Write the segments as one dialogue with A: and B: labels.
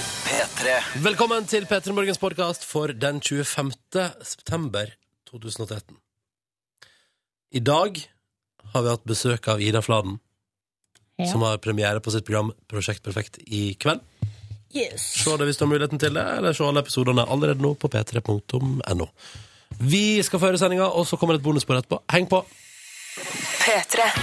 A: P3.
B: Velkommen til P3 Morgens podkast for den 25. september 2013. I dag har vi hatt besøk av Ida Fladen,
C: Ja.
B: som har premiere på sitt program Prosjekt Perfekt i kveld.
C: Yes.
B: Se det hvis du har muligheten til det, eller se alle episodene allerede nå på p3.no. Vi skal føre sendinga, og så kommer det et bonusspor etterpå. Heng på!
D: P3.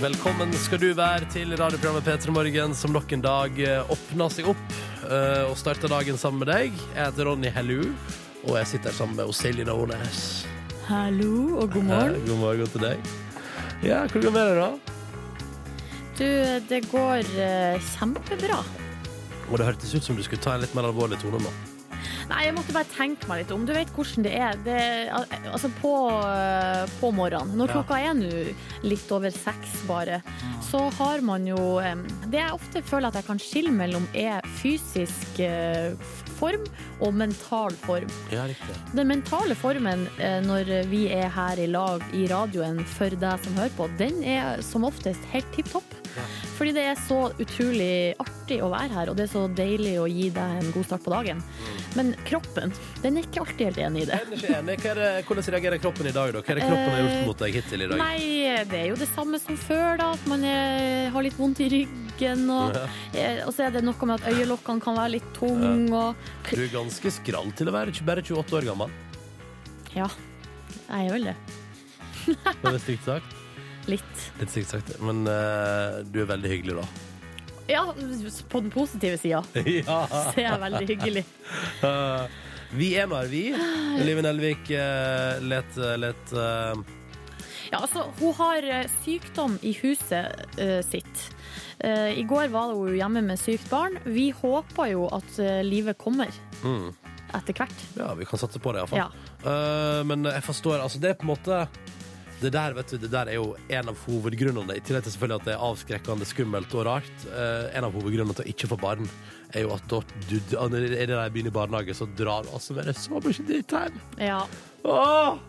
B: Velkommen skal du være til radioprogrammet P3 Morgen, som nok en dag eh, åpner seg opp eh, og starter dagen sammen med deg. Jeg heter Ronny Hellu, og jeg sitter her sammen med Silje Nordnes.
C: Hallo og god
B: Hei,
C: morgen.
B: God morgen til deg. Ja, hvordan går det med deg, da?
C: Du, det går eh, kjempebra.
B: Og det hørtes ut som du skulle ta en litt mer alvorlig tone nå.
C: Nei, jeg måtte bare tenke meg litt om. Du vet hvordan det er. Det, al- altså på, eh, på morgenen. Når
B: Ja.
C: klokka er nå litt over seks bare, så har man jo eh, Det jeg ofte føler at jeg kan skille mellom, er fysisk eh, f- form og mental form.
B: Ja, riktig.
C: Den mentale formen eh, når vi er her i lag i radioen for deg som hører på, den er som oftest helt tipp topp. Fordi det er så utrolig artig å være her, og det er så deilig å gi deg en god start på dagen. Men kroppen, den er ikke alltid helt enig i det.
B: Jeg er ikke enig. Hva er det, hvordan reagerer kroppen i dag, da? Hva er det kroppen har gjort mot deg hittil i dag?
C: Nei, det er jo det samme som før, da. At man eh, har litt vondt i ryggen, og, eh, og så er det noe med at øyelokkene kan være litt tunge, og
B: Du er ganske skrall til å være ikke bare 28 år gammel.
C: Ja, jeg er vel det.
B: Det er stygt sagt.
C: Litt.
B: Litt stygt sagt, men eh, du er veldig hyggelig, da.
C: Ja, på den positive sida.
B: ja.
C: Det er veldig hyggelig.
B: Eh, Vi er nå her, vi.
C: Ah.
B: Live Nelvik uh, let, let eh,
C: Ja, altså, hun har eh, sykdom i huset eh, sitt. Eh, I går var hun hjemme med sykt barn. Vi håper jo at eh, livet kommer
B: mm.
C: etter hvert.
B: Ja, vi kan satse på det, iallfall.
C: Ja.
B: Eh, men jeg forstår, altså det er på en måte det der, vet du, det der er jo en av hovedgrunnene, i tillegg til selvfølgelig at det er avskrekkende skummelt og rart. eh, en av hovedgrunnene til å ikke få barn er jo at da du, da- når det der jeg begynner i barnehage, så drar du altså med deg så mye dritt hjem.
C: Ja.
B: Åh!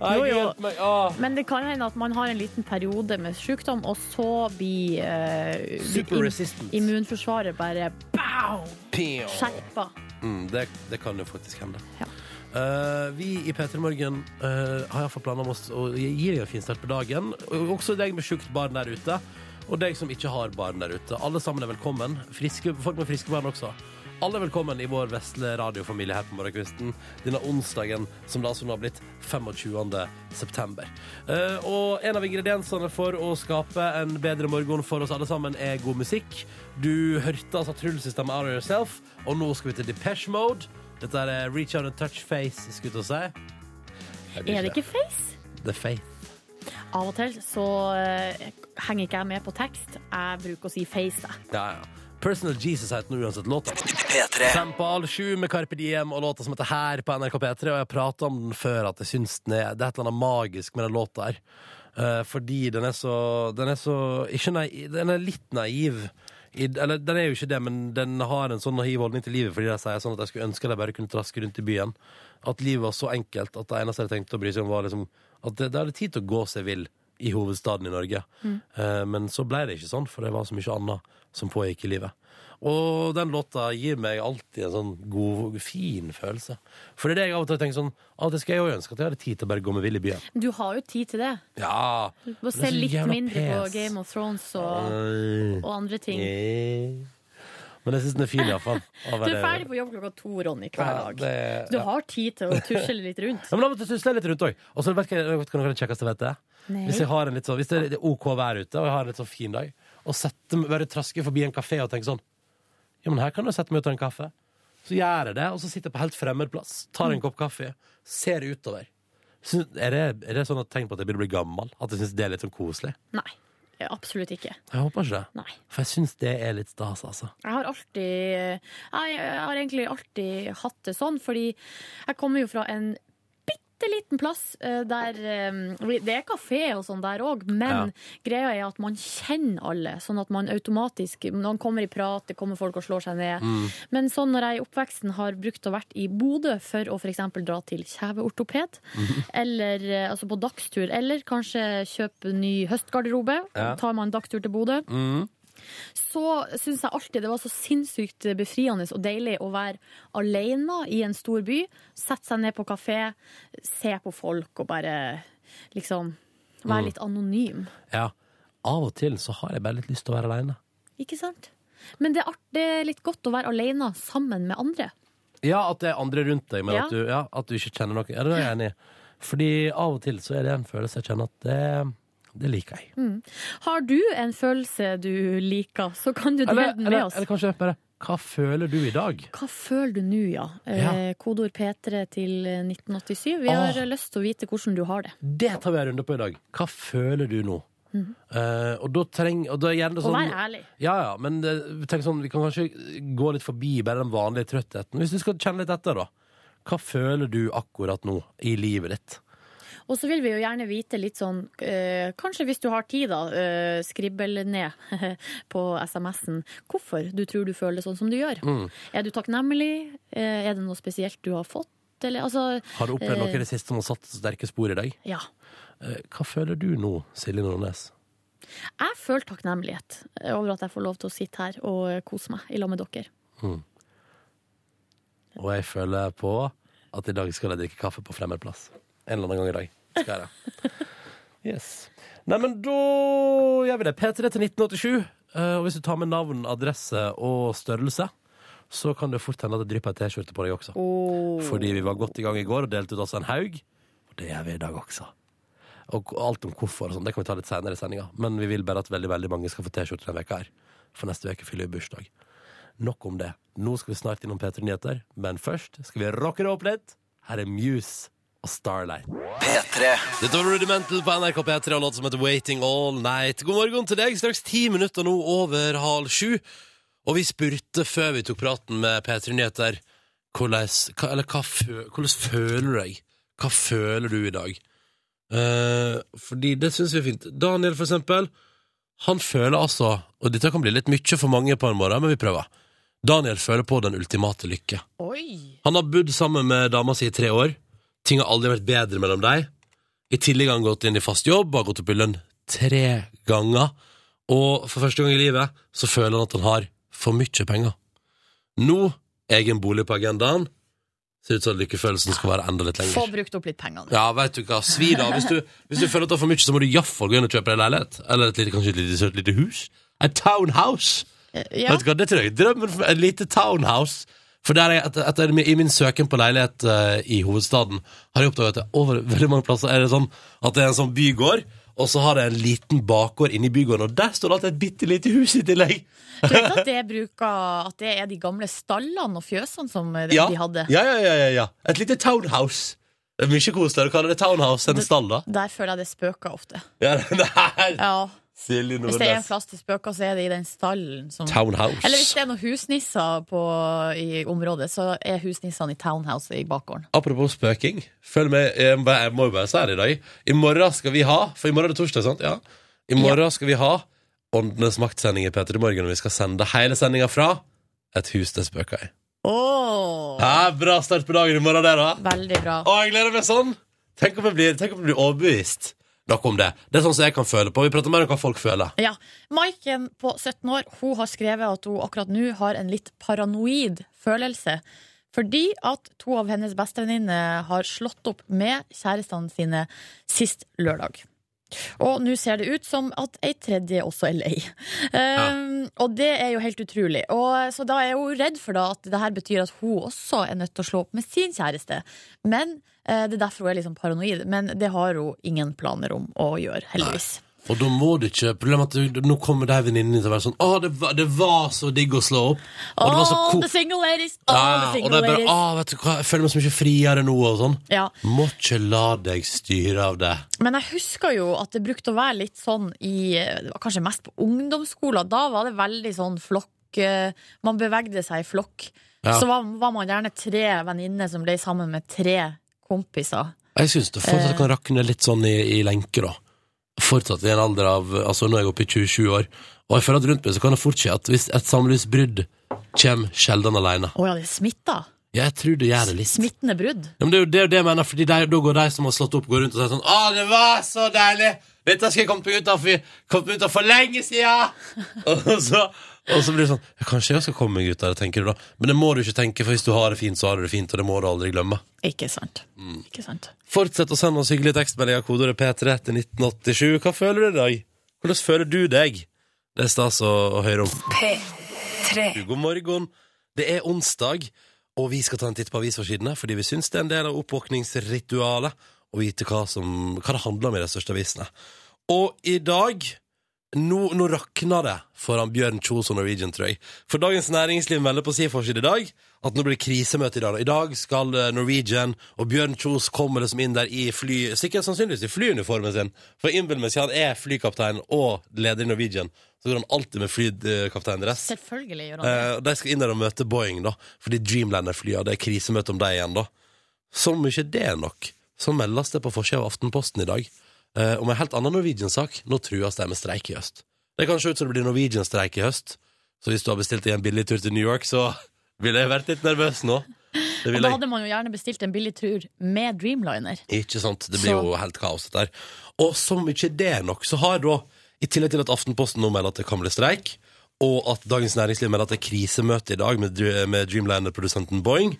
B: Nei,
C: Jo, jo.
B: hjelp meg. Åh!
C: Men det kan hende at man har en liten periode med sykdom, og så blir eh,
B: Super
C: im-
B: resistant.
C: immunforsvaret bare
B: Pew.
C: skjerpa.
B: Mm, det, det kan jo faktisk hende.
C: Ja.
B: Eh, vi i P3 Morgen eh, har iallfall planer om oss å gi gi deg en fin start på dagen. Og Også deg med sjukt barn der ute, og deg som ikke har barn der ute. Alle sammen er velkommen. Friske, folk med friske barn også. Alle er velkommen i vår vesle radiofamilie her på morgenkvisten denne onsdagen som det altså nå har blitt 25. september. Eh, og en av ingrediensene for å skape en bedre morgen for oss alle sammen er god musikk. Du hørte altså tryllesystemet Out of Yourself, og nå skal vi til Depeche Mode. Dette er eh, Reach Out and Touch Face, skulle jeg til å si. Nei,
C: Er det ikke face?
B: The Faith.
C: Av og til så eh, henger ikke jeg med på tekst. Jeg bruker å si face, jeg.
B: Ja, ja. Personal Jesus heter den uansett låta.
A: P3.
B: Fem på halv sju med Carpe Diem og låta som heter Her på NRK P3. Og jeg prata om den før, at jeg syns den er Det er et eller annet magisk med den låta her. Eh, fordi den er så Den er så ikke naiv, Den er litt naiv. I, eller den er jo ikke det, men den har en sånn naiv holdning til livet fordi de sier sånn at jeg skulle ønske de bare kunne traske rundt i byen. At livet var så enkelt at det eneste de tenkte å bry seg om, var liksom at det, det hadde tid til å gå seg vill i hovedstaden i Norge. Eh, men så ble det ikke sånn, for det var så mye annet som pågikk i livet. Og den låta gir meg alltid en sånn god, fin følelse. For det er det jeg av og til tenker sånn Av og til skal jeg jo ønske at jeg hadde tid til å bare gå meg vill i byen.
C: Du har jo tid til det.
B: Ja!
C: Du må se litt mindre på Game of Thrones og,
B: Thrones
C: og andre ting.
B: Men jeg syns den er fin, iallfall.
C: Du er ferdig på jobb klokka to, Ronny, hver dag.
B: det,
C: Du har tid til å tusje litt rundt.
B: Ja, men da måtte jeg susle litt rundt òg. Og så vet du hva vet du hva det kjekkeste jeg vet er?
C: Nei.
B: Hvis, jeg har en litt sånn, hvis det er det er OK vær ute, og jeg har en litt sånn fin dag, og setter, meg- bare trasker forbi en kafé og tenker sånn Ja, men her kan jeg sette meg og ta en kaffe. Så gjør jeg det, og så sitter jeg på helt fremmed plass, tar
C: Mm.
B: en kopp kaffe, ser utover. Syns- er, det, er det sånn at tegn på at jeg begynner å bli gammel? At jeg syns det er litt sånn koselig?
C: Nei, absolutt ikke.
B: Jeg håper ikke det.
C: Nei.
B: For jeg syns det er litt stas, altså.
C: Jeg har alltid Jeg har egentlig alltid hatt det sånn, fordi jeg kommer jo fra en
E: bitte liten plass eh, der eh, Det er kafé og sånn der òg, men greia er at man kjenner alle. Sånn at man automatisk Når man kommer i prat, det kommer folk og slår seg ned. Men sånn når jeg i oppveksten har brukt å vært i Bodø for å f.eks. dra til kjeveortoped, eller eh, altså på dagstur, eller kanskje kjøpe ny høstgarderobe,
B: Ja.
E: tar man dagstur til Bodø,
B: Mm.
E: så syns jeg alltid det var så sinnssykt befriende og deilig å være alene i en stor by. Sette seg ned på kafé, se på folk og bare liksom
B: Mm.
E: være litt anonym.
B: Ja. Av og til så har jeg bare litt lyst til å være aleine.
E: Ikke sant? Men det er, art, det er litt godt å være alene sammen med andre.
B: Ja, at det er andre rundt deg, men
E: Ja.
B: at, du, ja, at du ikke kjenner noen. Ja, det er jeg enig i. Fordi av og til så er det en følelse jeg kjenner at det, det liker jeg.
E: Har du en følelse du liker, så kan du dele
B: Eller,
E: den med
B: eller,
E: oss.
B: eller kanskje bare Hva føler du i dag?
E: Hva føler du nå, ja?
B: Ja.
E: Eh, Kodeord P3 til 1987. Vi
B: Ah.
E: har lyst til å vite hvordan du har det.
B: Det tar vi en runde på i dag. Hva føler du nå? Eh, og da treng, og da er gjerne
E: Mhm. Og
B: sånn,
E: vær ærlig.
B: Ja, ja, men eh, tenk sånn, vi kan kanskje gå litt forbi bare den vanlige trøttheten. Hvis du skal kjenne litt etter, da. Hva føler du akkurat nå i livet ditt?
E: Og så vil vi jo gjerne vite litt sånn, eh, kanskje hvis du har tid da, eh, skribbel ned på SMS-en hvorfor du tror du føler det sånn som du gjør.
B: Mm.
E: Er du takknemlig? Eh, er det noe spesielt du har fått? Eller, altså,
B: Har du opplevd noe
E: Eh.
B: i det siste som har satt sterke spor i deg?
E: ja.
B: Eh, hva føler du nå, Silje Nordnes?
E: Jeg føler takknemlighet over at jeg får lov til å sitte her og eh, kose meg i lag med dere.
B: Og jeg føler på at i dag skal jeg drikke kaffe på fremmed plass. En eller annen gang i dag. Skal jeg det. Yes. Nei, men da gjør vi det. P3 til 1987. Eh, og hvis du tar med navn, adresse og størrelse, så kan det fort hende at det drypper ei T-skjorte på deg også.
C: Oh.
B: Fordi vi var godt i gang i går og delte ut oss en haug. Og det gjør vi i dag også. Og alt om hvorfor og sånn, det kan vi ta litt senere i sendinga. Men vi vil bare at veldig veldig mange skal få T-skjorte denne veka her. For neste uke fyller vi bursdag. Nok om det. Nå skal vi snart innom P3 Nyheter, men først skal vi rocke det opp litt. Her er Muse og Starlight. Dette var Rudimental på NRK P3 og låt som heter Waiting All Night. God morgen til deg, straks ti minutter nå over halv sju. Og vi spurte før vi tok praten med P3 Nyheter hvordan, hva, eller, hva, fø- hvordan føler du deg? Hva føler du i dag? Eh, fordi det syns vi er fint. Daniel, for eksempel, han føler altså Og dette kan bli litt mye for mange på en morgen, men vi prøver. Daniel føler på den ultimate lykke.
C: Oi!
B: Han har bodd sammen med dama si i tre år. Ting har aldri vært bedre mellom deg. I tillegg har han gått inn i fast jobb, har gått opp i lønn tre ganger. Og for første gang i livet så føler han at han har for mye penger. Nå egen bolig på agendaen. Ser ut som at lykkefølelsen skal være enda litt
C: Få
B: lenger.
C: brukt opp litt pengene.
B: Ja, vet du hva, svi da. Hvis du, hvis du føler at det er for mye, så må du iallfall gå inn og kjøpe deg en leilighet. Eller et lite, kanskje et lite søtt lite hus. Et townhouse.
C: Ja.
B: Vet du hva, det tror jeg er drømmen for et lite townhouse. For der er jeg, etter, etter, I min søken på leilighet eh, i hovedstaden har jeg oppdaget at det over veldig mange plasser er det sånn at det er en sånn bygård, og så har det en liten bakgård inni bygården, og der står det alltid et bitte lite hus i tillegg.
C: Du vet at det, bruker, at det er de gamle stallene og fjøsene som eh,
B: Ja.
C: de hadde?
B: Ja, ja, ja, ja, ja. Et lite townhouse. Det er mye koseligere å kalle det townhouse enn stall, da.
C: Der føler jeg det spøker ofte.
B: Ja, nei.
C: Ja,
B: Silje
C: Hvis det er en
B: Nordnes.
C: plass det spøker, så er det i den stallen som
B: Townhouse.
C: Eller hvis det er noen husnisser på, i området, så er husnissene i townhouse i bakgården.
B: Apropos spøking, følg med, jeg må bare- jeg må jo bare si det i dag. I morgen skal vi ha, for i morgen er det torsdag, sant? Ja. I morgen skal vi ha Åndenes maktsending i Peter i morgen, og vi skal sende hele sendinga fra et hus det spøker i.
C: Åh,
B: Ja, bra start på dagen i morgen, det, da.
C: Veldig bra.
B: Å, jeg gleder meg sånn! Tenk om jeg blir, tenk om jeg blir overbevist. Noe om det. Det er sånn som jeg kan føle på. Vi prater mer om hva folk føler.
C: Ja, Maiken på 17 år Hun har skrevet at hun akkurat nå har en litt paranoid følelse Fordi at to av hennes bestevenninne har slått opp med kjærestene sine sist lørdag og nå ser det ut som at ei tredje også er lei um, Og det er jo helt utrolig og, Så da er hun redd for da at det her betyr at hun også er nødt til å slå opp med sin kjæreste Men eh, det er derfor hun er liksom paranoid Men det har hun ingen planer om å gjøre, heldigvis
B: Og da må du ikke Problemet er at du, nå kommer de venninnene din til å være sånn Å, det var, det var så digg å slå opp. Og det var så
C: All
B: ko-
C: the single ladies! All
B: Ja,
C: the
B: og
C: single
B: det er bare
C: ladies.
B: ah, vet du hva, Jeg føler meg så mye friere nå og sånn.
C: Ja.
B: Må ikke la deg styre av det.
C: Men jeg husker jo at det brukte å være litt sånn i Det var kanskje mest på ungdomsskolen. Da var det veldig sånn flokk eh, Man bevegde seg i flokk.
B: Ja.
C: Så var, var man gjerne tre venninner som ble sammen med tre kompiser.
B: Jeg syns det fortsatt kan rakne litt sånn i, i lenke, da. Fortsatt i en alder av Altså, nå er jeg oppe i 27 år, og jeg føler at rundt meg så kan det fort skje at hvis et samlivsbrudd kommer sjelden alene.
C: Å ja, det er smitta.
B: Jeg tror det gjør det litt.
C: Smittende brudd.
B: Ja, men det er jo det, er jo det jeg mener, fordi de, da går de som har slått opp, går rundt og sier sånn Å, det var så deilig! Dette skal jeg komme meg ut av for, kommet meg ut av for lenge siden! og, så, og så blir det sånn ja, Kanskje jeg skal komme meg ut av det, tenker du da. Men det må du ikke tenke, for hvis du har det fint, så har du det fint, og det må du aldri glemme.
C: Ikke sant.
B: Mm.
C: Ikke sant.
B: Fortsett å sende oss hyggelige tekstmeldinger, kodeordet P3 til 1987. Hva føler du i dag? Hvordan føler du deg? Det er stas å, å høre om.
D: P3
B: God morgen. Det er onsdag, og vi skal ta en titt på avisforsidene, fordi vi syns det er en del av oppvåkningsritualet å vite hva, som, hva det handler om i de største avisene. Og i dag nå, nå rakna det foran Bjørn Kjos og Norwegian, tror jeg. For Dagens Næringsliv melder på sin forside i dag at nå blir det krisemøte i dag. I dag skal eh, Norwegian og Bjørn Kjos kommer liksom inn der i fly Sikkert sannsynligvis i flyuniformen sin. For innbill meg siden han er flykaptein og leder i Norwegian, så går han alltid med flykapteindress.
C: Selvfølgelig gjør han det.
B: Eh, og de skal inn der og møte Boeing, da. Fordi Dreamlander-flya, det er krisemøte om dem igjen, da. Som ikke det er nok, så meldes det på forsida av Aftenposten i dag eh, om en helt annen Norwegian-sak. Nå trues de med streik i høst. Det kan se ut som det blir Norwegian-streik i høst. Så hvis du har bestilt deg en billig tur til New York, så ville jeg vært litt nervøs nå. Det
C: Og
B: ville
C: da
B: jeg.
C: hadde man jo gjerne bestilt en billig tur med Dreamliner.
B: Ikke sant? Det blir jo helt kaos dette her. Og som ikke det er nok, så har da, i tillegg til at Aftenposten nå melder at det kan bli streik, og at Dagens Næringsliv melder at det er krisemøte i dag med, Dr- med Dreamliner-produsenten Boeing,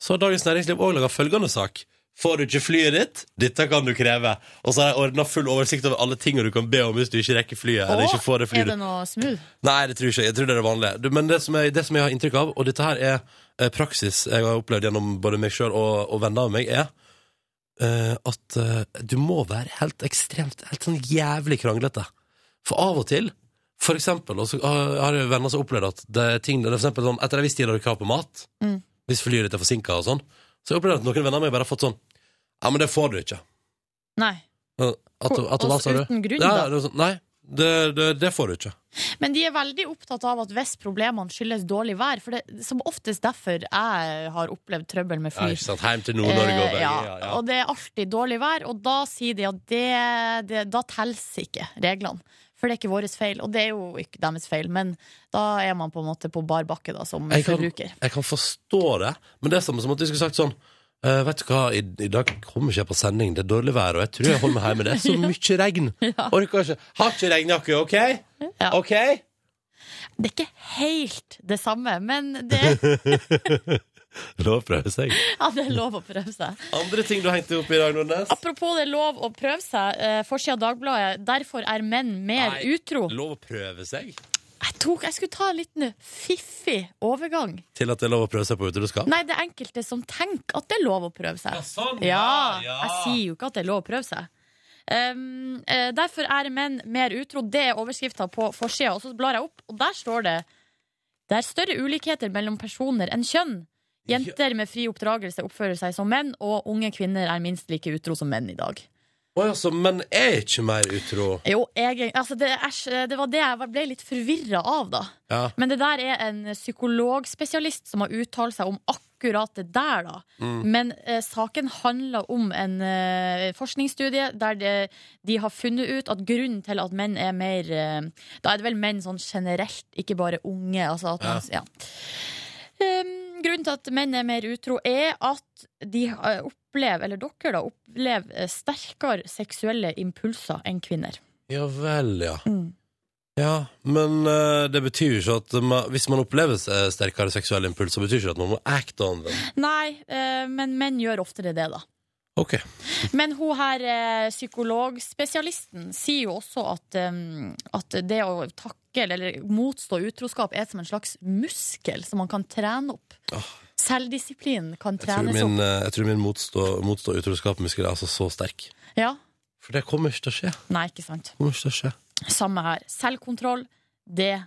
B: så har Dagens Næringsliv òg laga følgende sak. Får du ikke flyet ditt? Dette kan du kreve. Og så har jeg ordna full oversikt over alle tingene du kan be om hvis du ikke rekker flyet. eller ikke får det flyet.
C: er det noe smooth?
B: Nei, det tror jeg ikke. Jeg tror det er det vanlige. Du, Men det som, jeg, det som jeg har inntrykk av, og dette her er eh, praksis jeg har opplevd gjennom både meg sjøl og, og venner av meg, er eh, at eh, du må være helt ekstremt, helt sånn jævlig kranglete. For av og til, for eksempel, og så har har jeg venner som har opplevd at det er ting, det er for eksempel sånn, etter en viss tid har du krav på mat,
C: Mm.
B: hvis flyet ditt er forsinka og sånn, så har jeg opplevd at noen venner av meg bare har fått sånn Ja, men det får du ikke.
C: Nei.
B: At, at, at, hva sa du?
C: Uten grunn,
B: Ja,
C: da.
B: det var sånn, nei, det, det, det får du ikke.
C: Men de er veldig opptatt av at hvis problemene skyldes dårlig vær, for det er som oftest derfor jeg har opplevd trøbbel med
B: Ja,
C: fly.
B: ikke sant. Heim til Nord-Norge og
C: Eh,
B: Bergen.
C: ja. Og det er alltid dårlig vær, og da sier de at det, det, da telles ikke reglene. For det er ikke vår feil, og det er jo ikke deres feil, men da er man på en måte på bar bakke da, som
B: Jeg kan-
C: forbruker.
B: Jeg kan forstå det, men det er samme som at vi skulle sagt sånn eh, vet du hva, I, I dag kommer ikke jeg på sending, det er dårlig vær, og jeg tror jeg holder meg hjemme. Det er så mye regn. Orker ikke. Har ikke regnjakke, OK?
C: Ja.
B: OK?
C: Det er ikke helt det samme, men det er,
B: Lov å prøve seg.
C: ja, det er lov å prøve seg.
B: Andre ting du hengte opp i dag, Nordnes?
C: Apropos det er lov å prøve seg, eh, forsida av Dagbladet 'Derfor er menn mer
B: Nei.
C: utro'.
B: Lov å prøve seg?
C: Jeg, tok, jeg skulle ta en liten fiffig overgang.
B: Til at det er lov å prøve seg på utroskap?
C: Nei, det er enkelte som tenker at det er lov å prøve seg.
B: sånn,
C: Ja, jeg sier jo ikke at det er lov å prøve seg. Um, eh, derfor er menn mer utro. Det er overskrifta på forsida. Og så blar jeg opp, og der står det Det er større ulikheter mellom personer enn kjønn. Jenter med fri oppdragelse oppfører seg som menn, og unge kvinner er minst like utro som menn i dag.
B: Å, ja, så menn er ikke mer utro.
C: Jo, jeg, altså det, æsj, det var det jeg ble litt forvirra av, da.
B: Ja.
C: Men det der er en psykologspesialist som har uttalt seg om akkurat det der, da. Men eh, saken handler om en eh, forskningsstudie der det, de har funnet ut at grunnen til at menn er mer eh, Da er det vel menn sånn generelt, ikke bare unge. Altså at man, ja. Em, grunnen til at menn er mer utro, er at de eh, opplever, eller dere da, opplever eh, sterkere seksuelle impulser enn kvinner.
B: Ja vel, ja.
C: Mm.
B: Ja, Men eh, det betyr jo ikke at ma- hvis man opplever eh, sterkere seksuelle impulser, betyr ikke det at man må acte on them.
C: Nei, eh, men menn gjør oftere det, da.
B: Ok,
C: Men hun her, eh, psykologspesialisten, sier jo også at, eh, at det å takle eller motstå utroskap er som en slags muskel som man kan trene opp. Selvdisiplin kan
B: Ah. Jeg tror
C: trenes
B: min,
C: opp.
B: eh, jeg tror min motstå, motstå utroskapmuskel er altså så sterk.
C: Ja,
B: For det kommer ikke til å skje.
C: Nei, ikke sant.
B: Kommer ikke til å skje.
C: Samme her. Selvkontroll, det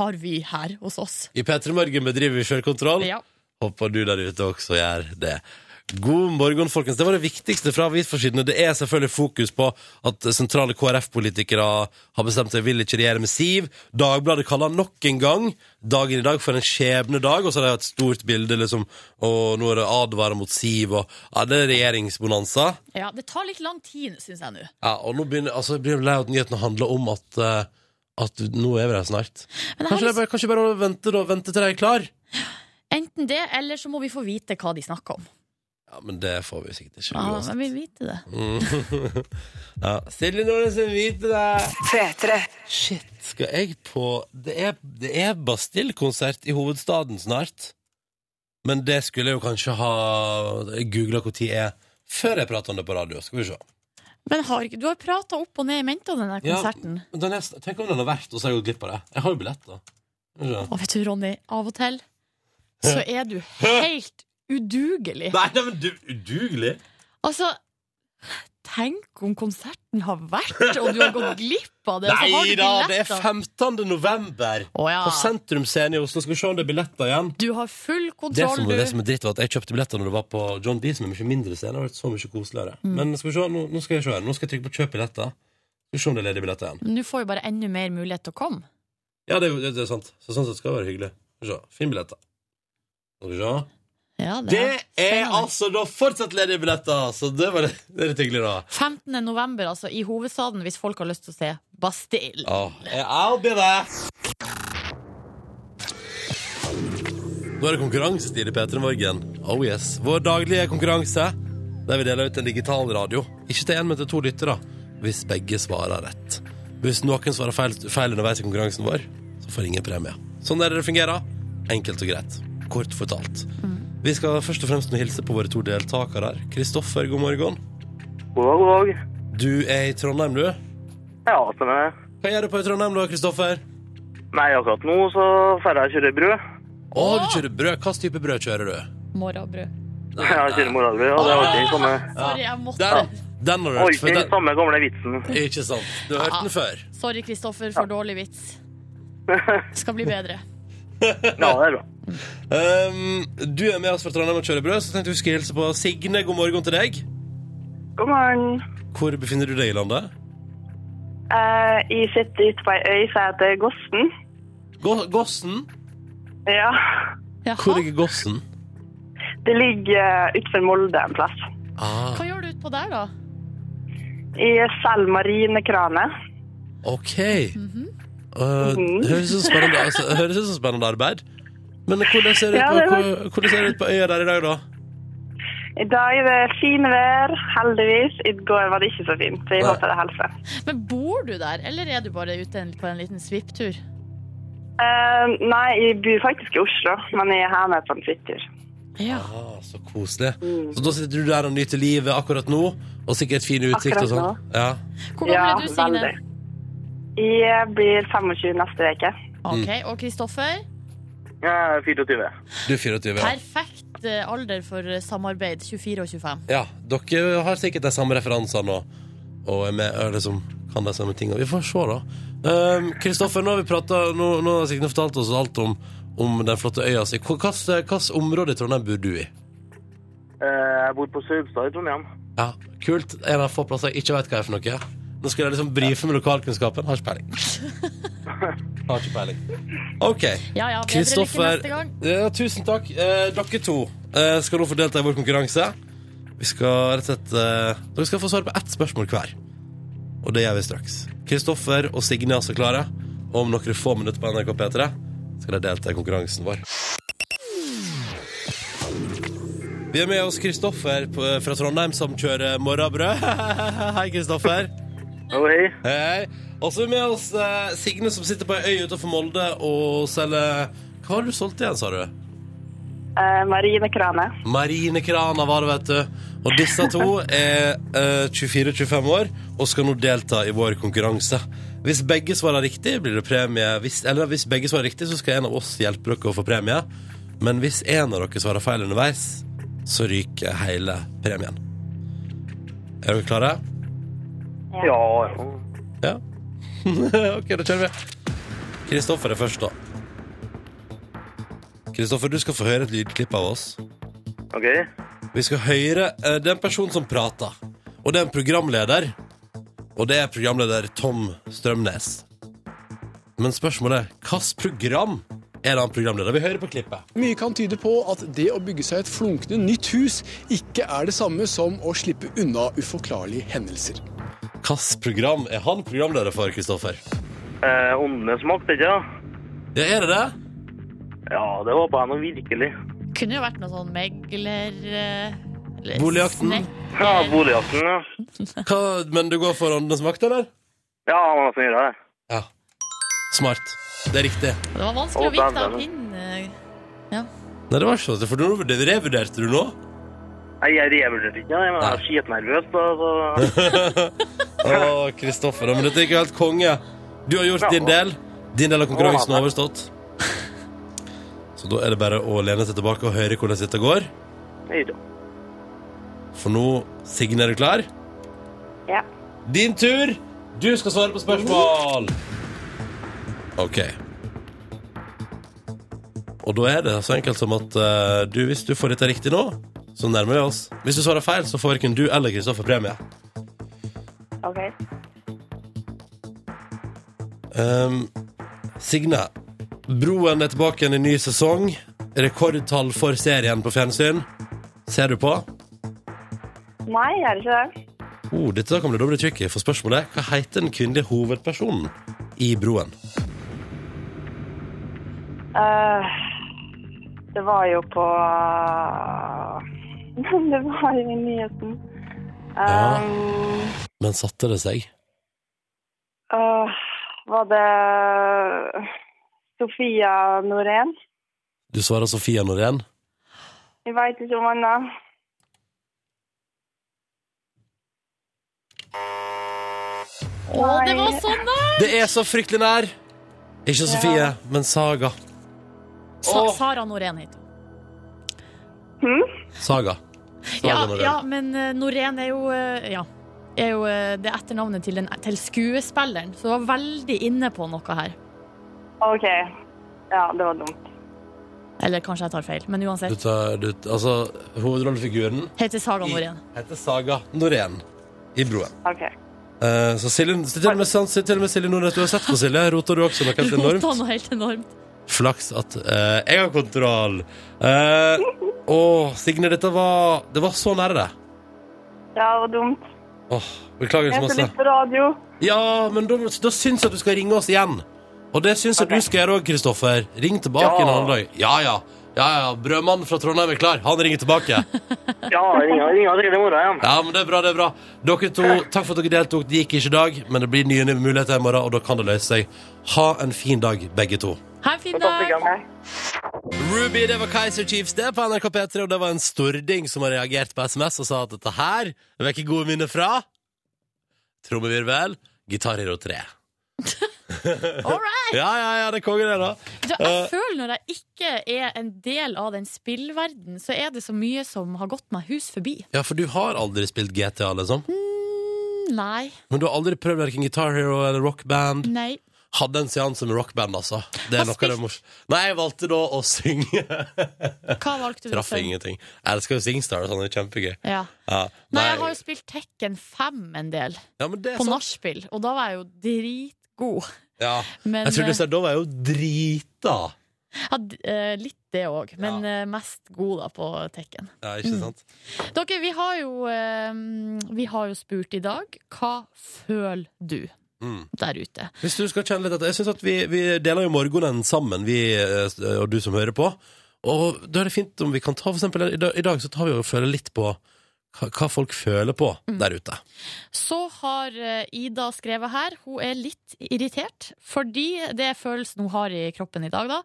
C: har vi her hos oss.
B: I P3 Morgen bedriver vi sjølkontroll.
C: Ja.
B: Håper du der ute også gjør det. God morgen, folkens. Det var det viktigste fra avisforsidene. Det er selvfølgelig fokus på at sentrale KrF-politikere har bestemt seg vil ikke regjere med Siv. Dagbladet kaller nok en gang dagen i dag for en skjebnedag, og så har de et stort bilde, liksom, og nå er det advarer mot Siv, og ja, det er regjeringsbonanza.
C: Ja, det tar litt lang tid, syns jeg nå.
B: Ja, og nå begynner, altså, jeg blir lei av at nyhetene handler om at, eh, at nå er vi der snart.
C: Men jeg har
B: Kanskje det er bare, kanskje bare å vente, da, vente til de er klar?
C: lyst- enten det, eller så må vi få vite hva de snakker om.
B: Ja, men det får vi sikkert ikke.
C: Ja,
B: uansett.
C: men vi vite det.
B: Mm. ja. Silje Nordnes er hvit til deg!
D: P3.
B: Shit, skal jeg på Det er, det er Bastille-konsert i hovedstaden snart. Men det skulle jeg jo kanskje ha googla når er, før jeg prater om det på radio. Skal vi se.
C: Men har, ikke- du har prata opp og ned i mente om denne
B: Ja.
C: konserten.
B: Men Den er, tenk om den har vært, og så har jeg gått glipp av det. Jeg har jo billett, da. Skal vi se.
C: Og vet du, Ronny, av og til så er du helt udugelig.
B: Nei, nei, men du udugelig!
C: Altså, tenk om konserten har vært, og du har gått glipp av det. og så har
B: Nei
C: du
B: da, det er
C: billetter.
B: 15. november
C: Å ja.
B: på Sentrum Scene i Oslo. Skal vi se om det er billetter igjen?
C: Du har full
B: Det som,
C: kontroll,
B: det
C: du.
B: som er dritt var at Jeg kjøpte billetter når det var på John D, som er mye mindre scene. Det har vært så mye koseligere
C: Mm.
B: Men skal vi se, nå, nå skal jeg se her Nå skal jeg trykke på 'kjøp billetter'. Skal vi se om det er ledige billetter igjen.
C: Men du får jo bare enda mer mulighet til å komme.
B: Ja, det, er jo- det, det er sant. Så sånn sett skal det være hyggelig. Skal vi se. Finn billetter. Skal vi se.
C: Ja, det,
B: Det er
C: spennende.
B: altså da fortsatt ledige billetter! Så det var det, det er litt hyggelig, da.
C: 15. november, altså, i hovedstaden, hvis folk har lyst til å se Bastille.
B: Ja, I'll be there. Nå er det konkurransetid i P3 Morgen. Oh yes. Vår daglige konkurranse der vi deler ut en digital radio. Ikke til én, men til to lyttere, hvis begge svarer rett. Hvis noen svarer feil, feil underveis i konkurransen vår, så får ingen premie. Sånn er det det fungerer. Enkelt og greit. Kort fortalt. Vi skal først og fremst nå hilse på våre to deltakere. Kristoffer, god morgen.
F: God dag, god dag.
B: Du er i Trondheim, du.
F: Ja, stemmer det.
B: Hva gjør du på i Trondheim, da, Kristoffer?
F: Nei, akkurat nå så får jeg kjøre brød.
B: Å, du kjører brød. Hva type brød kjører du?
C: Morgenbrød.
F: Jeg kjører morgenbrød, og det er sånn, eh. alltid den samme,
C: Sorry, jeg måtte.
B: Den, den har du hørt
F: alltid
B: før.
F: den
B: Den,
F: samme gamle vitsen.
B: ikke sant. Du har hørt den før.
C: Sorry, Kristoffer, for dårlig vits. Skal bli bedre.
F: Ja, det er bra.
B: Um, du er med oss fra Trondheim og kjører brød, så tenkte vi skulle hilse på Signe. God morgen til deg.
G: God morgen.
B: Hvor befinner du deg i landet?
G: Eh, jeg sitter ute på ei øy som heter Gosten.
B: Gå- Gossen?
G: Ja.
B: Hvor
C: Jaha,
B: ligger Gossen?
G: Det ligger eh, utenfor Molde en plass.
B: Ah,
C: hva gjør du utpå der, da?
G: Jeg selger marinekane.
B: OK. Uh, høres ut som spennende, altså, høres ut som spennende arbeid. Men hvordan ser det ut,
G: Ja,
B: på-
G: det var-
B: hvor- hvordan ser det ut på øya der i dag, da?
G: I dag er det fine vær, heldigvis. I går var det ikke så fint, så jeg
B: Nei.
G: håper det holder.
C: Men bor du der, eller er du bare ute en- på en liten svipptur?
G: Eh, nei, jeg bor faktisk i Oslo, men jeg er her med på en flyttur.
C: Ja.
B: Ah, så koselig. Så da sitter du der og nyter livet akkurat nå, og sikkert fin utsikt og
G: Akkurat
B: sånn. Ja.
C: Hvor gammel
G: ja,
C: er du, Signe?
G: veldig. Jeg blir 25 neste uke.
C: Ok,
B: Mm.
C: Og Kristoffer?
F: Jeg er 24.
B: Du er 24. Ja.
C: Perfekt eh, alder for eh, samarbeid. 24 og 25.
B: Ja, dere har sikkert de samme referansene og, og er med, er liksom, kan de samme tingene. Vi får se, da. Ehm, Kristoffer, nå har vi pratet, nå, nå har Signe fortalt oss alt om, om den flotte øya si. Hvor- Hvilket hvilket område i Trondheim bor du i?
F: Eh, Jeg bor på Søbstad i Trondheim.
B: Ja, Kult. En av få plasser jeg ikke vet hva er for noe. Nå skulle jeg liksom brife med lokalkunnskapen. Har ikke peiling. Har ikke peiling. OK.
C: Ja, ja, bedre lykke
B: Kristoffer,
C: neste gang.
B: ja, tusen takk. Eh, dere to eh, skal nå få delta i vår konkurranse. Vi skal rett og slett eh, Dere skal få svare på ett spørsmål hver. Og det gjør vi straks. Kristoffer og Signe er altså klare. Og om noen få minutter på NRK P3 skal de delta i konkurransen vår. Vi er med oss Kristoffer på- fra Trondheim, som kjører morrabrød. Hei, Kristoffer.
F: Og hei.
B: Hei. Og så er vi med oss eh, Signe, som sitter på ei øy utenfor Molde og selger Hva har du solgt igjen, sa du?
G: Eh, marinekane.
B: Marinekrana var det, vet du. Og disse to er eh, 24-25 år og skal nå delta i vår konkurranse. Hvis begge svarer riktig, blir det premie. Hvis, eller hvis begge svarer riktig, så skal en av oss hjelpe dere å få premie. Men hvis en av dere svarer feil underveis, så ryker hele premien. Er dere klare?
F: Ja, ja.
B: Ja. ok, da kjører vi. Kristoffer er først, da. Kristoffer, du skal få høre et lydklipp av oss.
F: Ok.
B: Vi skal høre eh, det er en person som prater. Og det er en programleder. Og det er programleder Tom Strømnes. Men spørsmålet er hvilket program er det han programleder? Vi hører på klippet.
H: Mye kan tyde på at det å bygge seg et flunkende nytt hus ikke er det samme som å slippe unna uforklarlige hendelser.
B: Hvilket program er han programleder for, Kristoffer?
F: Eh, åndenes makt, ikke sant?
B: Ja, er det det?
F: Ja, det håper jeg nå virkelig.
C: Kunne jo vært noe sånn megler eh, eller
B: Boligjakten.
C: snekker.
F: Ja, boligjakten, ja.
B: Hva, men du går for Åndenes makt, eller?
F: Ja, man kan gjøre det.
B: Ja. Smart. Det er riktig.
C: Det var vanskelig
F: Å,
C: å vite eh.
F: der,
C: av
F: der.
C: pinnen.
B: Nei, det var ikke sånn, for nå- det revurderte du nå.
F: Nei, jeg revurderte ikke, jeg, men jeg er skitnervøs. da, så...
B: Å, Kristoffer, da, men dette er ikke helt konge. Du har gjort din del. Din del av konkurransen er overstått. Så da er det bare å lene seg tilbake og høre hvordan dette går.
F: Jeg gjør det.
B: For nå, Signe, er du klar?
I: Ja.
B: Din tur! Du skal svare på spørsmål! OK. Og da er det så enkelt som at eh, du, hvis du får dette riktig nå, så nærmer vi oss. Hvis du svarer feil, så får verken du eller Kristoffer premie.
I: OK.
B: Ehm, Signe, Broen er tilbake igjen i ny sesong. Rekordtall for serien på fjernsyn. Ser du på?
I: Nei, jeg er ikke det.
B: Oh, dette kan bli dobbelt tricky, for spørsmålet er hva heter den kvinnelige hovedpersonen i Broen?
I: Eh, det var jo på eh, Det var jo i nyheten.
B: Ja.
I: Um,
B: Men satte det seg?
I: øh, var det Sofia Norén?
B: Du svarer Sofia Norén.
I: Jeg veit ikke om annet.
C: Å, det var sånn, da!
B: Det er så fryktelig nær! Ikke Sofie, men Saga.
C: Sa
B: Åh.
C: Sara Norén heter hun.
B: Saga. Saga
C: Ja,
B: Norén.
C: ja, men eh, Norén er jo eh, Ja. Er jo eh, det etternavnet til, den, til skuespilleren, så du var veldig inne på noe her.
I: OK. Ja, det var dumt.
C: Eller kanskje jeg tar feil, men
B: Du
C: uansett.
B: tar, du, altså, hovedrollefiguren
C: Heter Saga
B: i-
C: Norén.
B: heter Saga Norén i Broen.
I: OK.
B: Eh, så Silje, til og med, til og med Silje Nordnes, du har sett på Silje, roter du også noe helt
C: Rota
B: enormt?
C: noe helt enormt.
B: Flaks at eh, jeg har kontroll. Eh, Åh, Signe, dette var Det var så nære det.
I: Ja, det var dumt.
B: Åh, beklager så
I: Jeg skal
B: masse.
I: litt på radio.
B: Ja, men da, da syns jeg at du skal ringe oss igjen. Og det syns jeg du skal gjøre òg, Kristoffer. Ring tilbake
F: Ja.
B: en annen dag. Ja, ja. Ja, ja, Brødmannen fra Trondheim er klar. Han ringer tilbake.
F: Ja, jeg ringer, jeg ringer allerede i morgen igjen.
B: Ja, men det er bra, det er bra. Dere to, takk for at dere deltok. Det gikk ikke i dag, men det blir nye muligheter i morgen, og da kan det løse seg. Ha en fin dag, begge to.
C: Ha en fin dag!
F: Fantastisk, ja.
B: Ruby, det var Kaiser Chiefs det på NRK P3, og det var en stording som har reagert på SMS og sa at dette her vekker gode minner fra Trommevirvel, Gitar Hero 3.
C: All right.
B: Ja, ja, ja, det er konge, det, da.
C: Du, jeg føler når jeg ikke er en del av den spillverden, så er det så mye som har gått meg hus forbi.
B: Ja, for du har aldri spilt GTA, liksom?
C: Mm, Nei.
B: Men du har aldri prøvd verken Guitar Hero eller Rock Band?
C: Nei.
B: Hadde en seanse med Rock Band, altså. Det er
C: Hva
B: noe av det
C: spilte-
B: mors... Nei, jeg valgte da å synge.
C: Hva valgte du?
B: Traff
C: selv?
B: ingenting. Jeg elsker jo Singstar, og sånn, det er kjempegøy.
C: Ja.
B: Ja,
C: Nei, jeg har jo spilt Tekken 5 en del,
B: ja, men det er
C: på
B: sant.
C: nachspiel, og da var jeg jo dritgod.
B: Ja.
C: Men
B: Jeg trodde
C: eh,
B: du sa da var jeg jo drita.
C: ja, d- eh, litt det òg, men eh, mest god da på Tekken.
B: Ja, ikke
C: Mm.
B: sant?
C: Dere, vi har jo, eh, vi har jo spurt i dag hva føler du
B: Mm.
C: der ute?
B: Hvis du skal kjenne litt etter Jeg synes at vi, vi deler jo morgenen sammen Vi eh, og du som hører på Og da er det fint om vi kan ta for eksempel I dag, i dag så tar vi og føler litt på hva, hva folk føler på
C: Mm.
B: der ute
C: Så har eh, Ida skrevet her. Hun er litt irritert. Fordi det er følelsen hun har i kroppen i dag, da.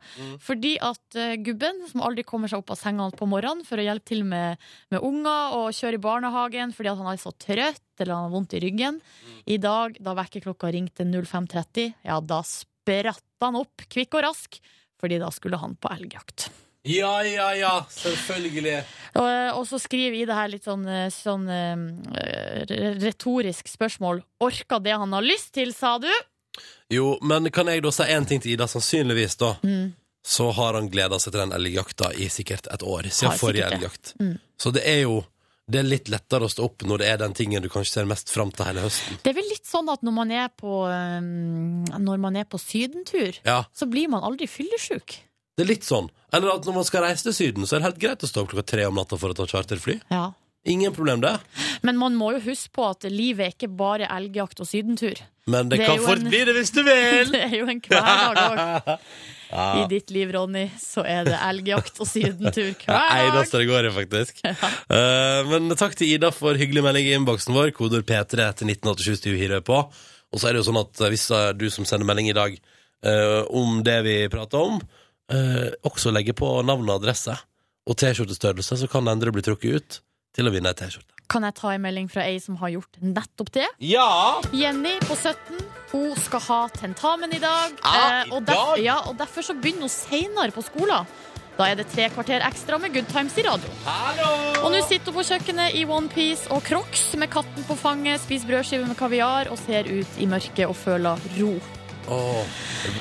C: Fordi at eh, gubben, som aldri kommer seg opp av senga på morgenen for å hjelpe til med, med unger og kjøre i barnehagen fordi at han er så trøtt eller han har vondt i ryggen I dag, da vekkerklokka ringte 05.30, ja, da spratt han opp kvikk og rask. Fordi da skulle han på elgjakt.
B: Ja, ja, ja, selvfølgelig
C: Og, eh, og så skriver Ida her litt sånn, eh, sånn eh, re- retorisk spørsmål. Orka det han har lyst til, sa du? Mm.
B: Jo, men kan jeg da si en ting til Ida sannsynligvis da så har han gleda seg til den elgjakta i sikkert et år, siden
C: Har
B: forrige
C: sikkert det. Mm.
B: elgjakt. Så det er jo det er litt lettere å stå opp når det er den tingen du kanskje ser mest fram til hele høsten.
C: Det er vel litt sånn at når man er på, eh, når man er på sydentur,
B: Ja,
C: så blir man aldri fyllesyk.
B: det er litt sånn. Eller at når man skal reise til Syden, så er det helt greit å stå opp klokka tre om natta for å ta charterfly.
C: Ja.
B: Ingen problem, det.
C: Men man må jo huske på at livet er ikke bare elgjakt og sydentur.
B: Men det,
C: Det er
B: kan
C: jo
B: fort
C: en-
B: bli det hvis du vil!
C: Det er jo en hverdag òg. I ditt liv, Ronny, så er det elgjakt og sydentur
B: Det er
C: hver dag.
B: eneste det går i, faktisk. Eh, men takk til Ida for hyggelig melding i innboksen vår. Kodord P3 til 1987 til Uhirøy på. Og så er det jo sånn at eh, hvis eh, du som sender melding i dag eh, om det vi prater om, eh, også legger på navn og adresse og T-skjortestørrelse, så kan det endre å bli trukket ut til å vinne ei T-skjorte.
C: Kan jeg ta en melding fra ei som har gjort nettopp det?
B: Ja!
C: Jenny på 17 hun skal ha tentamen i dag. Eh,
B: Ah, i
C: og, derf-
B: dag?
C: Ja, og derfor så begynner hun seinere på skolen. Da er det tre kvarter ekstra med Good Times i radio. Og nå sitter hun på kjøkkenet i onepiece og crocs med katten på fanget, spiser brødskive med kaviar og ser ut i mørket og føler ro.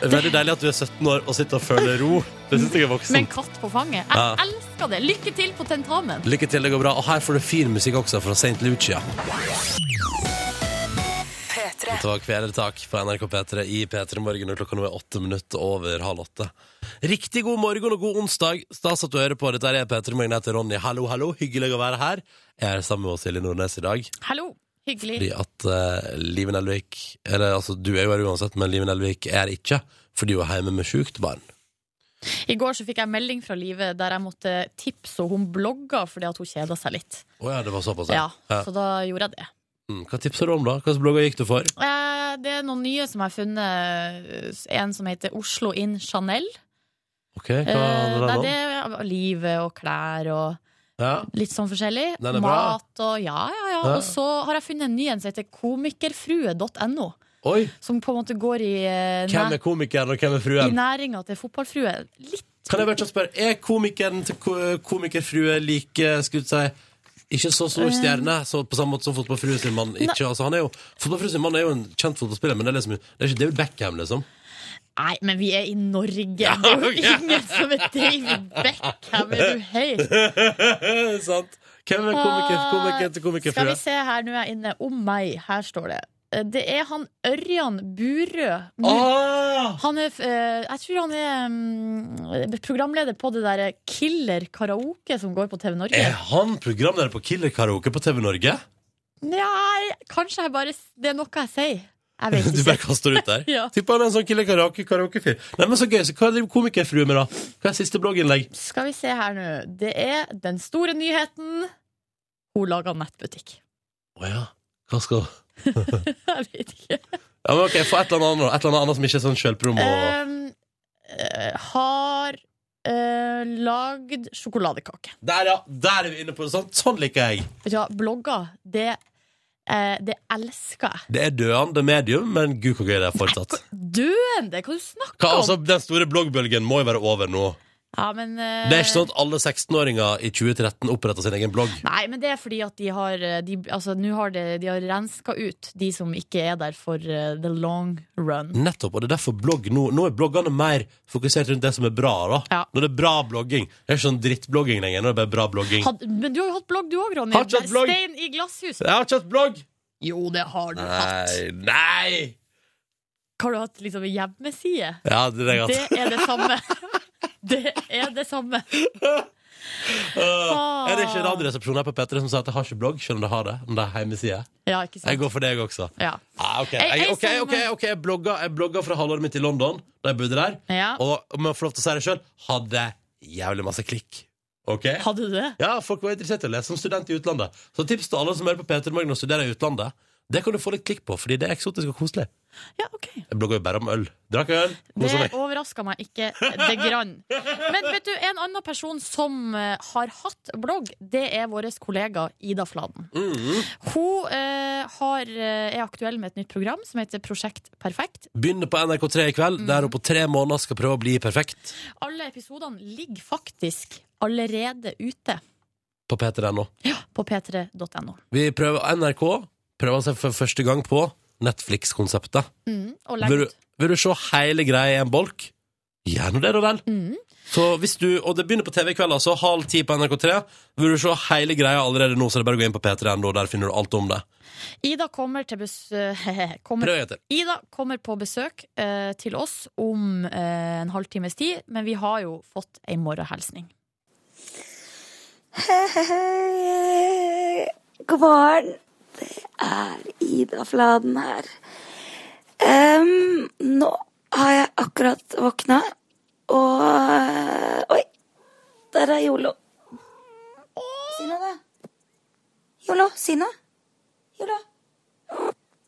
B: veldig deilig at du er 17 år og sitter og føler ro. Det syns jeg er
C: Med en
B: voksent.
C: katt på fanget. Jeg
B: Ja.
C: elsker det! Lykke til på tentamen.
B: Lykke til, det går bra. Og her får du fin musikk også fra St. Lucia.
D: P3.
B: Det var Kvelertak på NRK P3 i P3 Morgen, og klokka nå er åtte minutter over halv åtte. Riktig god morgen og god onsdag. Stas at du hører på. Dette er P3 Morgen. Jeg heter Ronny. Hallo, hallo. Hyggelig å være her. Jeg er sammen med oss Silje Nordnes i dag.
C: Hallo. Hyggelig.
B: Fordi at eh, Liven Elvik Eller altså, du er jo her uansett, men Liven Elvik er her ikke. Fordi hun er hjemme med sjukt barn.
C: I går så fikk jeg melding fra Live der jeg måtte tipse og hun blogga fordi at hun kjeda seg litt.
B: Å ja, det var såpass,
C: Ja,
B: Ja.
C: Så da gjorde jeg det.
B: Mm, Hva tipsa du om, da? Hvilke blogger gikk du for?
C: Eh, Det er noen nye som jeg har funnet. eh, En som heter Oslo in Chanel.
B: Ok, hva
C: Eh,
B: var
C: Nei,
B: den
C: det
B: om?
C: er livet og klær og
B: Ja.
C: litt sånn forskjellig.
B: Den er bra.
C: Mat og ja, ja, ja.
B: Ja.
C: Og så har jeg funnet en ny en som heter komikerfrue.no.
B: Oi!
C: Som på en måte går i, eh,
B: Hvem er komikeren, og hvem er
C: næ-
B: fruen?
C: i næringa til fotballfrue. Litt
B: Kan jeg bare kjapt spørre, er komikeren til ko- komikerfrue eh, like skutt seg ikke så stor
C: Eh.
B: stjerne, så på samme måte som fotballfrue sin mann ikke, altså han er jo Fotballfrue sin mann er jo en kjent fotballspiller, men det er liksom Det er ikke David Beckham, liksom.
C: Nei, men vi er i Norge. Det er jo ingen som er David Beckham. Er du helt
B: Sant? Hvem er komiker, komiker til
C: Ah, Eh, Skal vi
B: komikerfrue?
C: se her, nå er jeg inne. Om meg. Her står det. Eh, Det er han Ørjan Burøe.
B: Ah!
C: Han er, eh, jeg tror han er mm, programleder på det derre Killer karaoke som går på TV Norge.
B: Er han programleder på Killer Karaoke på TV Norge?
C: Nei, kanskje jeg bare Det er noe jeg sier. Jeg vet
B: Du bare
C: ikke.
B: kaster ut der?
C: Ja.
B: Tipper han er en sånn Killer Karaoke-karaokefyr. Nei, men så gøy, så hva driver komikerfrue med, da? Hva er siste blogginnlegg?
C: Skal vi se her nå. Det er den store nyheten. Hun lager nettbutikk.
B: Å ja. Hva skal
C: Jeg vet ikke.
B: Ja, men ok, Få et eller annet, et eller annet som ikke er sånn sjølpromo.
C: Ehm, eh, har eh, lagd sjokoladekake.
B: Der, ja! Der er vi inne på det. Sånn, sånn liker jeg.
C: Vet du hva, blogger, det, eh, det elsker jeg.
B: Det er døende medium, men gud hvor gøy det er fortsatt.
C: Døende! Hva du snakker
B: Hva,
C: om?
B: altså, den store bloggbølgen må jo være over nå.
C: ja, men, eh,
B: Det er ikke sånn at alle 16-åringer i 2013 oppretter sin egen blogg.
C: Nei, men det er fordi at de har eh, de, altså, nå har de, de har renska ut de som ikke er der for eh, the long run.
B: Nettopp, og det er derfor blogg nå Nå er bloggene mer fokusert rundt det som er bra. da
C: Ja.
B: Når det er bra blogging. Det er ikke sånn drittblogging lenger. Nå er det bare bra blogging.
C: Had, men du har jo hatt blogg du òg, Ronny.
B: Har ikke hatt blogg.
C: Stein i glasshus.
B: Jeg har ikke hatt blogg!
C: Jo, det har du hatt.
B: Nei, nei!
C: Har du hatt liksom hjemmeside?
B: Ja, det er godt.
C: Det er det samme. Det er det samme.
B: Åh, Eh, Er det ikke Radioresepsjonen her på P3 som sier at jeg har ikke blogg, selv om de har det? Om det er hjemmeside?
C: Ja, ikke
B: Jeg
C: sant?
B: går for deg også.
C: Ja.
B: Ah, ok,
C: Jeg-
B: jeg,
C: jeg
B: ok,
C: som-
B: ok, ok, jeg blogga, jeg blogga fra halvåret mitt i London, da jeg bodde der.
C: Ja.
B: Og om jeg får lov til å si det sjøl, hadde jævlig masse klikk. Ok?
C: Hadde du det?
B: Ja, Folk var interessert i å lese som student i utlandet. Så tips til alle som hører på Peter Morgen og studerer i utlandet. Det kan du få litt klikk på, fordi det er eksotisk og koselig.
C: Ja, ok.
B: Jeg blogga jo bare om øl. Drakk øl. koset
C: Det
B: meg.
C: overraska meg ikke det grann. Men vet du, en annen person som eh, har hatt blogg, det er vår kollega Ida Fladen.
B: Mm.
C: Hun eh, har, eh, er aktuell med et nytt program som heter Prosjekt perfekt.
B: Begynner på NRK3 i kveld, der hun på tre måneder skal prøve å bli perfekt.
C: Alle episodene ligger faktisk allerede ute
B: På p3.no.
C: på p3.no.
B: Vi prøver NRK prøver seg for første gang på Netflix-konseptet.
C: Mm, og legg
B: Vil du,
C: ut.
B: vil du se hele greia i en bolk? Gjør nå det, da vel.
E: Mm.
B: Så hvis du, og det begynner på TV i kveld, altså. Halv ti på NRK3. Vil du se hele greia allerede nå, så er det bare å gå inn på p3.no. Der finner du alt om det.
C: Ida kommer til besøk kommer,
B: Prøv etter.
C: Ida kommer på besøk eh, til oss om eh, en halvtimes tid, men vi har jo fått ei morgenhilsning.
J: Hei, god morgen. Det er Ida Fladen her. Em, nå har jeg akkurat våkna, og Oi! Der er Jolo. Si noe, da. Jolo, si noe. Jolo.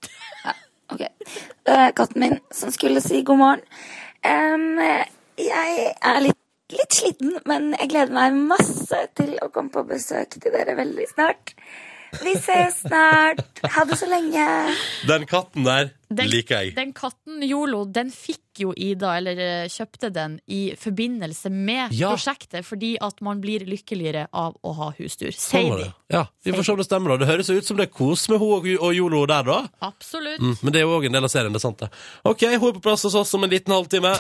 J: Ja, OK. Det er katten min som skulle si god morgen. Em, jeg er litt litt sliten, men jeg gleder meg masse til å komme på besøk til dere veldig snart. Vi ses snart. Ha det så lenge.
B: Den katten der
C: Den-
B: liker jeg.
C: Den katten Jolo, den fikk jo Ida, eller eh, kjøpte den, i forbindelse med
B: Ja.
C: prosjektet, fordi at man blir lykkeligere av å ha husdyr.
B: Sånn
C: Sier
B: var
C: de.
B: det. Ja, Vi får se om det stemmer. da Det høres jo ut som det er kos med hun og- og Jolo der, da.
C: Absolutt.
B: Mm, men det er jo òg en del av serien. det er sant det OK, hun er på plass hos oss om en liten halvtime.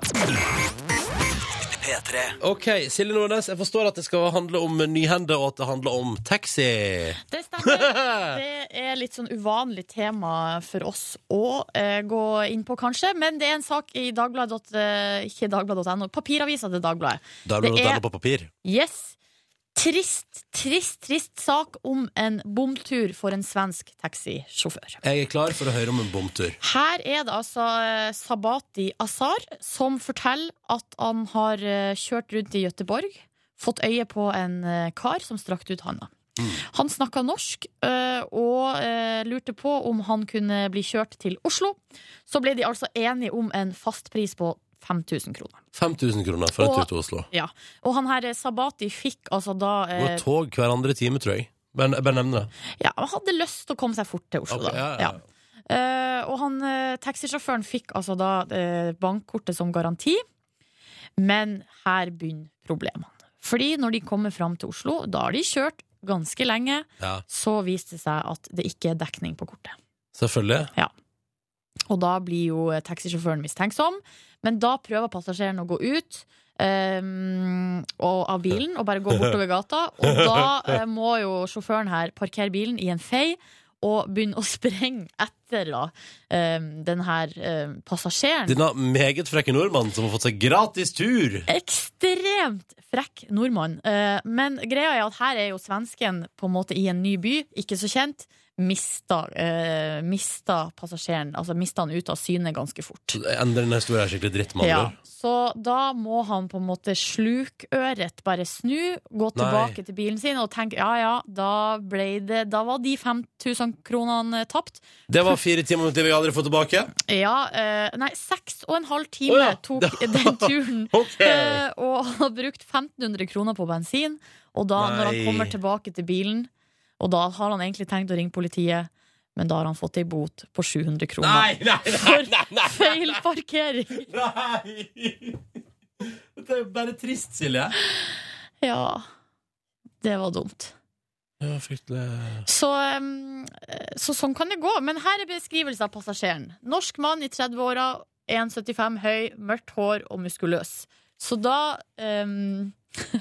B: OK, Silje Nordnes, jeg forstår at det skal handle om nyhende, og at det handler om taxi.
C: Det stemmer. Det er litt sånn uvanlig tema for oss å eh, gå inn på, kanskje. Men det er en sak i Dagbladet, eh, ikke Dagbladet.no, papiravisa til Dagbladet.
B: Da blir det
C: Det er-
B: noe på papir.
C: Yes. Trist, trist, trist sak om en bomtur for en svensk taxisjåfør.
B: Jeg er klar for å høre om en bomtur.
C: Her er det altså eh, Sabati Azar som forteller at han har eh, kjørt rundt i Gøteborg, fått øye på en eh, kar som strakte ut handa.
B: Mm.
C: Han snakka norsk eh, og eh, lurte på om han kunne bli kjørt til Oslo. Så ble de altså enige om en fastpris på 5000 kroner.
B: 5000 kroner for en
C: Og-
B: tur til Oslo.
C: Og han her eh, Sabati fikk altså da
B: Det
C: eh,
B: går tog hver andre time, tror jeg. Men jeg bare nevner det.
C: Ja, han hadde lyst til å komme seg fort til Oslo,
B: Ok, ja,
C: da.
B: ja, ja.
C: Ja. Eh, og han, eh, taxisjåføren fikk altså da eh, bankkortet som garanti, men her begynner problemene. Fordi når de kommer fram til Oslo, da har de kjørt ganske lenge,
B: Ja.
C: så viste det seg at det ikke er dekning på kortet.
B: Selvfølgelig.
C: Og da blir jo eh, taxisjåføren mistenksom, men da prøver passasjeren å gå ut eh, og, av bilen og bare gå bortover gata. Og da eh, må jo sjåføren her parkere bilen i en fei og begynne å sprenge etter da, eh, den her eh, passasjeren.
B: Denne meget frekke nordmannen som har fått seg gratis tur.
C: Ekstremt frekk nordmann. Eh, men greia er at her er jo svensken på en måte i en ny by, ikke så kjent. Mista, eh, mista passasjeren, altså mista han ut av syne ganske fort.
B: Endrer denne historien skikkelig dritt, med andre ord.
C: Så da må han på en måte slukøret bare snu, gå tilbake til bilen sin og tenke ja ja, da, ble det, da var de 5000 kronene tapt.
B: Det var fire timer til vi aldri får tilbake.
C: Ja, eh, nei, seks og en halv time
B: Å ja.
C: tok den turen.
B: Ok
C: Eh, og han har brukt 1500 kroner på bensin, og da når han
B: Nei.
C: kommer tilbake til bilen, og da har han egentlig tenkt å ringe politiet, men da har han fått ei bot på 700 kroner.
B: Nei, nei, nei,
C: For
B: nei, nei,
C: feil parkering!
B: nei. Dette er jo bare trist, Silje.
C: Ja, det var dumt.
B: Ja, fryktelig
C: Så, um, så sånn kan det gå. Men her er beskrivelse av passasjeren. Norsk mann i 30-åra, 1,75 høy, mørkt hår og muskuløs. Så da um,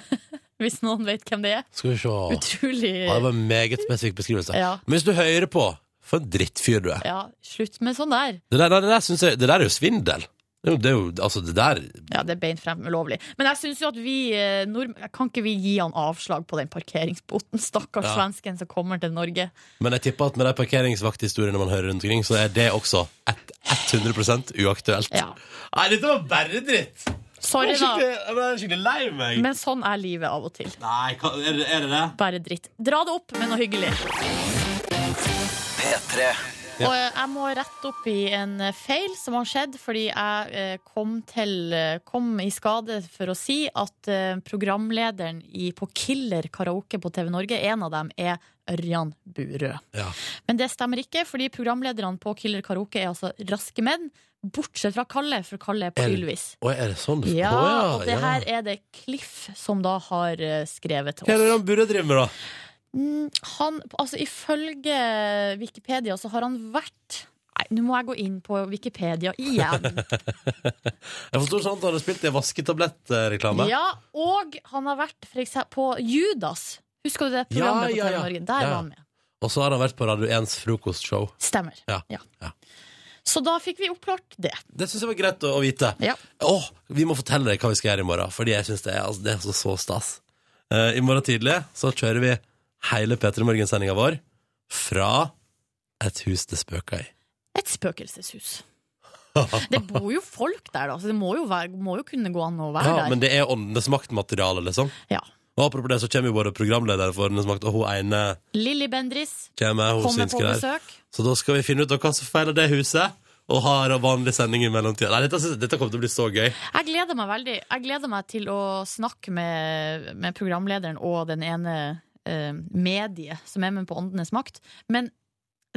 C: Hvis noen vet hvem det er.
B: Skal vi se.
C: Utrolig
B: Ja, det var en meget spesifikk beskrivelse.
C: ja,
B: Men hvis du hører på, for en drittfyr du er.
C: ja, slutt med sånn der.
B: Det der, det der, synes jeg, det der er jo svindel. Det er jo, det er jo, altså, det der
C: Ja, det er beint frem ulovlig. Men jeg syns jo at vi eh, nordm- Kan ikke vi gi han avslag på den parkeringsboten, stakkars
B: Ja.
C: svensken som kommer til Norge?
B: Men jeg tipper at med de parkeringsvakthistoriene man hører rundt omkring, så er det også et, 100 uaktuelt.
C: Ja.
B: Nei, dette var bare dritt!
C: Sorry, da.
B: jeg ble skikkelig lei meg.
C: Men sånn er livet av og til.
B: Nei, er det er det? det?
C: Bare dritt. Dra det opp med noe hyggelig. Og eh, jeg må rette opp i en eh, feil som har skjedd, fordi jeg eh, kom, til, eh, kom i skade for å si at eh, programlederen i, på Killer karaoke på TV Norge, en av dem er Ørjan Burøe.
B: Ja.
C: Men det stemmer ikke, fordi programlederne på Killer karaoke er altså raske menn, bortsett fra Kalle, for Kalle er på
B: Er-
C: Ylvis.
B: Oi, er det sånn?
C: Ja,
B: Å,
C: og det
B: ja.
C: her er det Cliff som da har eh, skrevet til
B: Hva er det
C: oss.
B: han burde drive med, da?
C: Mm, Han, altså ifølge Wikipedia så har han vært Nei, Nei, nå må jeg gå inn på Wikipedia igjen.
B: Jeg forstår sånn at han har spilt i en vasketablettreklame.
C: ja, og han har vært for eksempel, på Judas. Husker du det
B: Ja,
C: programmet
B: ja,
C: på
B: ja.
C: TV Norge?
B: Ja,
C: Der
B: ja.
C: var han med.
B: Og så har han vært på Radio 1s frokostshow.
C: Stemmer.
B: Ja, ja.
C: Så da fikk vi oppklart det.
B: Det syns jeg var greit å, å vite.
C: Ja.
B: Åh, vi må fortelle deg hva vi skal gjøre i morgen, fordi jeg syns det, er- altså, det er så, så stas. Eh, I morgen tidlig så kjører vi hele P3 Morgen-sendinga vår fra et hus det spøker i.
C: Et spøkelseshus. Det bor jo folk der, da, så det må jo, være, må jo kunne gå an å være
B: Ja,
C: der.
B: men det er åndenes makt-materiale, liksom.
C: Ah, Ja.
B: Og apropos det, så kommer jo både programlederen for Åndenes makt, og hun ene
C: Lilly Bendris
B: kommer, hun
C: kommer
B: synske
C: på
B: der.
C: besøk.
B: Så da skal vi finne ut av hva som feiler det huset, og har en vanlig sending i mellomtida. Nei, dette, synes jeg- dette kommer til å bli så gøy.
C: Jeg gleder meg veldig. Jeg gleder meg til å snakke med, med programlederen og den ene eh, mediet som er med på Åndenes makt. Men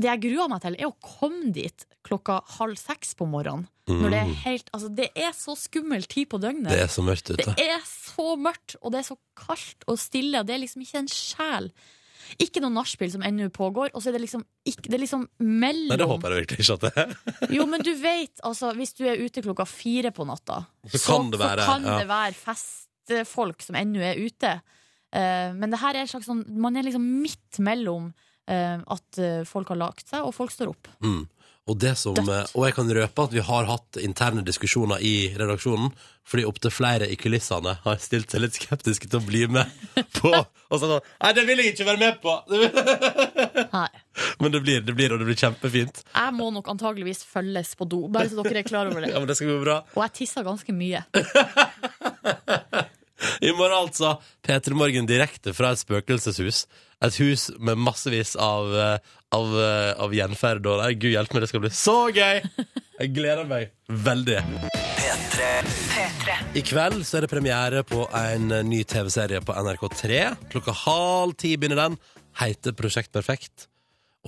C: det jeg gruer meg til, er å komme dit klokka halv seks på morgenen. Når det er helt Altså, det er så skummel tid på døgnet.
B: Mm. Det er så mørkt ute.
C: Det er så mørkt, og det er så kaldt og stille. og Det er liksom ikke en sjel. Ikke noe nachspiel som ennå pågår, og så er det liksom, ikke, det er liksom mellom
B: Nei, det håper jeg virkelig ikke at det er.
C: Jo, men du vet, altså, hvis du er ute klokka fire på natta,
B: Så kan det være,
C: så kan
B: ja.
C: det være festfolk som ennå er ute. Eh, men det her er en slags sånn Man er liksom midt mellom eh, at eh, folk har lagt seg, og folk står opp.
B: Mm. Og, det som, eh,
C: Dødt.
B: og jeg kan røpe at vi har hatt interne diskusjoner i redaksjonen, fordi opptil flere i kulissene har stilt seg litt skeptiske til å bli med på Og sånn Nei, det vil jeg ikke være med på! Det vil-
C: Nei.
B: Men det blir, det blir, og det blir kjempefint.
C: Jeg må nok antageligvis følges på do, bare så dere er klar over
B: Ja,
C: det.
B: men det skal gå bra.
C: Og jeg tisser ganske mye.
B: I morgen altså P3 Morgen direkte fra et spøkelseshus. Et hus med massevis av, eh, av, eh, av gjenferd. Og nei, gud hjelpe meg, det skal bli så gøy! Jeg gleder meg veldig. I kveld så er det premiere på en eh, ny TV-serie på NRK3. Klokka halv ti begynner den. Heter Prosjekt Perfekt.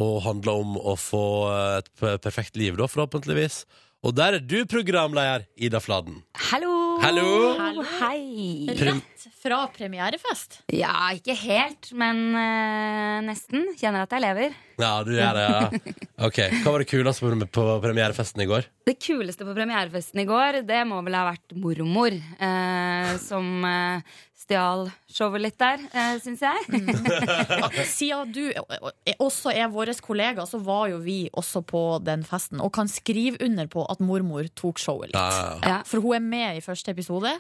B: Og handler om å få eh, et p- perfekt liv, da, forhåpentligvis. Og der er du programleder, Ida Fladen.
K: Hallo!
B: Hallo.
C: Hallo.
K: Hei!
B: Prim-
C: Rett fra premierefest.
K: Ja, ikke helt, men eh, nesten. Kjenner at jeg lever.
B: Ja, du gjør det, ja. Ok, Hva var det kuleste på, på premierefesten i går?
K: Det kuleste på premierefesten i går, det må vel ha vært mormor. eh, som eh, stjal showet litt der, uh, syns jeg.
C: Siden du også er vår kollega, så var jo vi også på den festen. Og kan skrive under på at mormor tok showet litt.
B: Ja.
K: Ja.
C: For hun er med i første episode,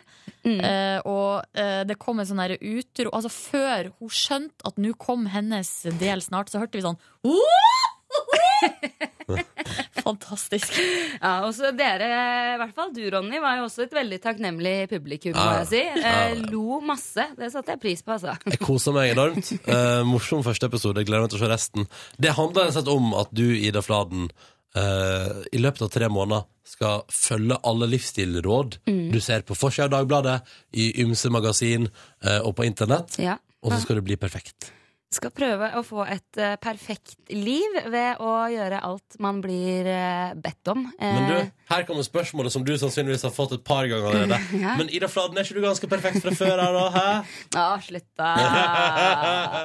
K: Mm.
C: eh, og eh, det kom en sånn derre utro Altså, før hun skjønte at nå kom hennes del snart, så hørte vi sånn «Åh!» Fantastisk.
K: Ja, og så dere, i hvert fall du, Ronny, var jo også et veldig takknemlig publikum, må
B: Ja.
K: jeg si.
B: Ja.
K: Eh, lo masse. Det satte jeg pris på, altså.
B: Jeg koser meg enormt. Eh, morsom første episode. Gleder meg til å se resten. Det handler rett og slett om at du, Ida Fladen, eh, i løpet av tre måneder skal følge alle livsstilråd du ser på forsida av Dagbladet, i ymse magasin eh, og på internett.
K: Ja.
B: Og så skal du bli perfekt.
K: Skal prøve å få et eh, perfekt liv ved å gjøre alt man blir eh, bedt om.
B: Men
K: Eh,
B: du, her kommer spørsmålet som du sannsynligvis har fått et par ganger allerede.
K: Ja.
B: Men Ida Fladen, er ikke du ganske perfekt fra før her, da? Hæ?
K: Ja, slutt da.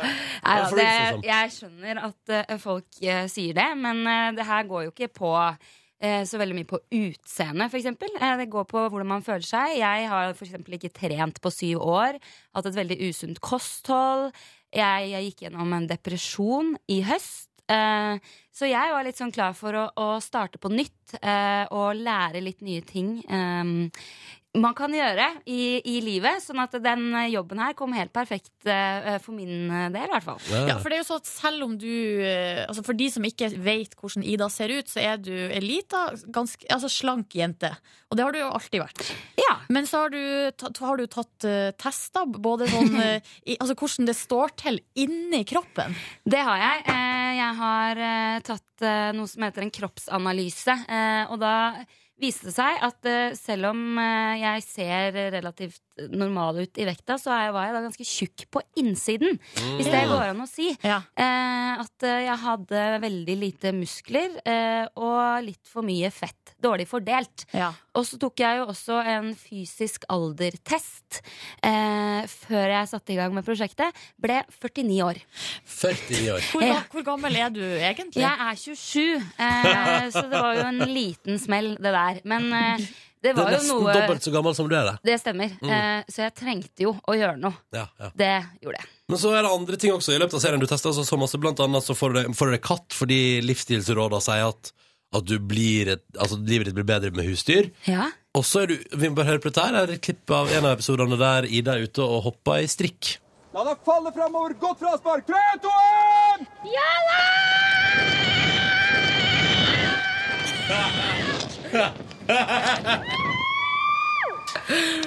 K: Nei,
B: Hvorfor
K: det,
B: er det sånn?
K: jeg skjønner at eh, folk eh, sier det, men eh, det her går jo ikke på eh, så veldig mye på utseende, f.eks. Uh, det går på hvordan man føler seg. Jeg har f.eks. ikke trent på syv år. Hatt et veldig usunt kosthold. Jeg, jeg gikk gjennom en depresjon i høst. eh, så jeg var litt sånn klar for å, å starte på nytt eh, og lære litt nye ting. eh, man kan gjøre i, i livet. Sånn at den eh, jobben her kom helt perfekt eh, for min eh, del, i hvert fall.
C: Ja, for det er jo sånn at selv om du eh, altså For de som ikke vet hvordan Ida ser ut, så er du ei lita, ganske altså slank jente. Og det har du jo alltid vært.
K: Ja.
C: Men så har du, tatt- har du tatt eh, tester, både sånn eh, i, Altså hvordan det står til inni kroppen.
K: Det har jeg. Eh, Jeg har eh, tatt eh, noe som heter en kroppsanalyse. eh, Og da viste det seg at eh, selv om eh, jeg ser relativt litt normal ut i vekta, så er- var jeg da ganske tjukk på innsiden. Hvis det går an å si.
C: Ja.
K: Eh, at eh, jeg hadde veldig lite muskler eh, og litt for mye fett. Dårlig fordelt.
C: Ja.
K: Og så tok jeg jo også en fysisk aldertest eh, før jeg satte i gang med prosjektet. Ble 49 år.
B: 49 år.
C: Hvor, ga- hvor gammel er du egentlig?
K: Jeg er 27, eh, så det var jo en liten smell, det der. Men eh, det
B: Du
K: var
B: er
K: jo
B: nesten
K: noe
B: dobbelt Mm. så gammel som du er, det.
K: Det stemmer. Eh, så jeg trengte jo å gjøre noe.
B: Ja, ja.
K: Det gjorde jeg.
B: Men så er det andre ting også i løpet av serien du tester. Altså, så masse, blant annet så får du, deg- får du deg katt fordi livsstilsrådene sier at, at du blir et, altså, livet ditt blir bedre med husdyr.
K: Ja.
B: Og så er du Vi må bare høre på dette her. Her er et klipp av en av episodene der Ida er ute og hopper i strikk.
L: La deg falle framover. Godt fraspark. Tre, to, én!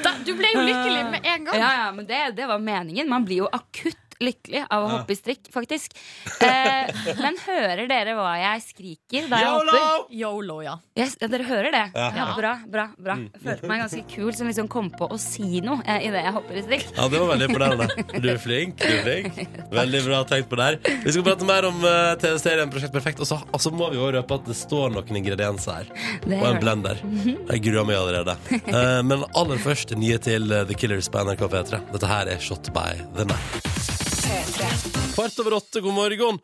C: Da, du ble jo lykkelig med en gang.
K: Ja, ja, men det, det var meningen. Man blir jo akutt lykkelig av å hoppe i strikk, faktisk. Eh, men hører dere hva jeg skriker da jeg hopper?
C: Yolo, ja.
K: Yes, ja, dere hører det?
B: Ja. Mm.
K: Ja, bra, bra, bra. Følte meg ganske kul som liksom kom på å si noe eh, idet jeg hopper i strikk.
B: Ja, det var veldig imponerende. Du er flink. du er flink Veldig bra tenkt på det her. Vi skal prate mer om eh, TV-serien Prosjekt Perfekt. Og så og så må vi jo røpe at det står noen ingredienser her. Og
K: Det gjør
B: en
K: det.
B: blender. Jeg gruer meg allerede. Eh, Men aller først nye til eh, The Killers på NRK P3. Dette her er Shot by The Night. Kvart over åtte, god morgen.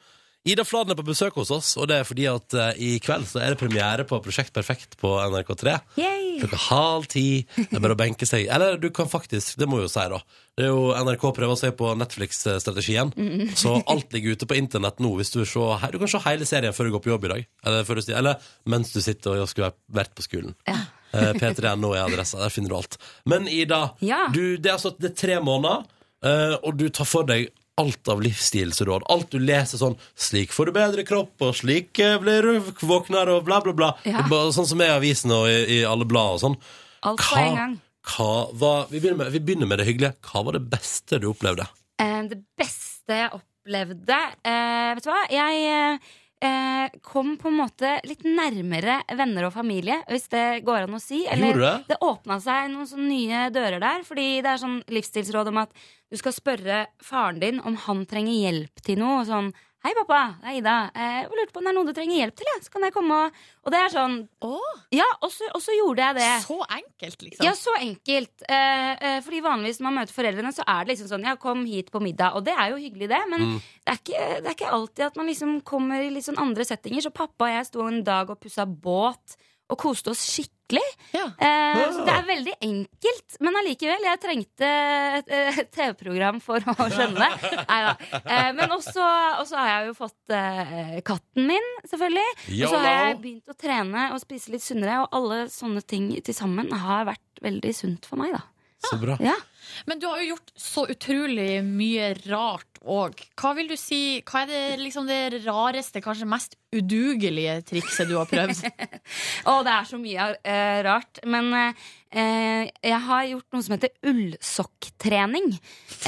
B: Ida Fladen er på besøk hos oss, og det er fordi at eh, i kveld så er det premiere på Prosjekt Perfekt på NRK3. Klokka halv ti. Det er bare å benke seg. Eller du kan faktisk, det må jeg jo si, da. Det er jo NRK prøver seg på Netflix-strategien. Så alt ligger ute på internett nå. Hvis du, ser, he- du kan se hele serien før du går på jobb i dag. Eller, før du, sti- eller mens du sitter og skulle ha vært på skolen. Eh, P3.no er adressa. Der finner du alt. Men Ida,
K: Ja.
B: du, det, er altså, det er tre måneder, eh, og du tar for deg alt av livsstilsråd. Alt du leser sånn 'Slik får du bedre kropp', og 'slik eh, blir du våknere', og bla, bla, bla.
K: Ja.
B: Det er bare Sånn som er i avisene og i, i alle blad og sånn.
K: Alt på en gang.
B: hva var, vi, begynner med, vi begynner med det hyggelige. Hva var det beste du opplevde?
K: Eh, det beste jeg opplevde eh, Vet du hva? Jeg eh, eh, kom på en måte litt nærmere venner og familie, hvis det går an å si.
B: Gjorde det?
K: det åpna seg noen sånne nye dører der, fordi det er sånn livsstilsråd om at du skal spørre faren din om han trenger hjelp til noe. og Sånn Hei, pappa. Det er Ida. Eh, Jeg lurte på om det er noe du trenger hjelp til. Jeg. Så kan jeg komme og Og det er sånn
C: Å,
K: Ja, og så, og så gjorde jeg det.
C: så enkelt, liksom.
K: Ja, så enkelt. Eh, eh, fordi vanligvis når man møter foreldrene, så er det liksom sånn Ja, kom hit på middag. Og det er jo hyggelig, det. Men det, er ikke, det er ikke alltid at man liksom kommer i litt sånn andre settinger. Så pappa og jeg sto en dag og pussa båt og koste oss skikkelig.
C: Ja.
K: Eh, så det er veldig enkelt. Men allikevel, jeg trengte et, eh, et TV-program for å skjønne det. Nei da. Eh, men også, også har jeg jo fått eh, katten min, selvfølgelig. Og så har jeg begynt å trene og spise litt sunnere, og alle sånne ting til sammen har vært veldig sunt for meg, da.
B: Så bra.
K: Ja.
C: Men du har jo gjort så utrolig mye rart òg. Hva vil du si, hva er det, liksom det rareste, kanskje mest udugelige trikset du har prøvd?
K: Å, det er så mye eh, rart. Men eh, jeg har gjort noe som heter ullsokktrening.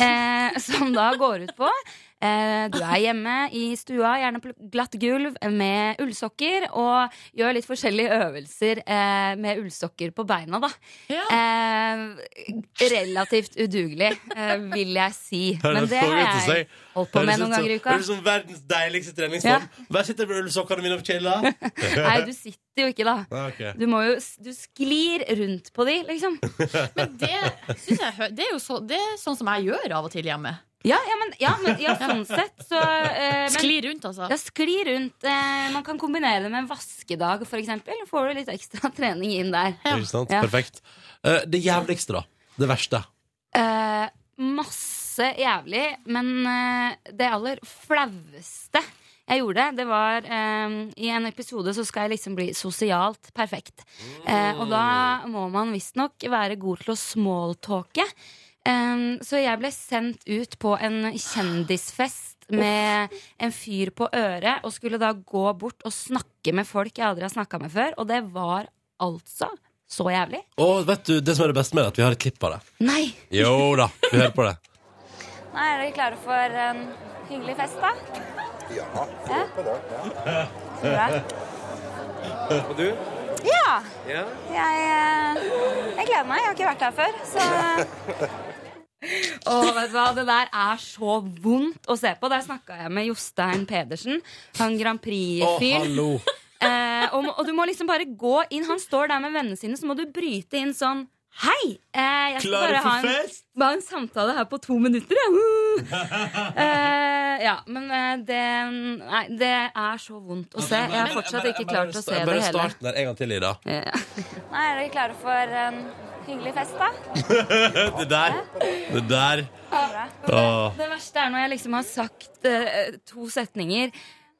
K: eh, som da går ut på eh, du er hjemme i stua, gjerne på glatt gulv, med ullsokker. Og gjør litt forskjellige øvelser eh, med ullsokker på beina, da.
C: Ja.
K: Eh, relativt udugelig, eh, vil jeg si. Men det har jeg holdt på med noen ganger i uka.
B: Høres ut som verdens deiligste treningsform. Hver sitter med ullsokkene mine og chiller.
K: Nei, du sitter jo ikke, da.
B: Ah, ok.
K: Du må jo Du sklir rundt på de, liksom.
C: Men det synes jeg hø- Det er jo så, det er sånn som jeg gjør av og til hjemme.
K: Ja, ja, men, ja, men ja, sånn sett, så eh, men,
C: Sklir rundt, altså.
K: ja, skli rundt. Eh, man kan kombinere det med en vaskedag, for eksempel. Får du litt ekstra trening inn der.
C: Ja.
B: Ikke sant?
K: Ja.
B: Perfekt. Eh, Det jævligste, da. Det verste.
K: Eh, masse jævlig, men eh, det aller flaueste jeg gjorde, det var eh, I en episode så skal jeg liksom bli sosialt perfekt. Eh, og da må man visstnok være god til å smalltalke. Eh, så jeg ble sendt ut på en kjendisfest med en fyr på øret og skulle da gå bort og snakke med folk jeg aldri har snakka med før, og det var altså så jævlig.
B: Og vet du, det som er det beste med det, er at vi har et klipp av det.
K: Nei!
B: Jo da, vi hører på det.
K: Nei, er dere klare for en hyggelig fest, da? Ja. ja? Så bra.
L: Og du?
M: Ja.
B: Ja.
M: Jeg, eh, jeg gleder meg. Jeg har ikke vært her før. Så
K: Åh, vet du hva, Det der er så vondt å se på. Der snakka jeg med Jostein Pedersen, han Grand Prix-fyren.
B: hallo.
K: eh, og, må- og du må liksom bare gå inn. Han står der med vennene sine, så må du bryte inn sånn Hei! Eh, jeg skal
N: Klare
K: bare
N: for
K: ha en,
N: fest?»
K: bare en samtale her på to minutter. Ja. Eh, ja, men eh, det Nei, det er så vondt å se. Jeg har fortsatt ikke klart å se det
B: Bare
K: hele.
B: starten der en gang til, Ida.
M: Nei, er dere klare for en hyggelig fest, da?
B: det der. Det der.
M: Bra.
B: Åh.
K: Det verste er når jeg liksom har sagt eh, to setninger,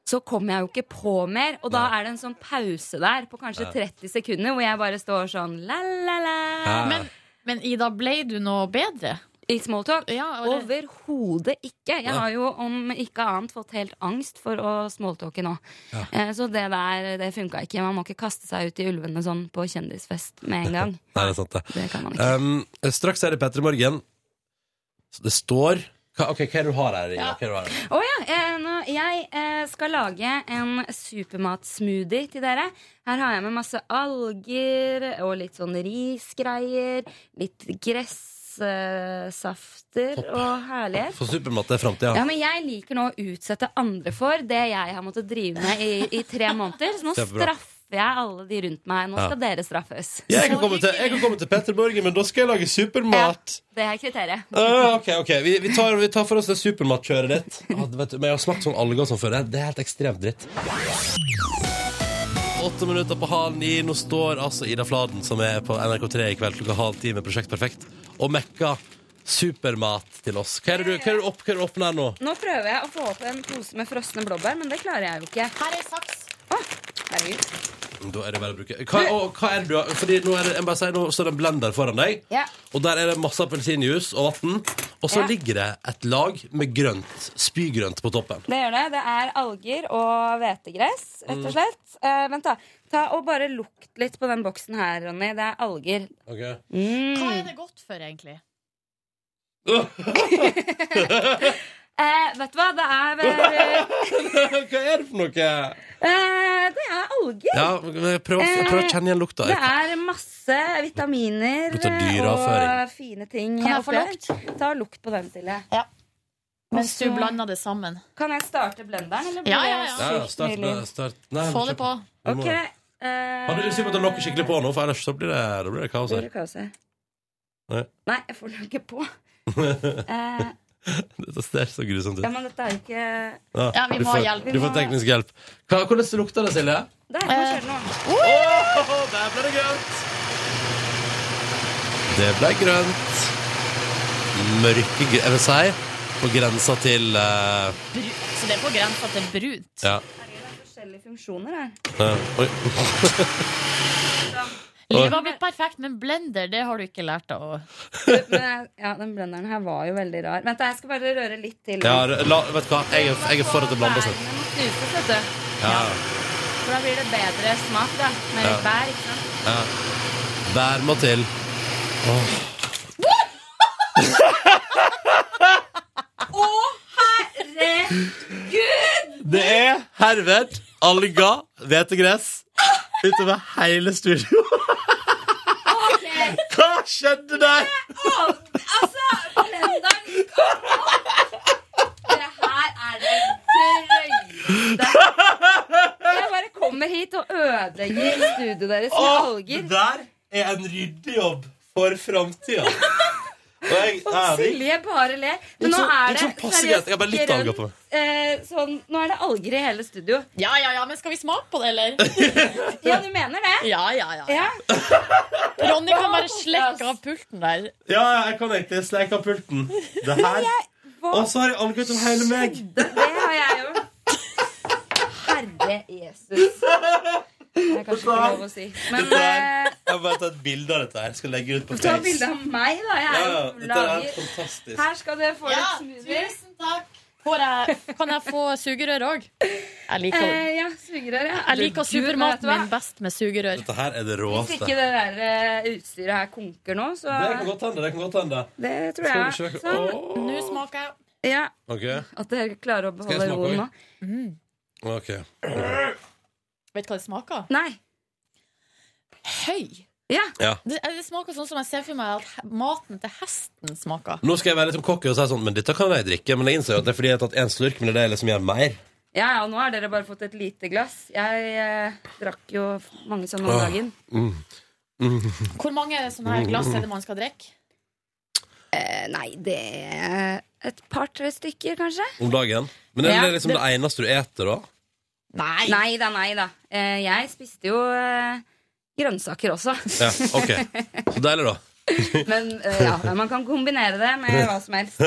K: så kommer jeg jo ikke på mer. Og da er det en sånn pause der på kanskje
C: Ja.
K: 30 sekunder hvor jeg bare står sånn la, la, la.
B: Ah,
C: Ja. Men- Ida, ble du noe bedre?
K: I smalltalk?
C: eller-
K: Overhodet ikke. Jeg
C: Ja.
K: har jo om ikke annet fått helt angst for å smalltalke nå. Eh, Så det der det funka ikke. Man må ikke kaste seg ut i ulvene sånn på kjendisfest med en gang.
B: Nei, det er sant, det.
K: kan man
B: Um, straks er det Petter Morgen. Så Det står hva, Ok, hva er det du har her? Ida? Hva er det du har her?
K: Å ja. Eh, nå, jeg eh, skal lage en supermatsmoothie til dere. Her har jeg med masse alger og litt sånn risgreier. Litt gressafter
B: Topp.
K: og herlighet.
B: For supermat er framtida.
K: Ja, men Jeg liker nå å utsette andre for det jeg har måttet drive med i, i tre måneder. Så nå
B: Kjempebra.
K: straffer jeg alle de rundt meg. Nå
B: Ja.
K: skal dere straffes.
B: jeg, kan komme til, jeg kan komme til Petter Morgen, men da skal jeg lage supermat.
K: Det er kriteriet.
B: Ah, ok, ok vi, vi, tar, vi tar for oss det supermatkjøret ditt. Ah, vet du, men jeg har smakt sånn alger og sånn før. Det- Det er helt ekstremt dritt. Åtte minutter på halv ni. Nå står altså Ida Fladen, som er på NRK3 i kveld klokka halv ti med Prosjekt Perfekt, og mekker supermat til oss. Hva er det du, hva er det du, opp, hva er det du åpner her nå?
K: Nå prøver jeg å få opp en pose med frosne blåbær, men det klarer jeg jo ikke. Her er saks. herregud.
B: Da er det bare å bruke hva, og, hva er det du har? Fordi nå, er det, jeg bare sier, nå står det en blender foran deg,
K: Ja.
B: og der er det masse appelsinjuice og vann. Og så
K: Ja.
B: ligger det et lag med grønt, spygrønt på toppen.
K: Det gjør det. Det er alger og hvetegress, rett
B: Mm.
K: og slett. Eh, vent, da. Ta og bare lukt litt på den boksen her, Ronny. Det er alger.
C: Hva er det godt for, egentlig?
K: Eh, vet du hva, det er
B: Hva er det for noe?
K: eh, Det er alger.
B: Ja, men prøv, å- prøv å kjenne igjen lukta.
K: Det er masse vitaminer
B: Lukter
K: eh,
B: dyreavføring.
K: og fine ting.
C: Kan jeg få
K: oppi her. Ta og lukt på den, Silje.
C: Mens du
K: Også-
C: blander det sammen.
K: Kan jeg starte blenderen, eller
C: Ja, ja,
B: Ja,
C: ja.
B: ja, start, start. Nei,
C: Få det
B: kjør
C: på.
B: Du må-
K: Ok. eh,
B: Man blir litt sur på at det lokker skikkelig på nå, for ellers så blir det, da blir det kaos
K: blir
B: her.
K: det kaos her?
B: Nei.
K: eh, Nei, jeg får den ikke på. Eh,
B: Dette ser så grusomt ut.
K: ja, men dette er jo ikke
B: Ja, du får- Du får teknisk hjelp. Hva, hvordan lukter det, Silje?
K: Der, nå skjer det noe.
B: der ble det grønt! Det ble grønt. Mørke grønt, jeg vil si. På grensa til eh,
C: Bru- Så det er på grensa til brunt.
B: Ja.
K: Forskjellige funksjoner her.
B: eh, oi.
C: Livet har blitt perfekt, men blender, det har du ikke lært av å
K: Men, jeg- ja, den blenderen her var jo veldig rar. Vent, da, jeg skal bare røre litt til.
B: ja, la, vet du hva? Jeg er, jeg er for at det blander seg.
K: Bærene må knuses, vet du.
B: Ja.
K: For da blir det bedre smak, da. Med litt
B: Ja.
K: bær, ikke sant?
B: ja. Bær må til. Åh.
K: Å, herregud!
B: Det er herved alga, hvetegress utover hele studio. Hva skjedde der?
K: Altså, blenderen Det her er det drøyeste Jeg bare kommer hit og ødelegger studioet deres med
B: Åh,
K: alger.
B: Det der er en ryddejobb for framtida. Og jeg
K: Og
B: er ikke
K: Silje bare ler. Men nå
B: Litt sånn-
K: er det
B: litt sånn passe greit. Jeg har bare litt alger på meg.
K: eh, sånn, Nå er det alger i hele studio.
C: Ja, ja, ja, men skal vi smake på det, eller?
K: ja, du mener det?
C: Ja, ja, ja.
K: Ja.
C: Ronny kan bare slekke av pulten der.
B: Ja, ja, jeg kan egentlig sleike av pulten. Det her. Og så har jeg alger utover hele meg.
K: Det har jeg jo. Herre Jesus. Det er kanskje ikke lov å si. Men
B: Det
K: eh,
B: der- Jeg må bare ta et bilde av dette her. Skal legge det ut på
K: ta
B: Face.
K: bilde av meg, da. Jeg er
B: Ja, ja,
K: jo
B: dette er helt
K: lager.
B: fantastisk.
K: Her skal dere få
C: Ja,
K: litt smoothie.
C: tusen takk. Får jeg, kan jeg få sugerør òg? Jeg liker,
K: Eh, ja, sugerør, ja.
C: jeg liker
K: Gud, vet du
C: supermaten
K: hva?
C: min best med sugerør.
B: Dette her er det
K: Hvis
B: råeste.
K: ikke det der eh, utstyret her konker nå, så
B: Det kan godt hende. Det kan godt hende.
K: Det tror
B: Skal
K: jeg.
B: vi sjekke?
K: Sånn.
C: Nå smaker jeg.
K: Ja,
B: Ok.
K: At dere klarer å
B: Skal jeg
K: beholde
B: smake
K: roen nå.
B: Ok.
C: Vet du hva det smaker?
K: Nei.
C: høy.
B: Ja.
C: Det, det smaker sånn som jeg ser for meg at he- maten til hesten smaker.
B: Nå skal jeg være litt sånn cocky og si sånn, men dette kan jeg drikke. Men jeg innser jo at det er fordi jeg har tatt én slurk, men det er det jeg liksom gjør mer.
K: Ja, ja, nå har dere bare fått et lite glass. Jeg eh, drakk jo mange sånne om
B: Åh.
K: dagen.
B: Mm. Mm.
C: Hvor mange sånne her glass er det man skal drikke?
K: Eh, nei, det er et par-tre stykker, kanskje.
B: Om dagen. Men er
K: Ja,
B: det liksom det,
K: det-
B: eneste du eter, da?
C: Nei.
K: da, nei da. Eh, jeg spiste jo eh, grønnsaker også.
B: Ja, ok. Så deilig, da.
K: Men eh, ja, men man kan kombinere det med hva som helst.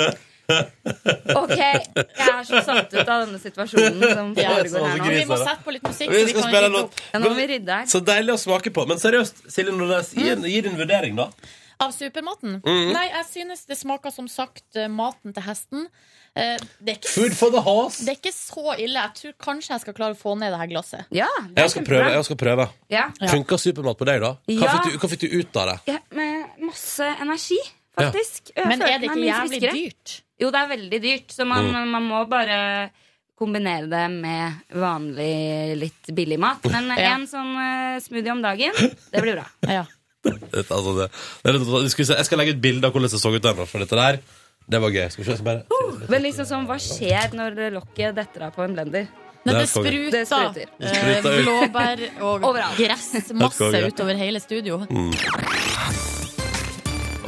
K: Ok, jeg er så satt ut av denne situasjonen som
B: Ja,
K: foregår
B: sånn
K: her nå.
B: gris, Vi må da. sette
C: på litt musikk.
B: Vi skal spille en låt.
K: Ja, nå må vi rydde her. Mm.
B: Så deilig å smake på. Men seriøst, Silje Nordnes, gi, gi din vurdering, da.
C: Av supermaten?
B: Mhm.
C: Nei, jeg synes det smaker som sagt eh, maten til hesten. Eh, Det er, ikke,
B: Food for the horse.
C: det er ikke så ille. Jeg tror kanskje jeg skal klare å få ned det her glasset.
K: Ja,
B: Jeg skal prøve. Jeg skal prøve.
K: Ja.
B: Funka supermat på deg, da? Hva,
K: Ja.
B: fikk du, hva fikk du ut av det?
K: Ja, med masse energi,
B: Ja.
K: faktisk.
C: Men
K: følte
C: er det
K: meg
C: ikke
K: mye
C: jævlig
K: friskere.
C: dyrt?
K: Jo, det er veldig dyrt, så man,
B: Mm.
K: man må bare kombinere det med vanlig, litt billig mat. Men
C: Ja.
K: en sånn eh, smoothie om dagen, det blir bra.
B: Dette, altså, det, det, er litt- du skal vi se, jeg skal legge ut bilde av hvordan det så ut der nå, for dette der, det var gøy. Skal vi se, jeg skal bare...
K: Men liksom sånn, hva skjer når lokket detter av på en blender?
B: Når det Det er konge. spruter,
K: Det spruter.
B: eh, Spruter ut.
C: Blåbær og
K: Overalt.
C: gressmasse
B: konge.
C: utover hele studio.
B: Mhm.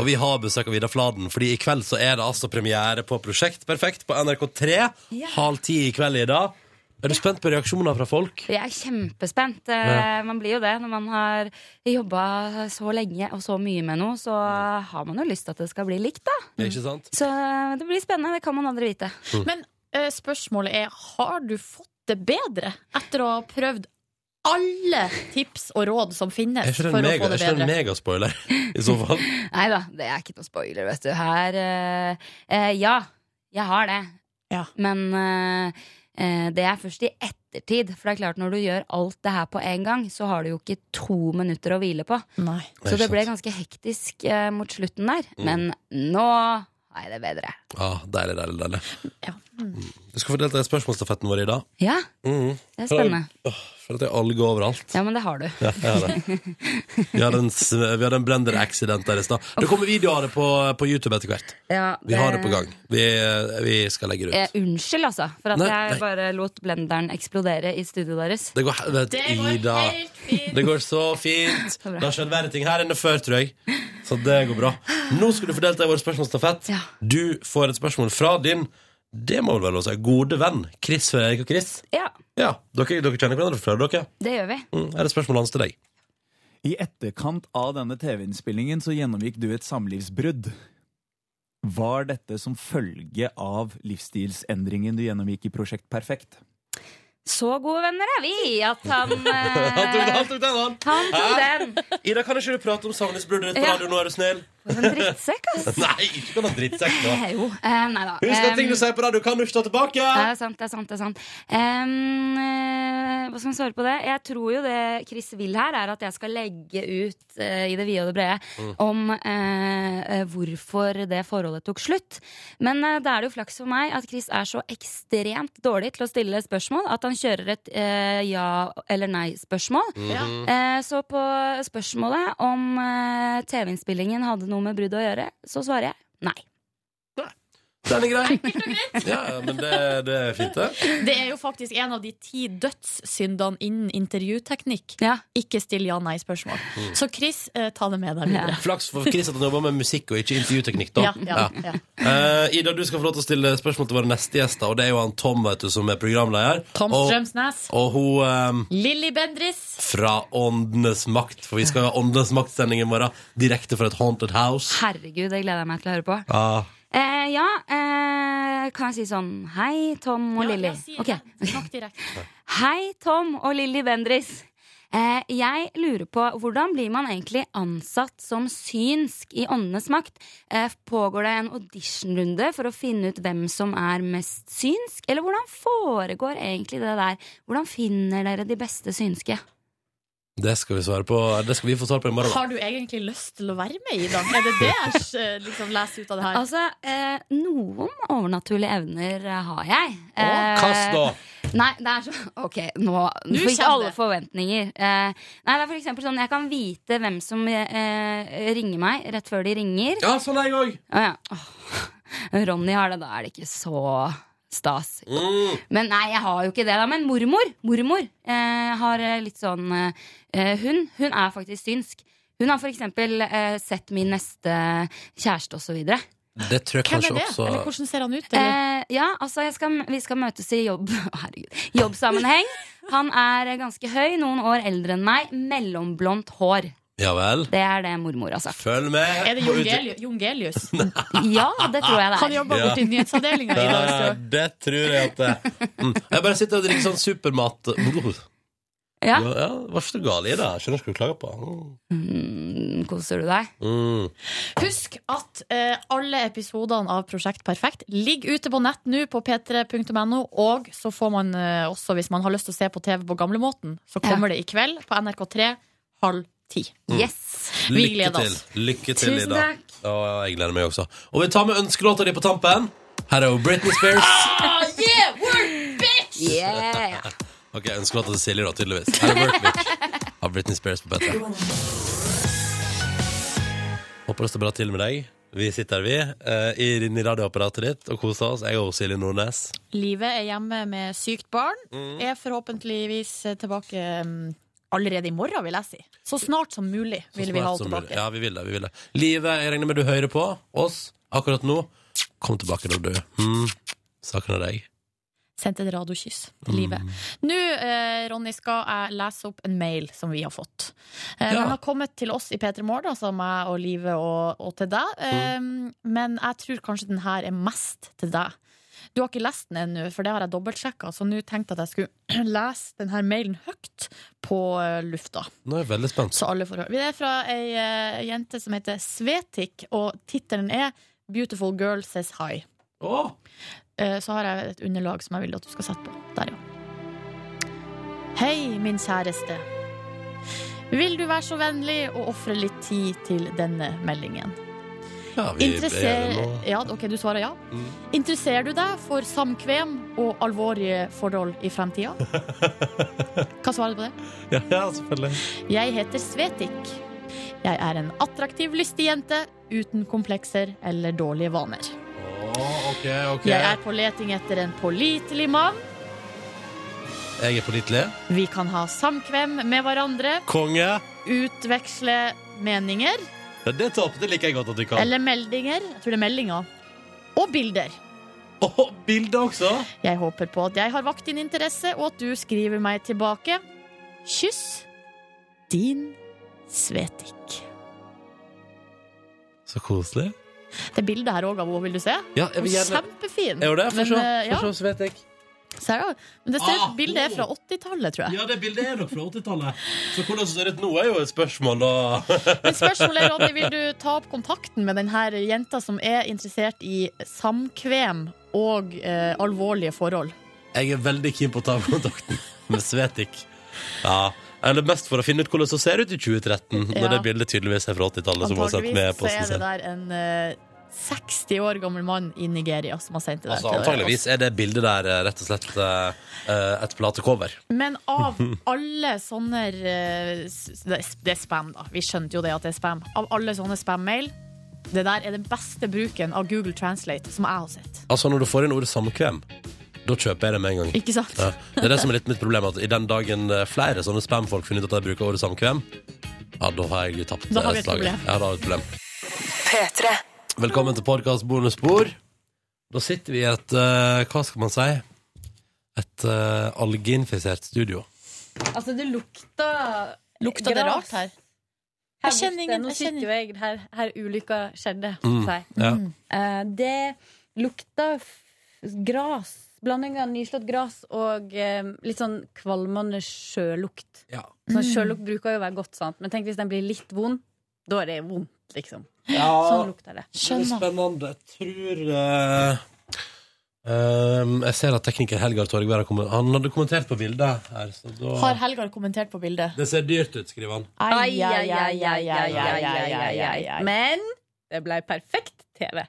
B: Og vi har besøk av Ida Fladen, fordi i kveld så er det altså premiere på Prosjekt Perfekt på NRK3.
K: Ja.
B: Halv ti i kveld, Ida. Er du spent på reaksjoner fra folk?
K: Jeg er kjempespent. Eh,
B: Ja.
K: Man blir jo det når man har jobba så lenge og så mye med noe. Så har man jo lyst til at det skal bli likt, da.
C: Mm.
B: Ikke sant?
K: Så det blir spennende. Det kan man aldri vite.
B: Mm.
C: Men eh, spørsmålet er, har du fått det bedre etter å ha prøvd alle tips og råd som finnes
B: Er ikke det
C: for
B: en,
C: å
B: mega,
C: få
B: er
C: det
B: ikke det en
C: bedre?
B: megaspoiler i så fall?
K: Nei da, det er ikke noe spoiler, vet du. Her eh, eh, Ja, jeg har det. Men eh, eh, det er først i ettertid. For det er klart, når du gjør alt det her på en gang, så har du jo ikke to minutter å hvile på.
C: Nei.
K: Så det ble ganske hektisk eh, mot slutten der.
B: Mm.
K: Men nå er det bedre.
B: Ja, Ah, deilig, deilig, deilig. Mm. Du skal få delta i spørsmålstafetten vår, Ida.
K: Ja,
B: Mm.
K: det er spennende.
B: For at jeg alger overalt.
K: Ja, men det har du.
B: Ja, jeg har det. Vi hadde en, s- vi hadde en blender-accident der i stad. Det kommer video av det på, på YouTube etter hvert.
K: Ja,
B: Vi har det
C: Eh.
B: på gang. Vi, vi skal legge det ut.
K: Eh, unnskyld, altså, for at
B: Nei,
K: jeg
B: nei.
K: bare lot blenderen eksplodere i studioet deres.
B: Det går, he- vet,
K: Det går
B: Ida,
K: helt fint.
B: Det går så fint.
K: bra.
B: Det har skjedd verre ting her enn det før, tror jeg. Så det går bra. Nå skal du få delta i vår spørsmålsstafett. Du får et spørsmål fra din det må vel være lov å si, gode venn Chris Før Erik og Chris.
K: Ja,
B: Ja, dere, dere kjenner hverandre fra før, dere?
K: det gjør vi.
B: Mm, er det spørsmålet hans til deg?
N: I etterkant av denne TV-innspillingen så gjennomgikk du et samlivsbrudd. Var dette som følge av livsstilsendringen du gjennomgikk i Prosjekt Perfekt?
K: Så gode venner er vi at han eh,
B: Han tok den, han tok den, han!
K: Han tok
B: Hæ?
K: den.
B: Ida, kan ikke du prate om savningsbruddet ditt på
K: Ja.
B: radio nå, er du snill?
K: For en drittsekk, ass.
B: Nei, ikke kall ham drittsekk nå.
K: Eh, Jo. Eh, nei da.
B: Husk at ting du sier på radio, kan du ikke ta tilbake!
K: Det er sant, det er sant. det er sant Em, eh, Hva skal man svare på det? Jeg tror jo det Chris vil her, er at jeg skal legge ut eh, i det vide og det brede
I: Mm.
K: om eh, eh, hvorfor det forholdet tok slutt. Men eh, da er det jo flaks for meg at Chris er så ekstremt dårlig til å stille spørsmål at han kjører et eh, ja- eller nei-spørsmål.
I: Mhm.
K: Eh, så på spørsmålet om eh, TV-innspillingen hadde noe med bruddet å gjøre, så svarer jeg nei.
B: Den er grei. Ja, men det, det er fint, det.
C: Det er jo faktisk en av de ti dødssyndene innen intervjuteknikk. Ikke still ja-nei-spørsmål.
B: Mm.
C: Så Chris, eh, ta det med deg videre.
B: Flaks for Chris at han jobber med musikk og ikke intervjuteknikk, da.
C: Ja, ja, ja.
B: Eh, Ida, du skal få lov til å stille spørsmål til våre neste gjester, og det er jo han Tom, vet du, som er programleder.
C: Tom
B: og,
C: Strømsnes.
B: Og hun eh,
C: Lilly Bendris.
B: fra Åndenes makt, for vi skal ha Åndenes makt-sending i morgen, direkte fra et haunted house.
K: Herregud, det gleder jeg meg til å høre på.
B: Ja.
K: Eh, ja, eh, kan jeg si sånn Hei, Tom og Lilly. Ok. Hei, Tom og Lilly Bendris. Eh, jeg lurer på hvordan blir man egentlig ansatt som synsk i Åndenes makt? Eh, pågår det en auditionrunde for å finne ut hvem som er mest synsk? Eller hvordan foregår egentlig det der? Hvordan finner dere de beste synske?
B: Det skal vi svare på Det skal vi få svar på i morgen.
C: Har du egentlig lyst til å være med, Ida? Er det det jeg eh, liksom, leser ut av det her?
K: Altså, eh, noen overnaturlige evner eh, har jeg.
B: Kast, da!
K: Nei, det er så Ok, nå
E: Nå
K: får ikke
E: kommer
K: alle
E: det.
K: forventninger. Eh, nei, det er for eksempel sånn Jeg kan vite hvem som eh, ringer meg rett før de ringer.
B: Ja, sånn er jeg òg!
K: Å, ja. Åh, Ronny har det, da er det ikke så stas.
B: Mm.
K: Men nei, jeg har jo ikke det, da. Men mormor mormor eh, har eh, litt sånn eh, Hun hun er faktisk synsk. Hun har for eksempel eh, sett min neste kjæreste og så videre.
B: Det tror jeg
C: Hvem
B: kanskje
C: er det?
B: også
C: Eller hvordan ser han ut? Eller?
K: Eh, ja, altså jeg skal, Vi skal møtes i jobb Å, Herregud, jobbsammenheng. Han er eh, ganske høy, noen år eldre enn meg. Mellomblondt hår.
B: Ja vel.
K: Det er det mormor har sagt.
B: Følg med.
C: Er det
B: på
C: Jon
B: ut-
C: Gelius? Jon Gelius?
K: Ja, det tror jeg det er.
C: Han jobber
B: Ja.
C: borti nyhetsavdelinga i dag.
B: Nei,
C: Så.
B: det tror jeg at det mm. Jeg bare sitter og drikker sånn supermat oh.
K: Ja.
B: Ja, ja, Var ikke så gal i det. Skjønner ikke hva du klager på. Mm.
K: Mm, koser du deg?
B: Mm.
C: Husk at eh, alle episodene av Prosjekt Perfekt ligger ute på nett nå på p3.no, og så får man eh, også, hvis man har lyst til å se på TV på gamlemåten, så kommer det i kveld på NRK3 halv ti.
B: Mm.
K: Yes!
C: Vi
B: Lykke
C: gleder
B: til.
C: oss.
B: Lykke til,
C: Tusen
B: Ida.
C: takk.
B: Å, jeg gleder meg også. Og vi tar med ønskelåta di på tampen. Her er jo Britney Spears.
C: yeah, work, bitch!
K: Yeah!
B: Ok, Ønskelåta til Silje, da, tydeligvis. Her er Work Bitch av Britney Spears på P3. Håper det står bra til med deg. Vi sitter her, vi, eh, i- inne i radioapparatet ditt og koser oss. Jeg og Silje Nordnes.
C: Livet er hjemme med sykt barn.
B: Mm.
C: Er forhåpentligvis eh, tilbake mm, allerede i morgen, vil jeg si. Så snart som mulig
B: Så
C: vil vi
B: smart
C: ha henne
B: som mulig.
C: tilbake.
B: Ja, vi vil det. vi vil det Livet, jeg regner med du hører på oss akkurat nå. Kom tilbake når du mm, savner deg.
C: Sendt et radiokyss til livet. Nå, eh, Ronny, skal jeg lese opp en mail som vi har fått. Eh,
B: Ja.
C: Den har kommet til oss i P3 Morgen, altså meg og Live og, og til deg. Eh, men jeg tror kanskje den her er mest til deg. Du har ikke lest den ennå, for det har jeg dobbeltsjekka, så nå tenkte jeg at jeg skulle lese den her mailen høyt på eh, lufta.
B: Nå er jeg veldig spent.
C: Så alle får høre. Det er fra ei eh, jente som heter Svetik, og tittelen er 'Beautiful girl says hi'.
B: Åh!
C: Eh, Så har jeg et underlag som jeg vil at du skal sette på. Der, ja. Hei, min kjæreste. Vil du være så vennlig å ofre litt tid til denne meldingen?
B: Ja, vi
C: Interesser-
B: er nå-
C: ja, ok, du svarer ja.
B: Mm.
C: Interesserer du deg for samkvem og alvorlige forhold i fremtida? Hva svarer du på det?
B: Ja, ja, selvfølgelig.
C: Jeg heter Svetik. Jeg er en attraktiv, lystig jente uten komplekser eller dårlige vaner.
B: Åh, ok, ok.
C: Jeg er på leting etter en pålitelig mann.
B: Jeg er pålitelig.
C: Vi kan ha samkvem med hverandre,
B: Konge.
C: utveksle meninger
B: Ja, det toppet det liker jeg godt at du kan.
C: eller meldinger. Jeg tror det er meldinger. Og bilder.
B: Åh, bildet også!
C: Jeg håper på at jeg har vakt din interesse, og at du skriver meg tilbake. Kyss din Svetik.
B: Så koselig.
C: Det bildet her òg av henne, vil du se?
B: Ja, jeg vil gjerne...
C: Kjempefin.
B: Er jo det? Få se,
C: Men, eh, ja.
B: få se, så vet jeg.
C: Ser du? Men det ser ut
B: Ah,
C: bildet er
B: oh.
C: fra 80-tallet, tror jeg.
B: det bildet er nok fra 80-tallet. Så hvordan det ser ut nå er jo et spørsmål, da.
C: Men spørsmålet er, Ronny, vil du ta opp kontakten med denne jenta som er interessert i samkvem og eh, alvorlige forhold?
B: Jeg er veldig keen på å ta kontakten med Svetik. Ja, eller mest for å finne ut hvordan det ser ut i 2013,
C: Ja.
B: når det bildet tydeligvis er fra 80-tallet som hun har sendt med
C: Antageligvis så
B: posten
C: er det
B: sin.
C: der en eh, 60 år gammel mann i Nigeria som har sendt det der.
B: Altså,
C: til deg.
B: antageligvis er det bildet der eh, rett og slett eh, eh, et platecover.
C: Men av alle sånne eh, s- Det det er spam, da. Vi skjønte jo det at det er spam. Av alle sånne spam-mail, det der er den beste bruken av Google Translate som jeg har sett.
B: Altså Når du får inn ordet samkvem, da kjøper jeg det med en gang.
C: Ikke sant?
B: Ja. Det er det som er litt mitt problem. At I den dagen eh, flere sånne spamfolk finner ut at de bruker ordet samkvem, ja, da har jeg jo tapt
C: Da har
B: eh,
C: vi et
B: slaget.
C: problem.
B: Ja, da har vi et problem. Velkommen til podkast bonusbord. Da sitter vi i et eh, Hva skal man si? Et eh, algeinfisert studio.
I: Altså, det lukta
C: Lukta det rart her?
I: Her
C: Jeg kjenner
I: borte,
C: ingen-
I: nå
C: jeg kjenner-
I: sitter jo jeg her, her ulykka skjedde.
B: Mm,
I: sier jeg.
B: ja.
I: Eh, det lukta f- gras. Blanding av nyslått gras og eh, litt sånn kvalmende sjølukt. Sånn
C: Mm.
I: Sjølukt bruker jo å være godt, sant? men tenk hvis den blir litt vond. Da er det vondt, liksom. Sånn lukta det.
B: Det er spennende. Jeg tror eh, ehm, Jeg ser at tekniker Helgar Torgvær har kommet- Han hadde kommentert på bildet her, så da
C: Har Helgar kommentert på bildet?
B: Det ser dyrt ut, skriver han.
C: Ai, ai, ai, ai, ai, ai, ai, ai, ai, ai.
I: Men det ble perfekt TV.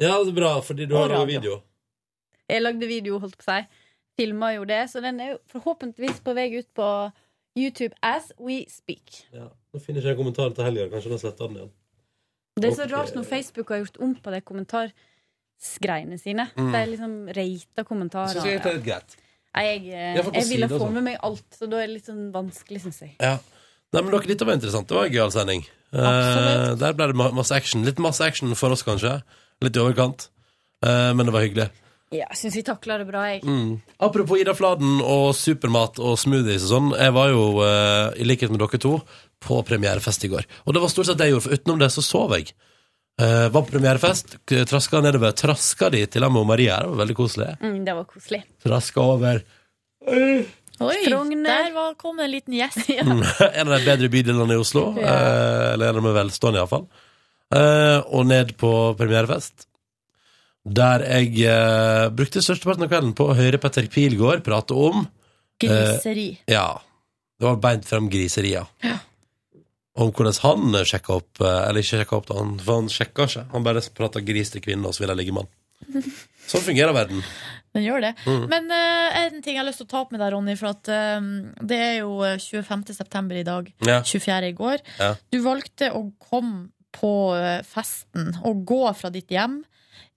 B: Ja, det er bra, fordi du
I: Og
B: har laga
I: radio.
B: video.
I: Jeg lagde video, holdt på å si. filma jo det, så den er jo forhåpentligvis på vei ut på YouTube as we speak.
B: Ja. Nå finner ikke jeg kommentaren til helga. Kanskje den sletter den igjen.
I: Det er så
B: Ok.
I: rart når Facebook har gjort om på de kommentarsgreiene sine.
B: Mm.
I: De liksom rater kommentarer.
B: Synes jeg det er greit.
I: Nei, jeg, eh,
B: Ja, for på
I: jeg ville
B: side og
I: få
B: sånn.
I: med meg alt, så da er det litt sånn vanskelig, syns jeg.
B: Ja. Nei, men dere, Dette var interessant. Det var en gøyal sending. Eh, der ble det ma- masse action. Litt masse action for oss, kanskje. Litt i overkant. Eh, men det var hyggelig.
I: Ja, jeg syns vi takla det bra, jeg.
B: Mm. Apropos Ida Fladen og supermat og smoothies og sånn. Jeg var jo, eh, i likhet med dere to, på premierefest i går. Og det var stort sett det jeg gjorde, for utenom det så sov jeg. Eh, var på premierefest, k- traska nedover. Traska de til Ammo og Maria. Det var veldig koselig.
I: Mm, det var koselig.
B: Traska over.
C: Oi, der var, kom en liten gjest.
B: Mm, en av de bedre bydelene i Oslo.
C: Ja.
B: eh, Eller en av de velstående, iallfall. Eh, Og ned på premierefest. Der jeg eh, brukte størsteparten av kvelden på å høre Petter Pilgaard prate om eh,
C: Griseri.
B: ja. Det var beint frem griserier. Om hvordan han sjekka opp eh, Eller ikke sjekka opp, da. Han, for han sjekka ikke. Han bare prata gris til kvinner, og så ville jeg ligge med han. Sånn fungerer verden.
C: Den gjør det.
B: Mm.
C: Men eh, en ting jeg har lyst til å ta opp med deg, Ronny, for at eh, det er jo eh, 25. september i dag.
B: Ja.
C: 24. i går.
B: Ja.
C: Du valgte å komme på eh, festen og gå fra ditt hjem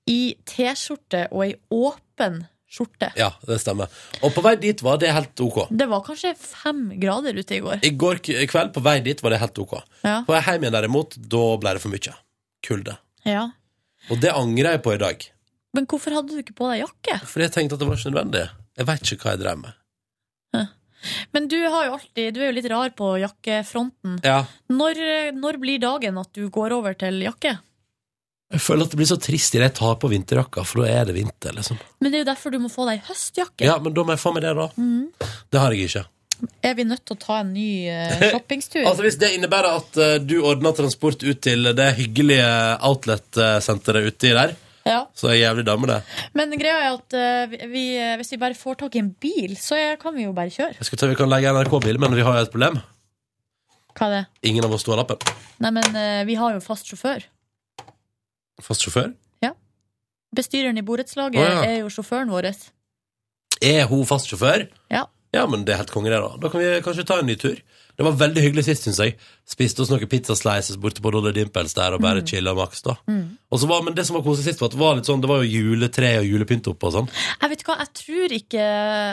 C: i T-skjorte og ei åpen skjorte.
B: Ja, det stemmer. Og på vei dit var det helt ok.
C: Det var kanskje fem grader ute i går.
B: I går k- kveld på vei dit var det helt ok.
C: Ja.
B: På vei hjem igjen derimot, da ble det for mye. Kulde.
C: Ja.
B: Og det angrer jeg på i dag.
C: Men hvorfor hadde du ikke på deg jakke?
B: For jeg tenkte at det var ikke nødvendig. Jeg vet ikke hva jeg drev med.
C: Men du, har jo alltid, du er jo litt rar på jakkefronten.
B: Ja.
C: Når, eh, når blir dagen at du går over til jakke?
B: Jeg føler at det blir så trist idet jeg tar på vinterjakka, for da er det vinter, liksom.
C: Men det er jo derfor du må få deg høstjakke.
B: Ja, men da må jeg få meg det, da.
C: Mhm.
B: Det har jeg ikke.
C: Er vi nødt til å ta en ny eh, shoppingstur?
B: Altså Hvis det innebærer at eh, du ordner transport ut til det hyggelige outlet-senteret uti der,
C: Ja.
B: så er jeg jævlig dame, det.
C: Men greia er at eh, vi- vi, eh, hvis vi bare får tak i en bil, så er, kan vi jo bare kjøre.
B: Jeg skal ta, vi kan legge NRK-bil, men vi har jo et problem.
C: Hva er det?
B: Ingen av oss står lappen.
C: Nei, men eh, vi har jo fast sjåfør.
B: Fast sjåfør.
C: Bestyreren i borettslaget
B: Å, ja.
C: er jo sjåføren vår.
B: Er hun fast sjåfør?
C: Ja.
B: Ja, men det er helt konge, det, da. Da kan vi kanskje ta en ny tur. Det var veldig hyggelig sist, syns jeg. Spiste oss noen pizzaslices borte på Dolly Dimples der og bare chilla maks, da. Og så var, men det som var koselig sist, var at det var litt sånn Det var jo juletre og julepynt oppe og sånn.
C: Jeg vet hva, jeg tror ikke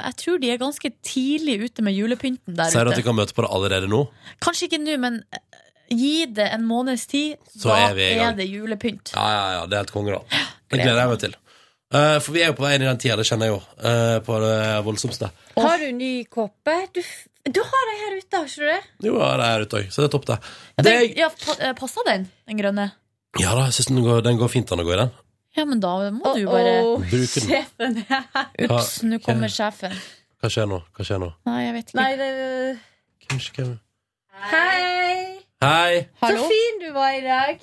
C: Jeg tror de er ganske tidlig ute med julepynten der
B: Ser du
C: ute.
B: at vi kan møte på det allerede nå?
C: Kanskje ikke nå, men eh, gi det en måneds tid,
B: Så
C: da
B: er
C: er,
B: vi i gang.
C: det julepynt.
B: Ja, ja, ja, det er helt konge, da. Det gleder jeg meg til. Eh, for vi er jo på vei inn i den tida, det kjenner jeg jo. eh, på det voldsomste.
I: Har du ny kåpe? Du, f- du har ei her ute, har ikke du det?
B: Jo, ja, det er her ute òg, så det er topp, det. det
C: Den, ja, pa, eh, passa den, den grønne?
B: ja da, jeg syns den, går- den går fint an å gå i den.
C: Ja, men da må du jo bare
B: Bruker den.
I: Sjefen
C: Ups, nå kommer sjefen.
B: Hva skjer nå? Hva skjer nå?
C: Nei, jeg vet ikke.
I: Nei, det
B: Hvem, hvem?
I: Hei!
B: Hei!
I: Så fin du var i dag.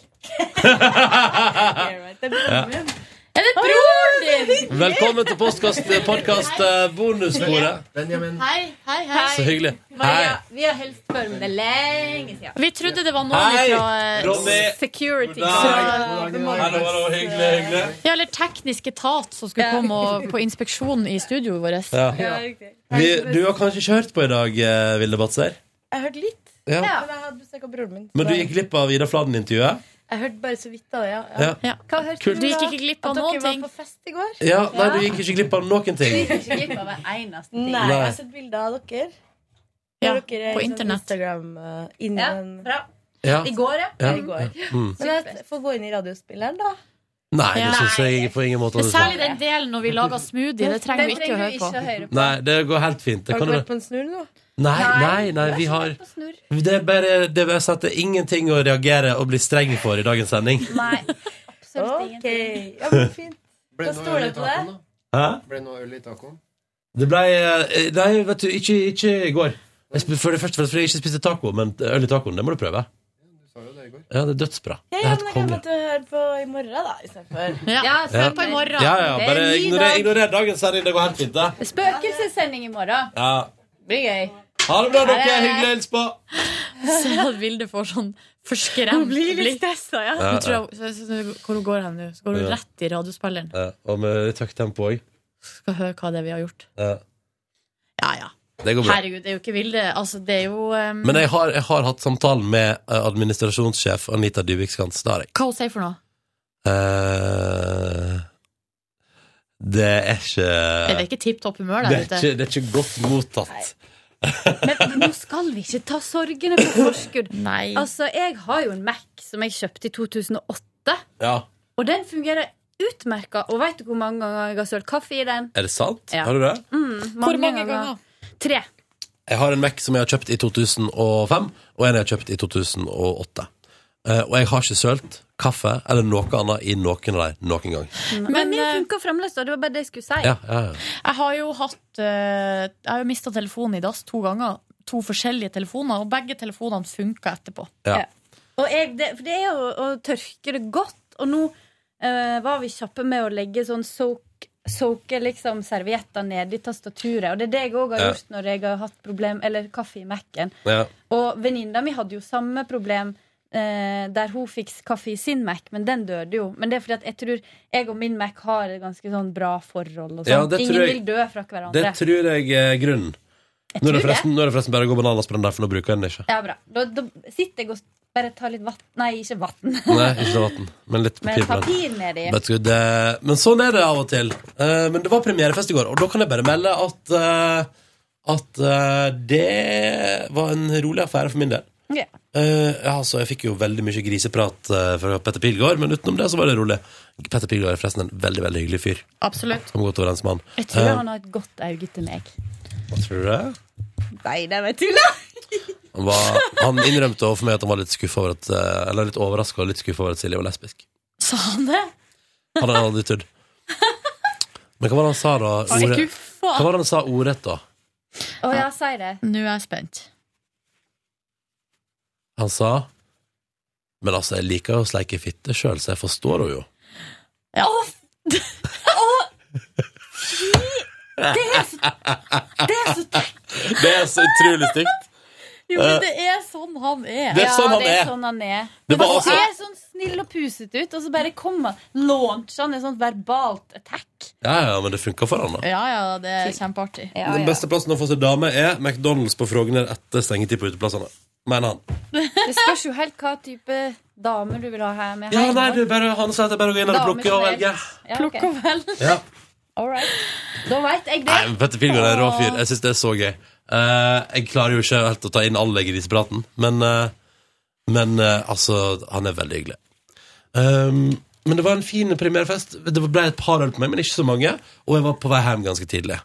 I: Det er broren
B: Ja.
I: min.
C: Er det broren din?
B: Velkommen til eh, podkast-bonusbordet.
O: Benjamin.
C: Hei, hei,
B: Så hyggelig. Hei.
I: Maria, vi har hilst før, men det er lenge siden.
C: Vi trodde det var noen
B: Hei,
C: fra eh,
B: Ronny.
I: security.
B: God Hallo, hallo, hyggelig, hyggelig.
C: Ja, eller teknisk etat som skulle komme og, på inspeksjon i studioet vårt.
B: Ja. Vi, du har kanskje ikke hørt på i dag, eh, Vilde Batser,
O: Jeg hørte litt.
B: Ja.
O: Men jeg hadde besøk av broren min.
B: men du gikk glipp av Ida Fladen-intervjuet.
O: Jeg hørte bare så vidt av det, ja.
B: Ja.
O: Hva hørte
B: Kult.
O: da?
C: Du gikk ikke glipp av
O: At
C: noen ting.
O: At dere var på fest i går?
B: Ja, nei, du gikk ikke glipp av noen ting.
I: ikke glipp av en eneste ting.
O: Nei, altså,
B: Nei.
O: jeg har sett bilder av dere.
C: Ja,
O: Når dere er
C: på
O: i sånn
C: internett.
O: Instagram eh, innen... Ja,
B: Ja.
O: I går, ja.
B: Ja.
O: I går.
B: Mm.
O: Men jeg får gå inn i radiospilleren, da.
B: Nei, det
C: Nei.
B: syns jeg på ingen måte. at du sa.
C: Særlig den delen når vi lager smoothie. Det trenger vi ikke å høre på.
B: Nei, det går helt fint. Det
O: Har
B: kan
O: dere vært
B: du...
O: på en snurr nå?
B: Nei, nei, nei, vi har Det er bare det er bare sånn at det er ingenting å reagere og bli streng for i dagens sending.
O: Ok. Ja, men fint. Da stoler jeg på deg.
B: Hæ?
A: Ble noe øl i tacoen?
B: Det ble eh, Nei, vet du, ikke, ikke i går. Jeg sp- for det første fordi jeg ikke spiste taco, men øl i tacoen, det må du prøve. Ja, det er dødsbra.
O: Ja,
B: Det er
O: ja,
B: helt
O: men jeg kan
B: konge.
O: måtte høre på i morgen, da, i stedet for.
C: Ja,
B: Ja, ja, ja bare ignorer, ignorer dagens sending. Det går helt fint, det.
I: Spøkelsessending i morgen.
B: Ja.
I: Det blir gøy.
B: Ha det bra, dere.
I: Ha det.
B: Hyggelig å hilse på.
C: Se at Vilde får sånn forskremt
I: Hun blir litt
C: blikk.
I: stressa, ja.
B: Ja,
C: Hun tror jeg- så- så- så- Hvor hun går hen nå? Så går hun
B: Ja.
C: rett i radiospilleren.
B: Ja, og med litt høyt tempo òg.
C: Skal høre hva det er vi har gjort.
B: Ja.
C: Ja, ja.
B: Det går bra.
C: Herregud, det er jo ikke vilde. Altså, det er jo um,
B: Men jeg har, jeg har hatt samtalen med eh, administrasjonssjef Anita Dybvik Skans. Det har jeg.
C: Hva hun sier for noe?
B: Eh, det er ikke
C: Er det ikke tipp topp humør
B: det er
C: der ute?
B: ikke, det er ikke godt mottatt.
I: Men nå skal vi ikke ta sorgene på forskudd.
C: Nei.
I: Altså, jeg har jo en Mac som jeg kjøpte i 2008,
B: Ja.
I: og den fungerer utmerka. Og veit du hvor mange ganger jeg har sølt kaffe i den?
B: Er det sant?
I: Ja.
B: Har du det?
I: Mm,
C: Hvor mange ganger?
I: Tre.
B: Jeg har en Mac som jeg har kjøpt i 2005, og en jeg har kjøpt i 2008. Eh, og jeg har ikke sølt kaffe eller noe annet i noen av dem noen gang.
C: eh,
I: Men, min funker fremdeles, da. Det var bare det jeg skulle si.
B: Ja, ja, ja.
C: Jeg har jo hatt eh, Jeg har jo mista telefonen i dass to ganger. To forskjellige telefoner, og begge telefonene funka etterpå.
B: Ja.
I: Og jeg, det, for det er jo å tørke det godt. Og nå eh, var vi kjappe med å legge sånn soak, soake liksom servietter nedi tastaturet. Og det er det jeg òg har
B: Ja.
I: gjort når jeg har hatt problem Eller kaffe i Mac-en.
B: Ja.
I: Og venninna mi hadde jo samme problem. eh, der hun fikk kaffe i sin Mac, men den døde jo. Men det er fordi at jeg tror jeg og min Mac har et ganske sånn bra forhold. Og
B: Ja,
I: sånn.
B: det tror
I: Ingen
B: jeg-
I: vil dø fra hverandre.
B: Det tror jeg er grunnen. Nå er det forresten, nå er det forresten bare å gå bananasprønn der, for nå bruker jeg den ikke.
I: Ja, bra. Da, da sitter jeg og bare tar litt vann Nei, ikke vann.
B: Nei, ikke så vatten, men litt
I: Med
B: papir. på den.
I: papir nedi.
B: Vet du, det, men sånn er det av og til. Eh, men det var premierefest i går, og da kan jeg bare melde at eh, At eh, det var en rolig affære for min del.
I: Ja.
B: Eh, ja, altså, jeg fikk jo veldig mye griseprat eh, fra Petter Pilgaard, men utenom det så var det rolig. Petter Pilgaard er forresten en veldig veldig hyggelig fyr.
C: Absolutt.
B: Som godt overens med han.
I: Jeg tror
B: Eh,
I: han har et godt øye til meg.
B: hva tror du det?
I: Nei, det var tull, da!
B: Han, var, han innrømte overfor meg at han var litt skuffa over at eh, Eller litt overraska og litt skuffa over at Silje var lesbisk.
C: Sa han det?
B: Han hadde aldri trodd. Men hva var det han sa, da?
C: Han er
B: Ordet-
C: skuffa.
B: Hva var det han sa ordrett, da?
I: Å ja, si det.
C: Nå er jeg spent.
B: Han sa Men altså, jeg liker jo å sleike fitte sjøl, så jeg forstår henne jo.
C: Ja.
B: Det
I: er
B: så, det er så Det er så utrolig stygt.
C: Jo, men det er sånn han er.
B: Eh. Det er sånn han
I: ja, det er,
B: er.
I: sånn han er.
B: Det var
I: Han
B: altså-
I: ser sånn snill og pusete ut, og så bare kommer han launcher han en sånn verbalt attack.
B: Ja, ja, men det funka for han, da.
C: Ja, ja, det er kjempeartig.
B: Den beste plassen å få seg dame er McDonald's på Frogner etter stengetid på uteplassene. Mener han.
I: Det spørs jo helt hva type dame du vil ha her med.
B: Ja,
I: her.
B: nei, du, bare, han sa at jeg bare går inn og
I: Dame
B: plukker og
I: generelt.
B: velger.
I: Ja, ok.
C: Plukk og velg.
B: Ja.
I: All right. Da veit jeg det.
B: Nei, men Petter Pilgaard er en rå fyr. Jeg syns det er så gøy. Eh, jeg klarer jo ikke helt å ta inn alle grisepraten, men, eh, men eh, altså Han er veldig hyggelig. Ehm, men det var en fin premierefest. Det ble et par øl på meg, men ikke så mange. Og jeg var på vei hjem ganske tidlig.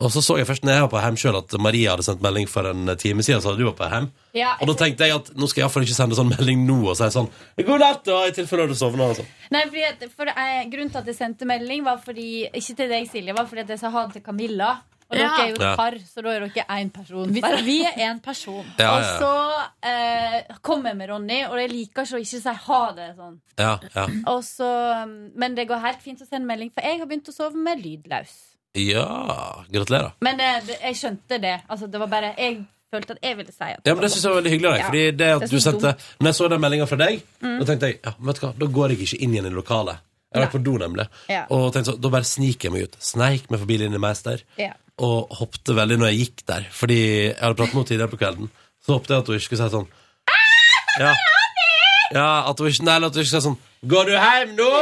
B: Og så så jeg først når jeg var på hjem sjøl, at Maria hadde sendt melding for en time siden. Så hadde du vært på hjem.
I: Ja,
B: Og da tenkte jeg at nå skal jeg iallfall ikke sende sånn melding nå og si sånn 'God natt', og i tilfelle du sovner. og sånn.
I: Nei, fordi at, for, eh, grunnen til at jeg sendte melding, var fordi ikke til deg, Silje, var fordi at jeg sa ha det til Camilla. Og
C: Ja.
I: dere er jo et
B: Ja.
I: par, så da er dere én person.
C: Vi,
I: Bare-
C: vi er én person.
B: Ja,
I: Og
B: ja,
I: så eh, kom jeg med Ronny, og jeg liker ikke å ikke si ha det sånn.
B: ja. Ja,
I: Og så, men det går helt fint å sende melding, for jeg har begynt å sove med lydløs.
B: ja. Gratulerer.
I: Men eh, det- jeg skjønte det. Altså, det var bare Jeg følte at jeg ville si at
B: Ja, men Det syns jeg var veldig hyggelig av deg.
I: Ja.
B: Fordi det
I: Det
B: at
I: er
B: du
I: så
B: sendte Når jeg så den meldinga fra deg,
I: Mm.
B: da tenkte jeg ja, men vet du hva, da går jeg ikke inn igjen i lokalet. Jeg har vært på do, nemlig.
I: Ja.
B: Og tenkte sånn, Da bare sniker jeg meg ut. Sneik meg forbi Linni Meister.
I: Ja.
B: Og hoppte veldig når jeg gikk der. Fordi jeg hadde pratet med henne tidligere på kvelden. Så håpte jeg at hun ikke skulle si sånn Ja, ja at hun ikke Nei, eller at hun ikke sa sånn Går du hjem nå?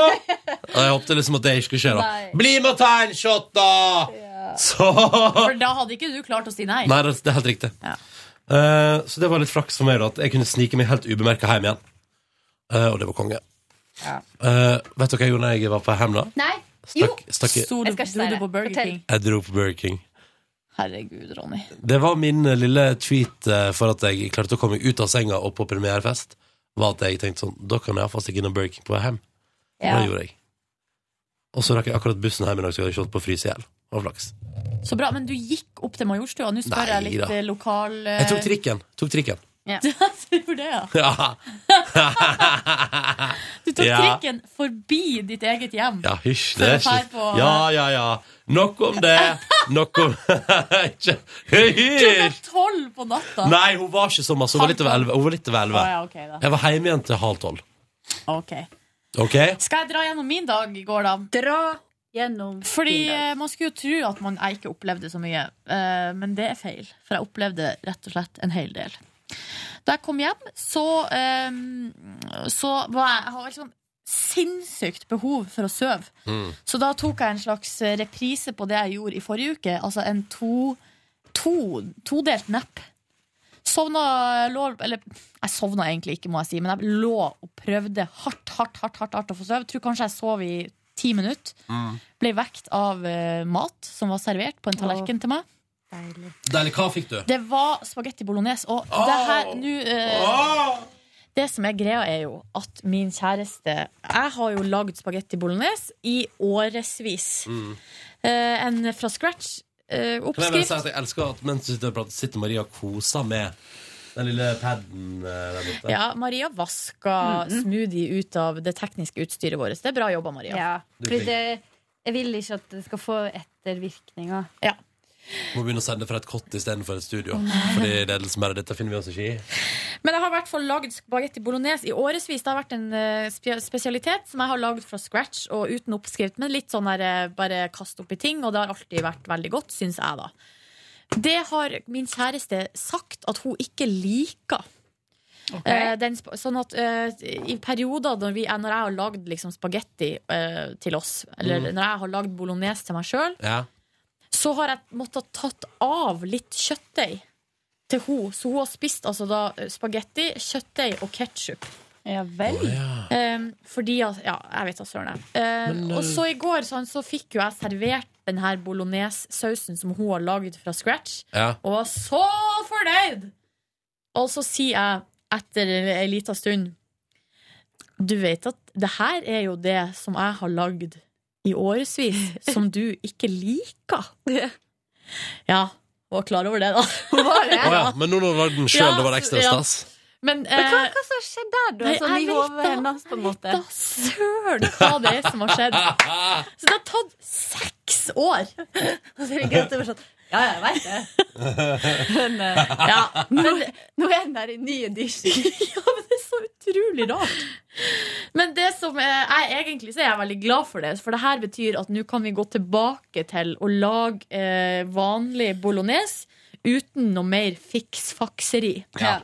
B: Og jeg håpte liksom at det ikke skulle skje. da
C: Nei.
B: Bli med og ta en shot, da! Så
C: For da hadde ikke du klart å si nei.
B: Nei, det det er helt riktig. Eh, så det var litt flaks for meg da, at jeg kunne snike meg helt ubemerka hjem igjen. Eh, og det var konge. Eh, vet dere hva jeg gjorde når jeg var på hjem da?
I: Nei.
B: Stakk- stakk i-
C: Sto du,
I: Jeg skal ikke si
C: dro du
I: det.
C: på Burger
I: Fortell.
C: King?
B: Jeg dro på Burger King.
C: Herregud, Ronny.
B: Det var min eh, lille tweet eh, for at jeg klarte å komme ut av senga og på premierefest, var at jeg tenkte sånn Da kan jeg iallfall stikke innom Burger King på vei hjem. Og
C: Ja.
B: det gjorde jeg. Og så rakk jeg akkurat bussen hjem i dag, så jeg hadde ikke holdt på å fryse i hjel. Det var flaks.
C: Så bra, men du gikk opp til Majorstua. Nå spør
B: Nei
C: jeg litt
B: da.
C: eh, lokal eh,
B: Jeg tok trikken. Tok trikken.
C: Ja. du gjorde det, ja.
B: Ja.
C: Du tok
B: Ja.
C: trikken forbi ditt eget hjem.
B: Ja, hysj.
C: For
B: Det er
C: å fære
B: ikke
C: på-
B: Ja, ja, ja. Nok om det. Nok om Ikke Hysj!
C: Tolv på natta.
B: Nei, hun var ikke så masse. Hun var litt over elleve. Hun var litt over elleve.
C: Å, ja, ok, da.
B: Jeg var hjemme igjen til halv tolv.
C: Ok.
B: OK?
C: Skal jeg dra gjennom min dag i går, da?
I: Dra Gjennom
C: Fordi
I: bilder.
C: eh, man skulle jo tro at man jeg ikke opplevde så mye, eh, men det er feil. For jeg opplevde rett og slett en hel del. Da jeg kom hjem, så, eh, så var jeg, jeg har liksom sinnssykt behov for å sove. Så da tok jeg en slags reprise på det jeg gjorde i forrige uke. Altså en to, to, todelt napp. Sovna lå Eller jeg sovna egentlig ikke, må jeg si, men jeg lå og prøvde hardt, hardt, hardt, hardt, hardt å få sove. Tror kanskje jeg sov i ti minutter. Ble vekt av eh, mat som var servert på en tallerken til meg.
B: Deilig. Hva fikk du?
C: Det var spagetti bolognese. Og det her nå eh, Det som er greia, er jo at min kjæreste Jeg har jo lagd spagetti bolognese i årevis. Eh, en fra scratch. eh,
B: Mm. Kan jeg bare
C: oppskrift.
B: si at jeg elsker at mens du sitter og prater, sitter Maria og koser med den lille paden eh, der borte.
C: Ja, Maria vaska
B: Mm,
C: smoothie ut av det tekniske utstyret vårt. Det er bra jobba, Maria.
O: Ja,
B: Du
O: fordi
B: er flink.
O: det- jeg vil ikke at det skal få ettervirkninger.
B: Må begynne å sende fra et kott istedenfor et studio.
C: Å, nei.
B: Fordi ledelsen bare dette finner vi oss ikke i.
C: Men jeg har i hvert fall lagd spagetti bolognese i årevis. Det har vært en eh, spe- spesialitet som jeg har lagd fra scratch og uten oppskrift, men litt sånn her, eh, bare kast oppi ting, og det har alltid vært veldig godt, syns jeg, da. Det har min kjæreste sagt at hun ikke liker. Eh, Den, sp- sånn at eh, I perioder når, vi, eh, når jeg har lagd liksom, spagetti eh, til oss, eller
B: Mm.
C: når jeg har lagd bolognese til meg sjøl,
B: Ja.
C: så har jeg måttet tatt av litt kjøttdeig til hun. Så hun har spist altså da spagetti, kjøttdeig og ketsjup.
O: Ja vel.
C: fordi at Ja, jeg vet da søren. jeg. Ehm,
O: Men, eh,
C: og så i går sånn, så fikk jo jeg servert den her bolognese-sausen som hun har lagd fra scratch,
B: Ja.
C: og var så fornøyd! Og så sier jeg etter ei lita stund Du vet at det her er jo det som jeg har lagd i årevis, som du ikke liker. Ja, var klar over det, da.
B: Å ja, men nå når det var den sjøl,
C: Ja,
B: det var det ekstra
C: ja.
B: stas.
C: Men,
O: Men hva,
C: eh,
O: hva som skjedde der, da?
C: nei,
O: sånn
C: jeg
O: i
C: vet
O: hodet
C: da-
O: hennes, på en måte?
C: Da søren hva det er som har skjedd. Så det har tatt seks år.
O: Og så er det gøy at det var sånn Ja, ja, jeg veit det. Men, eh,
C: Ja,
O: nå, nå er den der i ny edition.
C: Utrolig rart. Men det som eh, jeg egentlig så er jeg veldig glad for det, for det her betyr at nå kan vi gå tilbake til å lage eh, vanlig bolognese uten noe mer fiksfakseri.
O: Ja,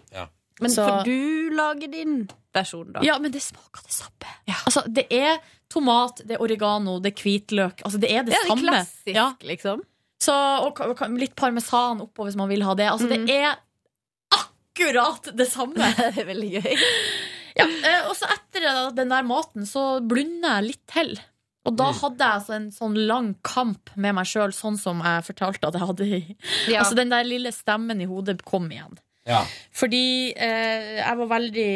O: Men
C: Så-
O: for du lager din versjon, da.
C: Ja, men det smaker det samme. Altså, det er tomat, det er oregano, det er hvitløk. Altså, det er det,
O: Ja, det er
C: samme.
O: klassisk,
C: ja.
O: liksom.
C: Så, og, ka- ka- litt parmesan oppå hvis man vil ha det. Altså, det er akkurat det samme.
O: Mm. det er veldig gøy.
C: Ja, eh, og så etter eh, den der maten så blunder jeg litt til.
O: Mm.
C: Og da hadde jeg altså en sånn lang kamp med meg sjøl, sånn som jeg fortalte at jeg hadde. i-
O: Ja.
C: Altså Den der lille stemmen i hodet kom igjen. Fordi eh, jeg var veldig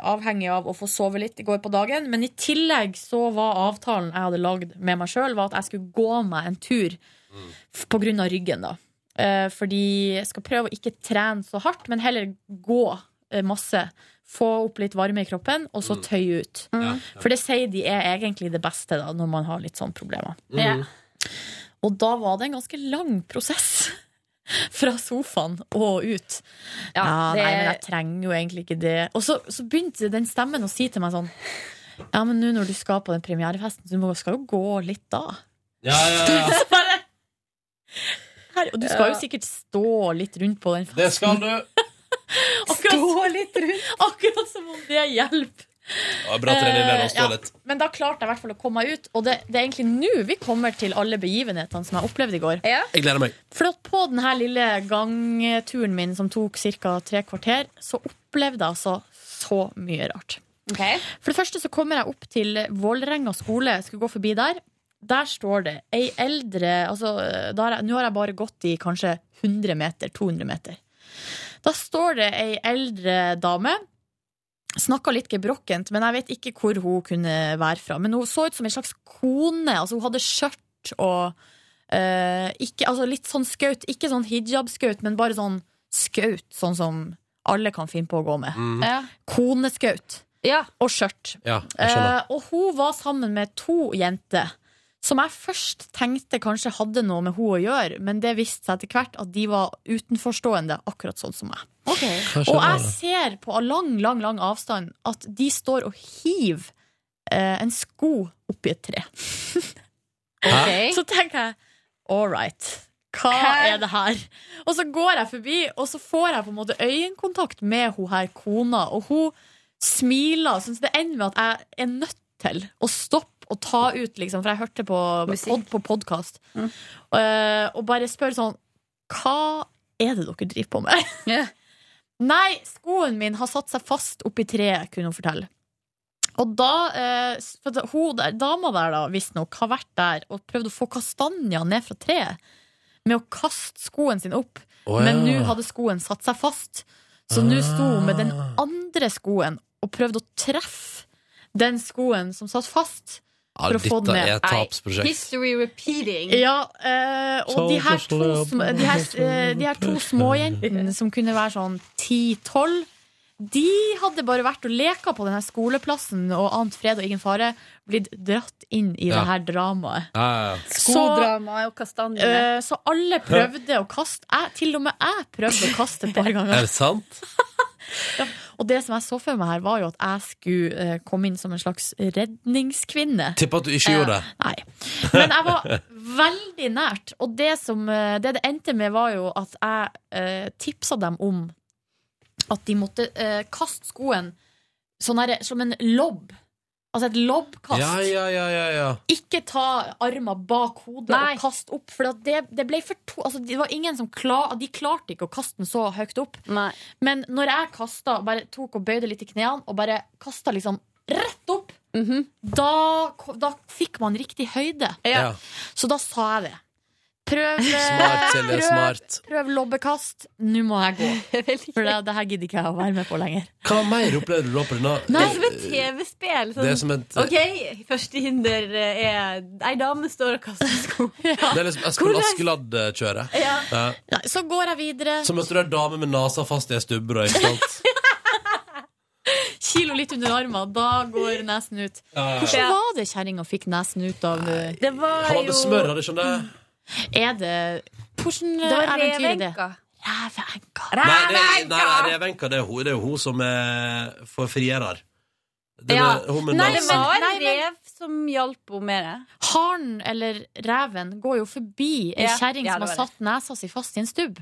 C: avhengig av å få sove litt i går på dagen. Men i tillegg så var avtalen jeg hadde lagd med meg sjøl, at jeg skulle gå meg en tur. f- På grunn av ryggen, da. Eh, fordi jeg skal prøve å ikke trene så hardt, men heller gå eh, masse. Få opp litt varme i kroppen, og så
O: Mm.
C: tøye ut. For det sier de er egentlig det beste da, når man har litt sånne problemer.
O: Ja.
C: Og da var det en ganske lang prosess. Fra sofaen og ut. Ja,
O: Ja, det-
C: Nei, men jeg trenger jo egentlig ikke det. Og så, så begynte den stemmen å si til meg sånn Ja, men nå når du skal på den premierefesten, så du må- skal jo gå litt da.
B: Ja, ja, ja.
C: Så bare her, Og du skal jo
O: Ja.
C: sikkert stå litt rundt på den festen.
B: Det skal du.
C: Stå litt rundt! Akkurat som om det hjelper.
B: Ja, bra trening der å stå
C: Eh, ja.
B: litt.
C: Men da klarte jeg i hvert fall å komme meg ut, og det, det er egentlig nå vi kommer til alle begivenhetene som jeg opplevde i går.
B: Jeg gleder meg.
C: For at på denne lille gangturen min som tok ca. tre kvarter, så opplevde jeg altså så mye rart. For det første så kommer jeg opp til Vålerenga skole, skulle gå forbi der. Der står det ei eldre altså, da har jeg- Nå har jeg bare gått i kanskje 100 meter, 200 meter. Da står det ei eldre dame. Snakka litt gebrokkent, men jeg vet ikke hvor hun kunne være fra. Men hun så ut som ei slags kone. Altså, hun hadde skjørt og eh, ikke, altså, Litt sånn skaut. Ikke sånn hijab-skaut, men bare sånn skaut, sånn som alle kan finne på å gå med.
O: Mhm. Ja.
C: Koneskaut. Og skjørt.
B: Ja, jeg skjønner.
C: Eh, og hun var sammen med to jenter. Som jeg først tenkte kanskje hadde noe med hun å gjøre, men det viste seg etter hvert at de var utenforstående, akkurat sånn som meg.
B: Hva skjer
C: Og
B: da,
C: jeg ser på lang, lang, lang avstand at de står og hiver eh, en sko oppi et tre. Ok. Så tenker jeg all right. Hva
I: Hæ?
C: er det her? Og så går jeg forbi, og så får jeg på en måte øyekontakt med hun her kona, og hun smiler. Så det ender med at jeg er nødt til å stoppe og ta ut, liksom, for jeg hørte på, pod, på podkast, og bare spør sånn Hva er det dere driver på med? Nei, skoen min har satt seg fast oppi treet, kunne hun fortelle. Og da, eh, s- for da- hun, der- dama der da, visstnok, har vært der og prøvd å få kastanja ned fra treet med å kaste skoen sin opp.
A: Å, ja.
C: Men nå hadde skoen satt seg fast, så nå sto hun med den
A: Ah.
C: andre skoen og prøvde å treffe den skoen som satt fast.
B: Ja,
C: For å få
B: dette
C: den ned.
B: er et
C: Nei.
B: tapsprosjekt.
I: History repeating.
C: Ja, eh, og de her to, sm de her, eh, de her to småjentene som kunne være sånn 10-12, de hadde bare vært og leka på denne skoleplassen og ant fred og ingen fare, blitt dratt inn i
B: Ja.
C: det her dramaet.
B: Ja, ja.
I: Skodrama og kastanjene.
C: Eh, så alle prøvde å kaste. Jeg, til og med jeg prøvde å kaste et par
B: Er
C: ganger.
B: det sant?
C: Og det som jeg så for meg her, var jo at jeg skulle eh, komme inn som en slags redningskvinne.
B: Tipper at du ikke
C: Eh,
B: gjorde det.
C: Nei. Men jeg var veldig nært. Og det, som, eh, det det endte med, var jo at jeg eh, tipsa dem om at de måtte eh, kaste skoen sånn her, som en lobb. Altså et lobbkast.
B: Ja, ja, ja, ja, ja.
C: Ikke ta armen bak hodet og kaste opp. For at det, det ble for to altså, det var ingen som klar, De klarte ikke å kaste den så høyt opp. Men når jeg kasta, bare tok og bøyde litt i knærne og bare kasta liksom rett opp, da, ko- da fikk man riktig høyde.
B: Ja.
C: Så da sa jeg det. Prøv, eh,
B: Smart, Silje,
C: prøv,
B: smart.
C: prøv lobbekast. Nå må jeg gå. For det, det her gidder ikke jeg å være med på lenger.
B: Hva mer opplevde du da på denne?
O: Det
C: altså,
O: er som et TV-spill. sånn.
B: Det er
C: sånn.
B: som et-
O: OK, første hinder eh, er ei dame står og kaster sko.
B: Det er liksom Espen Askeladd-kjøret.
O: Ja.
C: Nei, så går jeg videre.
B: Så møtte du ei dame med nesa fast i ei stubberød, ikke sant?
C: Kilo litt under armen, da går nesen ut.
B: Ja, ja, ja.
C: Hvordan var det kjerringa fikk nesen ut av eh,
O: Det var
B: Han hadde smør, hadde ikke han det?
C: Er det Hvordan
O: Det var
C: eventyr er det?
O: revenka.
B: Nei, det er, nei, nei, Revenka, det er hun, det er hun som er for frierer. Det er
O: Ja.
B: hun med
O: Nei, det
B: nesa.
O: var en
C: Nei, men-
O: rev som hjalp henne med det.
C: Haren eller reven går jo forbi ei
O: Ja,
C: kjerring
O: ja,
C: som
O: det var
C: har satt nesa si fast i en stubb.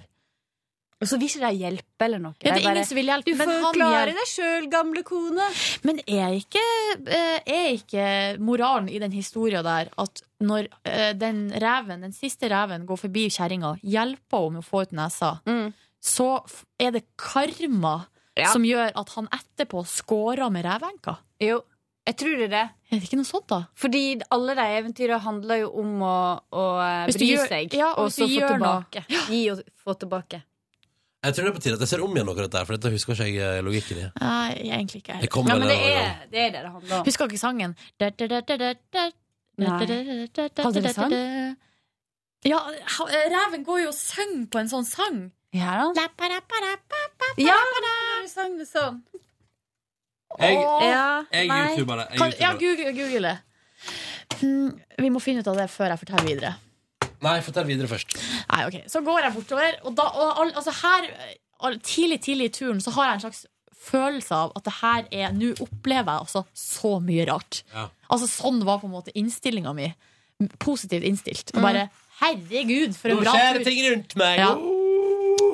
O: Og så vil ikke de hjelpe eller noe.
C: Ja, det er
O: De bare,
C: ingen som vil hjelpe,
O: Du
C: men
O: får
C: han
O: klare
C: hjelper."
O: deg sjøl, gamle kone.
C: Men er ikke, eh, er ikke moralen i den historia der at når eh, den reven, den siste reven går forbi kjerringa, hjelper henne med å få ut nesa, så f- er det
O: Mm.
C: karma
O: Ja.
C: som gjør at han etterpå scorer med revenka?
O: Jo, jeg tror det er det.
C: Er det ikke noe sånt, da?
O: Fordi alle de eventyra handler jo om å, å eh,
C: Hvis du
O: bry
C: gjør-
O: seg,
C: ja, og
O: og
C: hvis
O: så
C: du
O: få
C: gjør noe.
O: tilbake. Gi og få tilbake.
B: Jeg tror det er på tide at jeg ser om igjen noe av dette, her, for dette husker ikke jeg eh, logikken i.
C: Nei, egentlig ikke.
B: Det kommer Ja, men vel det en annen
O: Det er det det handler om.
C: Husker dere sangen? Da, da, da, da, da, da.
O: Nei. Hadde dere sang?
C: Ja, ha- reven går jo og synger på en sånn sang.
O: Ja,
C: Ja,
O: du sang det sånn.
B: Jeg,
C: Åh,
B: jeg
C: nei.
B: youtuber det. Jeg
C: Kan, ja,
B: YouTuber det.
C: google, google det. Mm, Vi må finne ut av det før jeg forteller videre.
B: Nei, fortell videre først.
C: Nei, ok, Så går jeg bortover, og, da, og all, altså her, all, tidlig tidlig i turen så har jeg en slags følelse av at det her er Nå opplever jeg altså så mye rart.
B: Ja.
C: Altså Sånn var på en måte innstillinga mi. Positivt innstilt. Og bare herregud, for en
B: Nå
C: bra
B: skjer
C: tur.
B: det ting rundt meg!
C: Ja.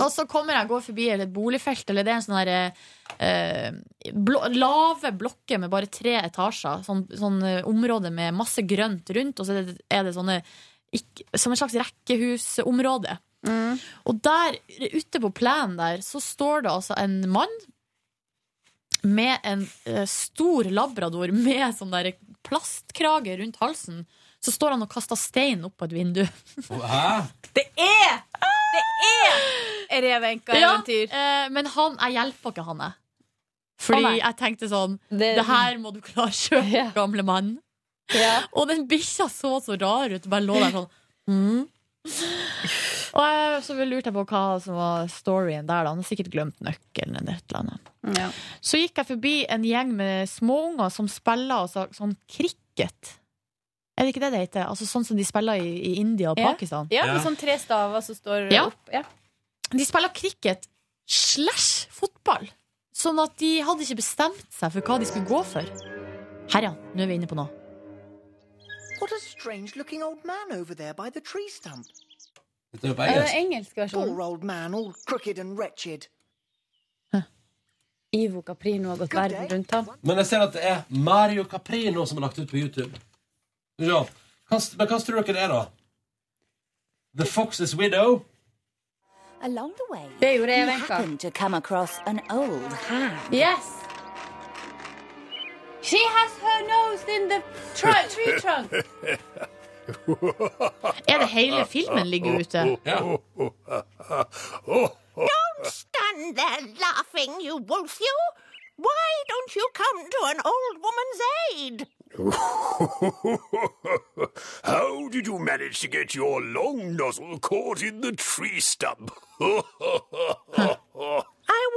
C: Og så kommer jeg går forbi et boligfelt, eller det er en sånn her eh, blå, lave blokker med bare tre etasjer. Sånn, sånn eh, område med masse grønt rundt, og så er det, er det sånne ikk- Som et slags rekkehusområde.
O: Mm.
C: Og der, ute på plenen der, så står det altså en mann med en eh, stor labrador med sånn der plastkrage rundt halsen. Så står han og kaster stein opp på et vindu.
B: Hæ?
O: Det er Det er revenka-eventyr.
C: eh, men han, jeg hjelper ikke han, jeg. Fordi
O: Å, nei.
C: jeg tenkte sånn Det, her må du klare sjøl, gamle mann. Og den bikkja så så rar ut. Bare lå der sånn. Mm. Og jeg, så lurte jeg på hva som var storyen der. Da. Han har sikkert glemt nøkkelen. Eller et eller annet. Så gikk jeg forbi en gjeng med småunger som spiller altså, sånn cricket. Er det ikke det det heter? Altså Sånn som de spiller i, i India og
O: Ja.
C: Pakistan.
O: Ja, med
I: Liksom
O: sånn tre staver som står
C: Ja.
O: opp. Ja.
C: De spiller cricket slash fotball. Sånn at de hadde ikke bestemt seg for hva de skulle gå for. Her, ja. Nå er vi inne på noe.
A: What a strange looking old man over there by the tree stump.
B: Dette er jo på
K: Er
I: Eh,
K: det
B: engelsk.
K: engelsk versjon?
A: Poor old man, all crooked and wretched.
K: Ivo Caprino har gått verden rundt ham.
B: Men jeg ser at det er Mario Caprino som er lagt ut på YouTube. Skal vi se. Hva, men hva tror dere det er, da? The Fox's Widow?
P: Along the way,
K: Det gjorde jeg
P: you
K: vekk av.
P: happened to come across an old hag.
K: Yes! She has her nose in the tr- tree trunk!
C: Er det hele filmen ligger ute?
I: Don't stand there laughing, you wolf, you! Why don't you come to an old woman's aid?
H: How did you manage to get your long nozzle caught in the tree stump?
I: I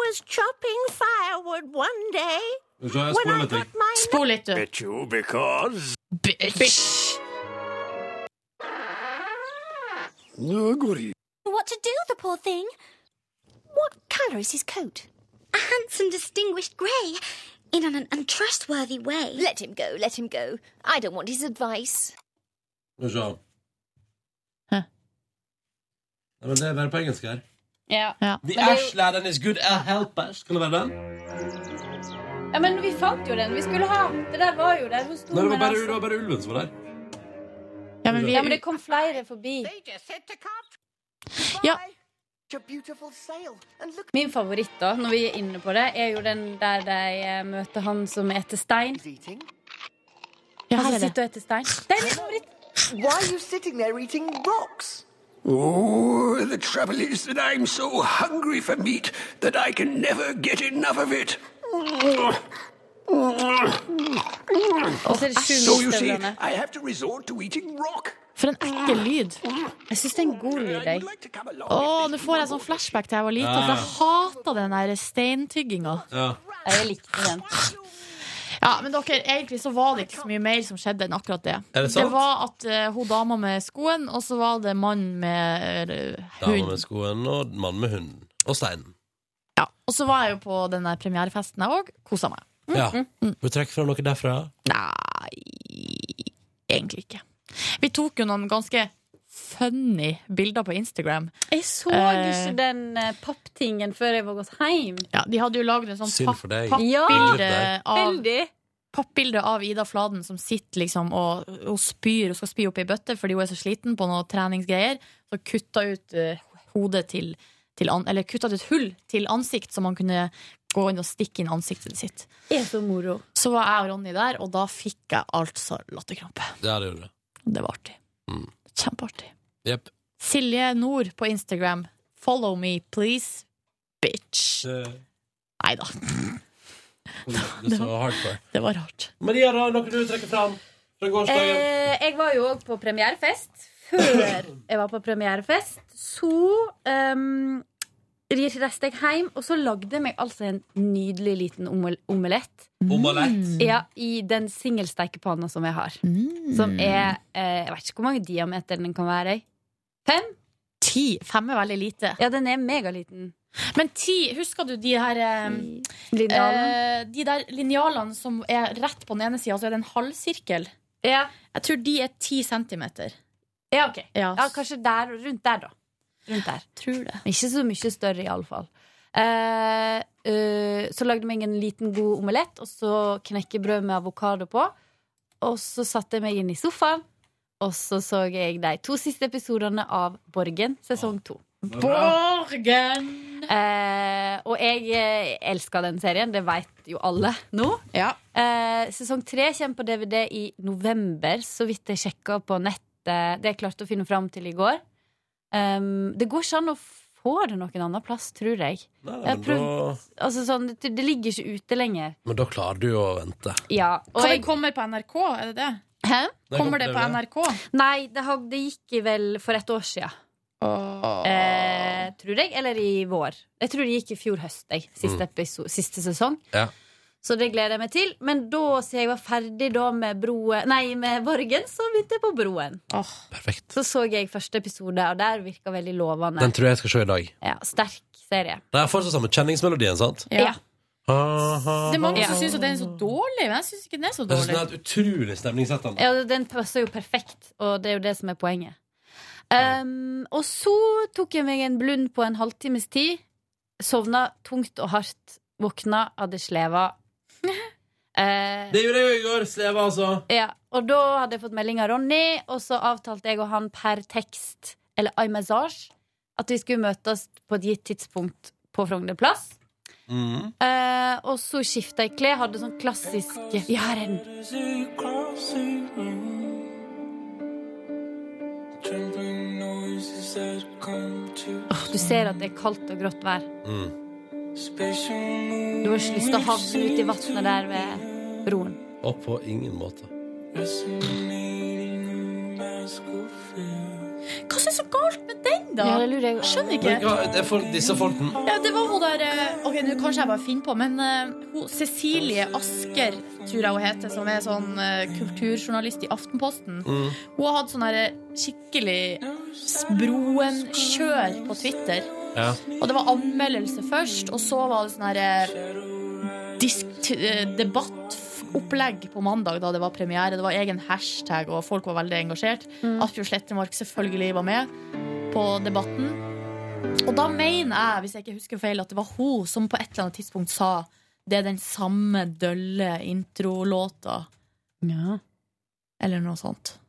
I: was chopping firewood one day. When I got my
C: Spol litt, du.
H: Bet you because
C: Bitch!
P: What to do, the poor thing? What colour is his coat? A handsome, distinguished grey, in an untrustworthy way. Let him go, let him go. I don't want his advice.
B: Skal vi se. Nei, men det er bare på engelsk her.
K: Ja.
B: The
K: Men det er
B: Ash Laden is good at help us. Kan det være den?
K: jo- ja, men vi fant jo den vi skulle ha! Det der var jo der. Hun sto
B: Nei, det var
K: med
B: bare,
K: nesen.
B: det var bare ulven som var der.
C: Ja, men
K: Ja, men det kom flere forbi.
C: Ja.
A: Such a beautiful sail. And look,
K: Min favoritt, da, når vi er inne på det, er jo den der de eh, møter han som eter stein.
A: Ja,
K: han
A: her er
K: som
A: det.
K: sitter og eter stein. Det er min favoritt.
A: why are you sitting there eating rocks?
H: Oh, the trouble is that I'm so hungry for meat that I can never get enough of it.
K: Og så er det sju
H: So you see,
K: minstøvlene.
H: I have to resort to eating rock.
C: For en ekkel lyd.
K: Jeg syns det er en god lyd, jeg.
C: Å, nå får jeg sånn flashback til jeg var lita, for jeg hata den der steintygginga.
B: Ja.
K: Jeg likte den.
C: Ja, men dere, egentlig så var det ikke så mye mer som skjedde enn akkurat det.
B: Er det sant?
C: var at eh, hun dama med skoen, og så var det mannen med eh,
B: Dama
C: hund.
B: med skoen og mannen med hunden. Og steinen.
C: Ja, og så var jeg jo på den der premierefesten jeg òg. Kosa meg.
B: Ja. Vil du trekke fra noe derfra?
C: Nei, egentlig ikke. Vi tok jo noen ganske funny bilder på Instagram.
K: Jeg så
C: Eh.
K: ikke den eh, papptingen før jeg var gått hjem.
C: Ja, de hadde jo lagd en sånn
K: Synd
C: papp-
K: for deg. Ja.
C: pappbilde
K: Bildet
C: av Pappbilde av Ida Fladen som sitter liksom og, og spyr Hun skal spy opp i bøtte fordi hun er så sliten på noen treningsgreier. Så kutta ut eh, hodet til, til an, Eller kutta ut et hull til ansikt, så man kunne gå inn og stikke inn ansiktet sitt.
K: Er så moro.
C: Så var jeg og Ronny der, og da fikk jeg altså latterkrampe.
B: Ja, det gjorde det.
C: Det var artig. Kjempeartig.
B: Jepp.
C: Silje Nord på Instagram. Follow me, please, bitch. Nei da.
B: Det er så hardcore.
C: Det var rart.
B: Maria, da, noe du trekker fram fra gårsdagen?
K: Eh, jeg var jo òg på premierefest. Før jeg var på premierefest, så um, reiste jeg hjem, og så lagde jeg meg altså en nydelig liten omel- omelett.
C: mm.
B: Omelett?
K: Ja, I den singelsteikepanna som jeg har. Som er eh, Jeg vet ikke hvor mange diameter den kan være. i. Fem?
C: Ti. Fem er veldig lite.
K: Ja, den er megaliten.
C: Men ti, husker du de her eh,
K: Linjalene?
C: eh, De der linjalene som er rett på den ene sida, så er det en halvsirkel? Jeg tror de er ti centimeter.
K: Ja, ok.
C: Ja.
K: Ja, kanskje der, rundt der, da. Rundt der.
C: Tror det.
K: Ikke så mye større, iallfall. Uh, uh, så lagde jeg meg en liten god omelett, og så knekkebrød med avokado på. Og så satte jeg meg inn i sofaen, og så så jeg de to siste episodene av Borgen sesong to.
C: var bra. Borgen!
K: Eh, og jeg eh, elsker den serien, det vet jo alle nå. Eh, sesong tre kommer på DVD i november, så vidt jeg sjekka på nettet. Det jeg klarte å finne fram til i går. Um, det går ikke an å få det noen annen plass, tror jeg.
B: Nei,
K: jeg har
B: men
K: prøvd, altså, sånn, det, det ligger ikke ute lenger.
B: Men da klarer du jo å vente.
K: Ja,
C: Hva det kommer på NRK, er det det?
K: Hæ?
B: Det kommer det på det.
K: Nei, det, har, det gikk vel for et år siden.
B: Ah.
K: Eh, tror jeg. Eller i vår. Jeg tror det gikk i fjor høst. Jeg, siste,
B: Mm.
K: episo- siste sesong.
B: Ja.
K: Så det gleder jeg meg til. Men da siden jeg var ferdig da med, broen, nei, med Borgen, så begynte jeg på Broen.
B: Perfekt.
K: Så så jeg første episode, og der virka veldig lovende.
B: Den tror jeg jeg skal se i dag.
K: Ja, sterk serie.
B: Det er fortsatt samme kjenningsmelodien, sant?
K: Ja.
I: Det er mange som syns den er så dårlig, men jeg syns ikke den er så
B: Jeg synes den
I: dårlig.
B: er et utrolig stemningssettende.
I: Ja, den passer jo perfekt, og det er jo det som er poenget. Ehm, og så tok jeg meg en blund på en halvtimes tid. Sovna tungt og hardt. Våkna, hadde sleva. Eh,
B: Det gjorde jeg jo i går. Sleva, altså.
I: ja, og da hadde jeg fått melding av Ronny, og så avtalte jeg og han per tekst, eller iMessage, at vi skulle møtes på et gitt tidspunkt på Frogner plass. Eh, og så skifta jeg klær, hadde sånn klassisk Jeg har en Åh, Du ser at det er kaldt og grått vær. Du har ikke lyst til å havne ute i vannet der ved broen.
B: Og på ingen måte.
I: Hva er det så galt med den, da?
B: Men
I: Skjønner
C: ikke.
B: hva, det er for disse folken
C: Ja, det var hun der eh, Ok, nå kanskje jeg bare finner på, men eh, hun, Cecilie Asker, tror jeg hun heter, som er sånn eh, kulturjournalist i Aftenposten.
B: Mm.
C: Hun har hatt sånn der skikkelig broen-kjør på Twitter.
B: Ja.
C: Og det var anmeldelse først, og så var det sånn her eh, disk, t- eh, debattopplegg på mandag, da det var premiere. Det var egen hashtag, og folk var veldig engasjert. Asbjørn Slettemark selvfølgelig var med på debatten. Og da mener jeg, hvis jeg ikke husker feil, at det var hun som på et eller annet tidspunkt sa det er den samme dølle introlåta.
I: Ja.
C: Eller noe sånt. Eh,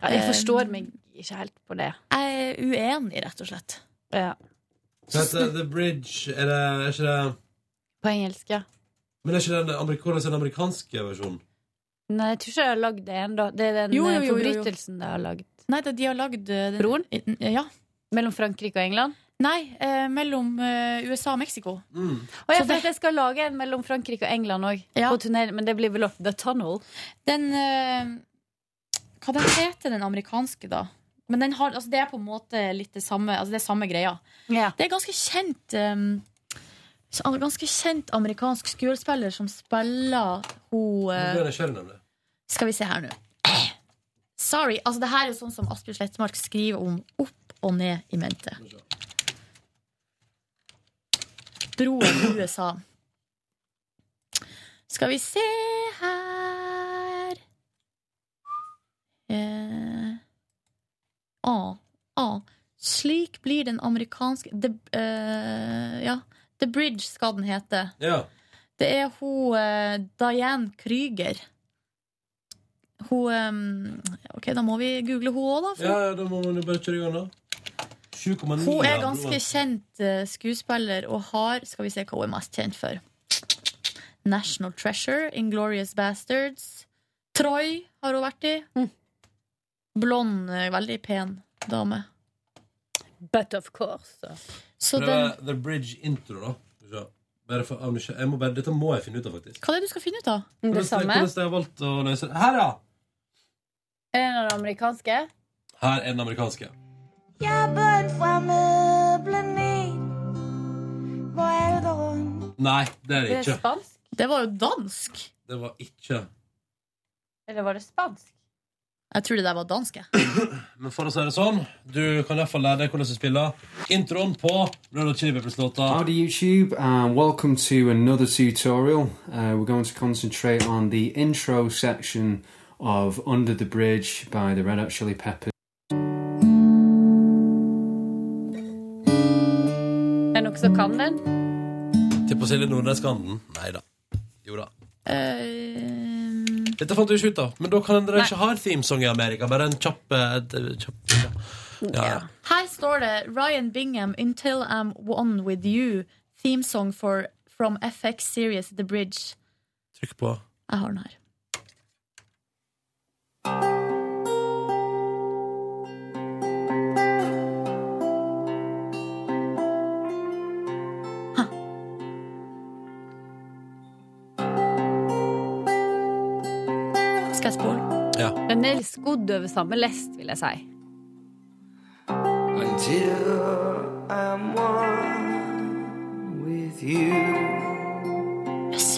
I: Ja, jeg forstår meg ikke helt på det.
C: Jeg er uenig, rett og slett.
I: Ja.
B: Så heter det The Bridge. Er det er ikke det
I: På engelsk, ja.
B: Men er ikke den, amerik hvordan er den amerikanske versjonen?
I: Nei, jeg tror ikke jeg har lagd det ennå. Det er den
C: Jo, jo,
I: eh,
C: jo, jo, jo.
I: forbrytelsen de har lagd.
C: Nei, det, de har lagd eh, den-
I: Broren?
C: Ja.
I: Mellom Frankrike og England?
C: Nei, eh, mellom eh, USA og Mexico.
I: Og jeg, vet jeg skal lage en mellom Frankrike og England òg, men det blir vel opp The Tunnel.
C: Den eh, Hva den heter den amerikanske, da? Men den har, altså, det er på en måte litt det samme, altså, det er samme greia. Det er ganske kjent eh, så- altså, Ganske kjent amerikansk skuespiller som spiller hun
B: Nå
C: eh,
B: ble jeg nysgjerrig, nemlig.
C: Skal vi se her nå. Sorry. altså Det her er jo sånn som Asbjørn Slettmark skriver om opp og ned i mente. Broen i USA. Skal vi se her eh, ah, ah. Slik blir den amerikanske the, eh, ja, the Bridge skal den hete.
B: Ja.
C: Det er hun eh, Diane Krüger. Hun eh, Ok, da må vi google hun òg, da. For
B: ja, ja, da må man jo bare kjøre i gang, da. 7,9
C: Hun er
B: ja,
C: ganske
B: broren.
C: kjent eh, skuespiller og har Skal vi se hva hun er mest kjent for. National Treasure, Inglorious Bastards. Troy har hun vært i.
I: Mm.
C: Blond, eh, veldig pen dame.
I: But of course.
C: Så
B: Prøve
C: den,
B: The Bridge intro, da. Skal vi se. Bare for, av nysgjer- jeg må bare, dette må jeg finne ut av, faktisk.
C: hva er det du skal finne ut av?
B: Hvordan- Hvordan de har valgt å løse det. Her, ja!
I: Er det den amerikanske?
B: Her er den amerikanske.
O: Jobben fra møbelen min. Hva er det da?
B: Nei, det er det ikke.
I: spansk?
C: Det var jo dansk!
B: Det var ikke
I: Eller var det spansk?
C: Jeg tror det der var dansk. jeg.
B: Men for å si det sånn, du kan i hvert fall lære deg hvordan du spiller introen på Red Hot Chili Peppers-låta.
Q: Howdy YouTube and welcome to another tutorial. Uh, we're going to concentrate on the intro section of Under the Bridge by the Red Hot Chili Peppers.
I: Er det noen som kan den?
B: Til på Silje Nordnes kan den. Nei da. Jo da.
C: Eh,
B: Dette fant du ikke ut av. Men da kan dere ikke ha en themesong i Amerika. Bare en kjapp, eh, d- kjapp ja. Ja. ja.
C: her står det Ryan Bingham, 'Until I'm One With You', theme song for, from FX series The Bridge.
B: Trykk på.
C: Jeg har den her. Skal jeg spole?
B: Ja.
I: Den er skodd over samme lest, vil jeg si.
R: Until I'm one with you.
C: Yes.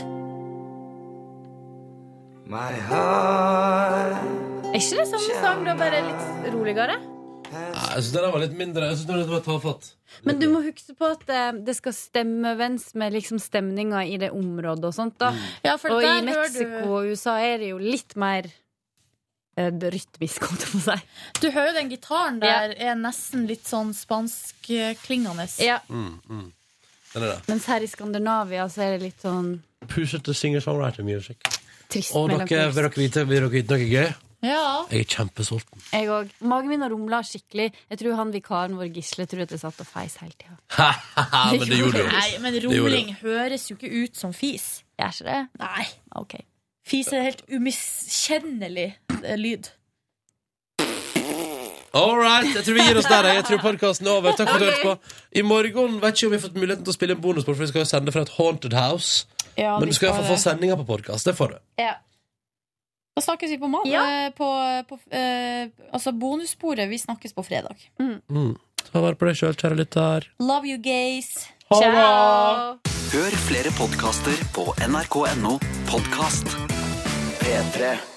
R: My heart.
I: Er ikke det samme sang, da bare litt roligere?
B: Nei, Jeg syns den var litt mindre. Jeg synes den var litt tafatt.
K: Men du må huske på at eh, det skal stemme overens med liksom stemninga i det området og sånt. da
C: Ja, for
K: Og i
C: der hører du-
K: Mexico og USA er det jo litt mer eh, rytmisk, holdt jeg på å si.
C: Du hører jo den gitaren der er nesten litt sånn spanskklingende.
K: Ja.
B: Mm, mm. Den er det.
K: Mens her i Skandinavia så er det litt sånn
B: Pusher to singer-songwriter music.
K: trist
B: Og
K: mellom
B: dere, vil
K: kunst.
B: dere vite, vil dere vite noe gøy?
K: Ja.
B: Jeg er kjempesulten.
K: Jeg òg. Magen min har rumla skikkelig. Jeg tror han vikaren vår Gisle tror at jeg satt og feis hele tida.
B: men det gjorde jo.
C: Nei, men
B: Det gjorde jo.
C: rumling høres jo ikke ut som fis.
K: Gjør ikke det?
C: Nei.
K: Ok.
C: Fis er helt umiskjennelig eh, lyd.
B: All right, jeg tror vi gir oss der. Jeg Jeg tror podkasten er over. Takk for at du hørte på. I morgen vet ikke om vi har fått muligheten til å spille en bonusbord, for vi skal jo sende fra et haunted house.
C: Ja,
B: Men du skal
C: vi skal
B: iallfall få
C: det.
B: sendinga på podkast. Det får du.
C: Ja. Da snakkes vi på mandag. eh, På, på, eh, altså bonussporet. Vi snakkes på fredag.
B: Mm. Ta vare på deg sjøl, kjære lytter.
C: Love you, gays.
B: Ha det.
S: Hør flere podkaster på nrk.no podkast. P3.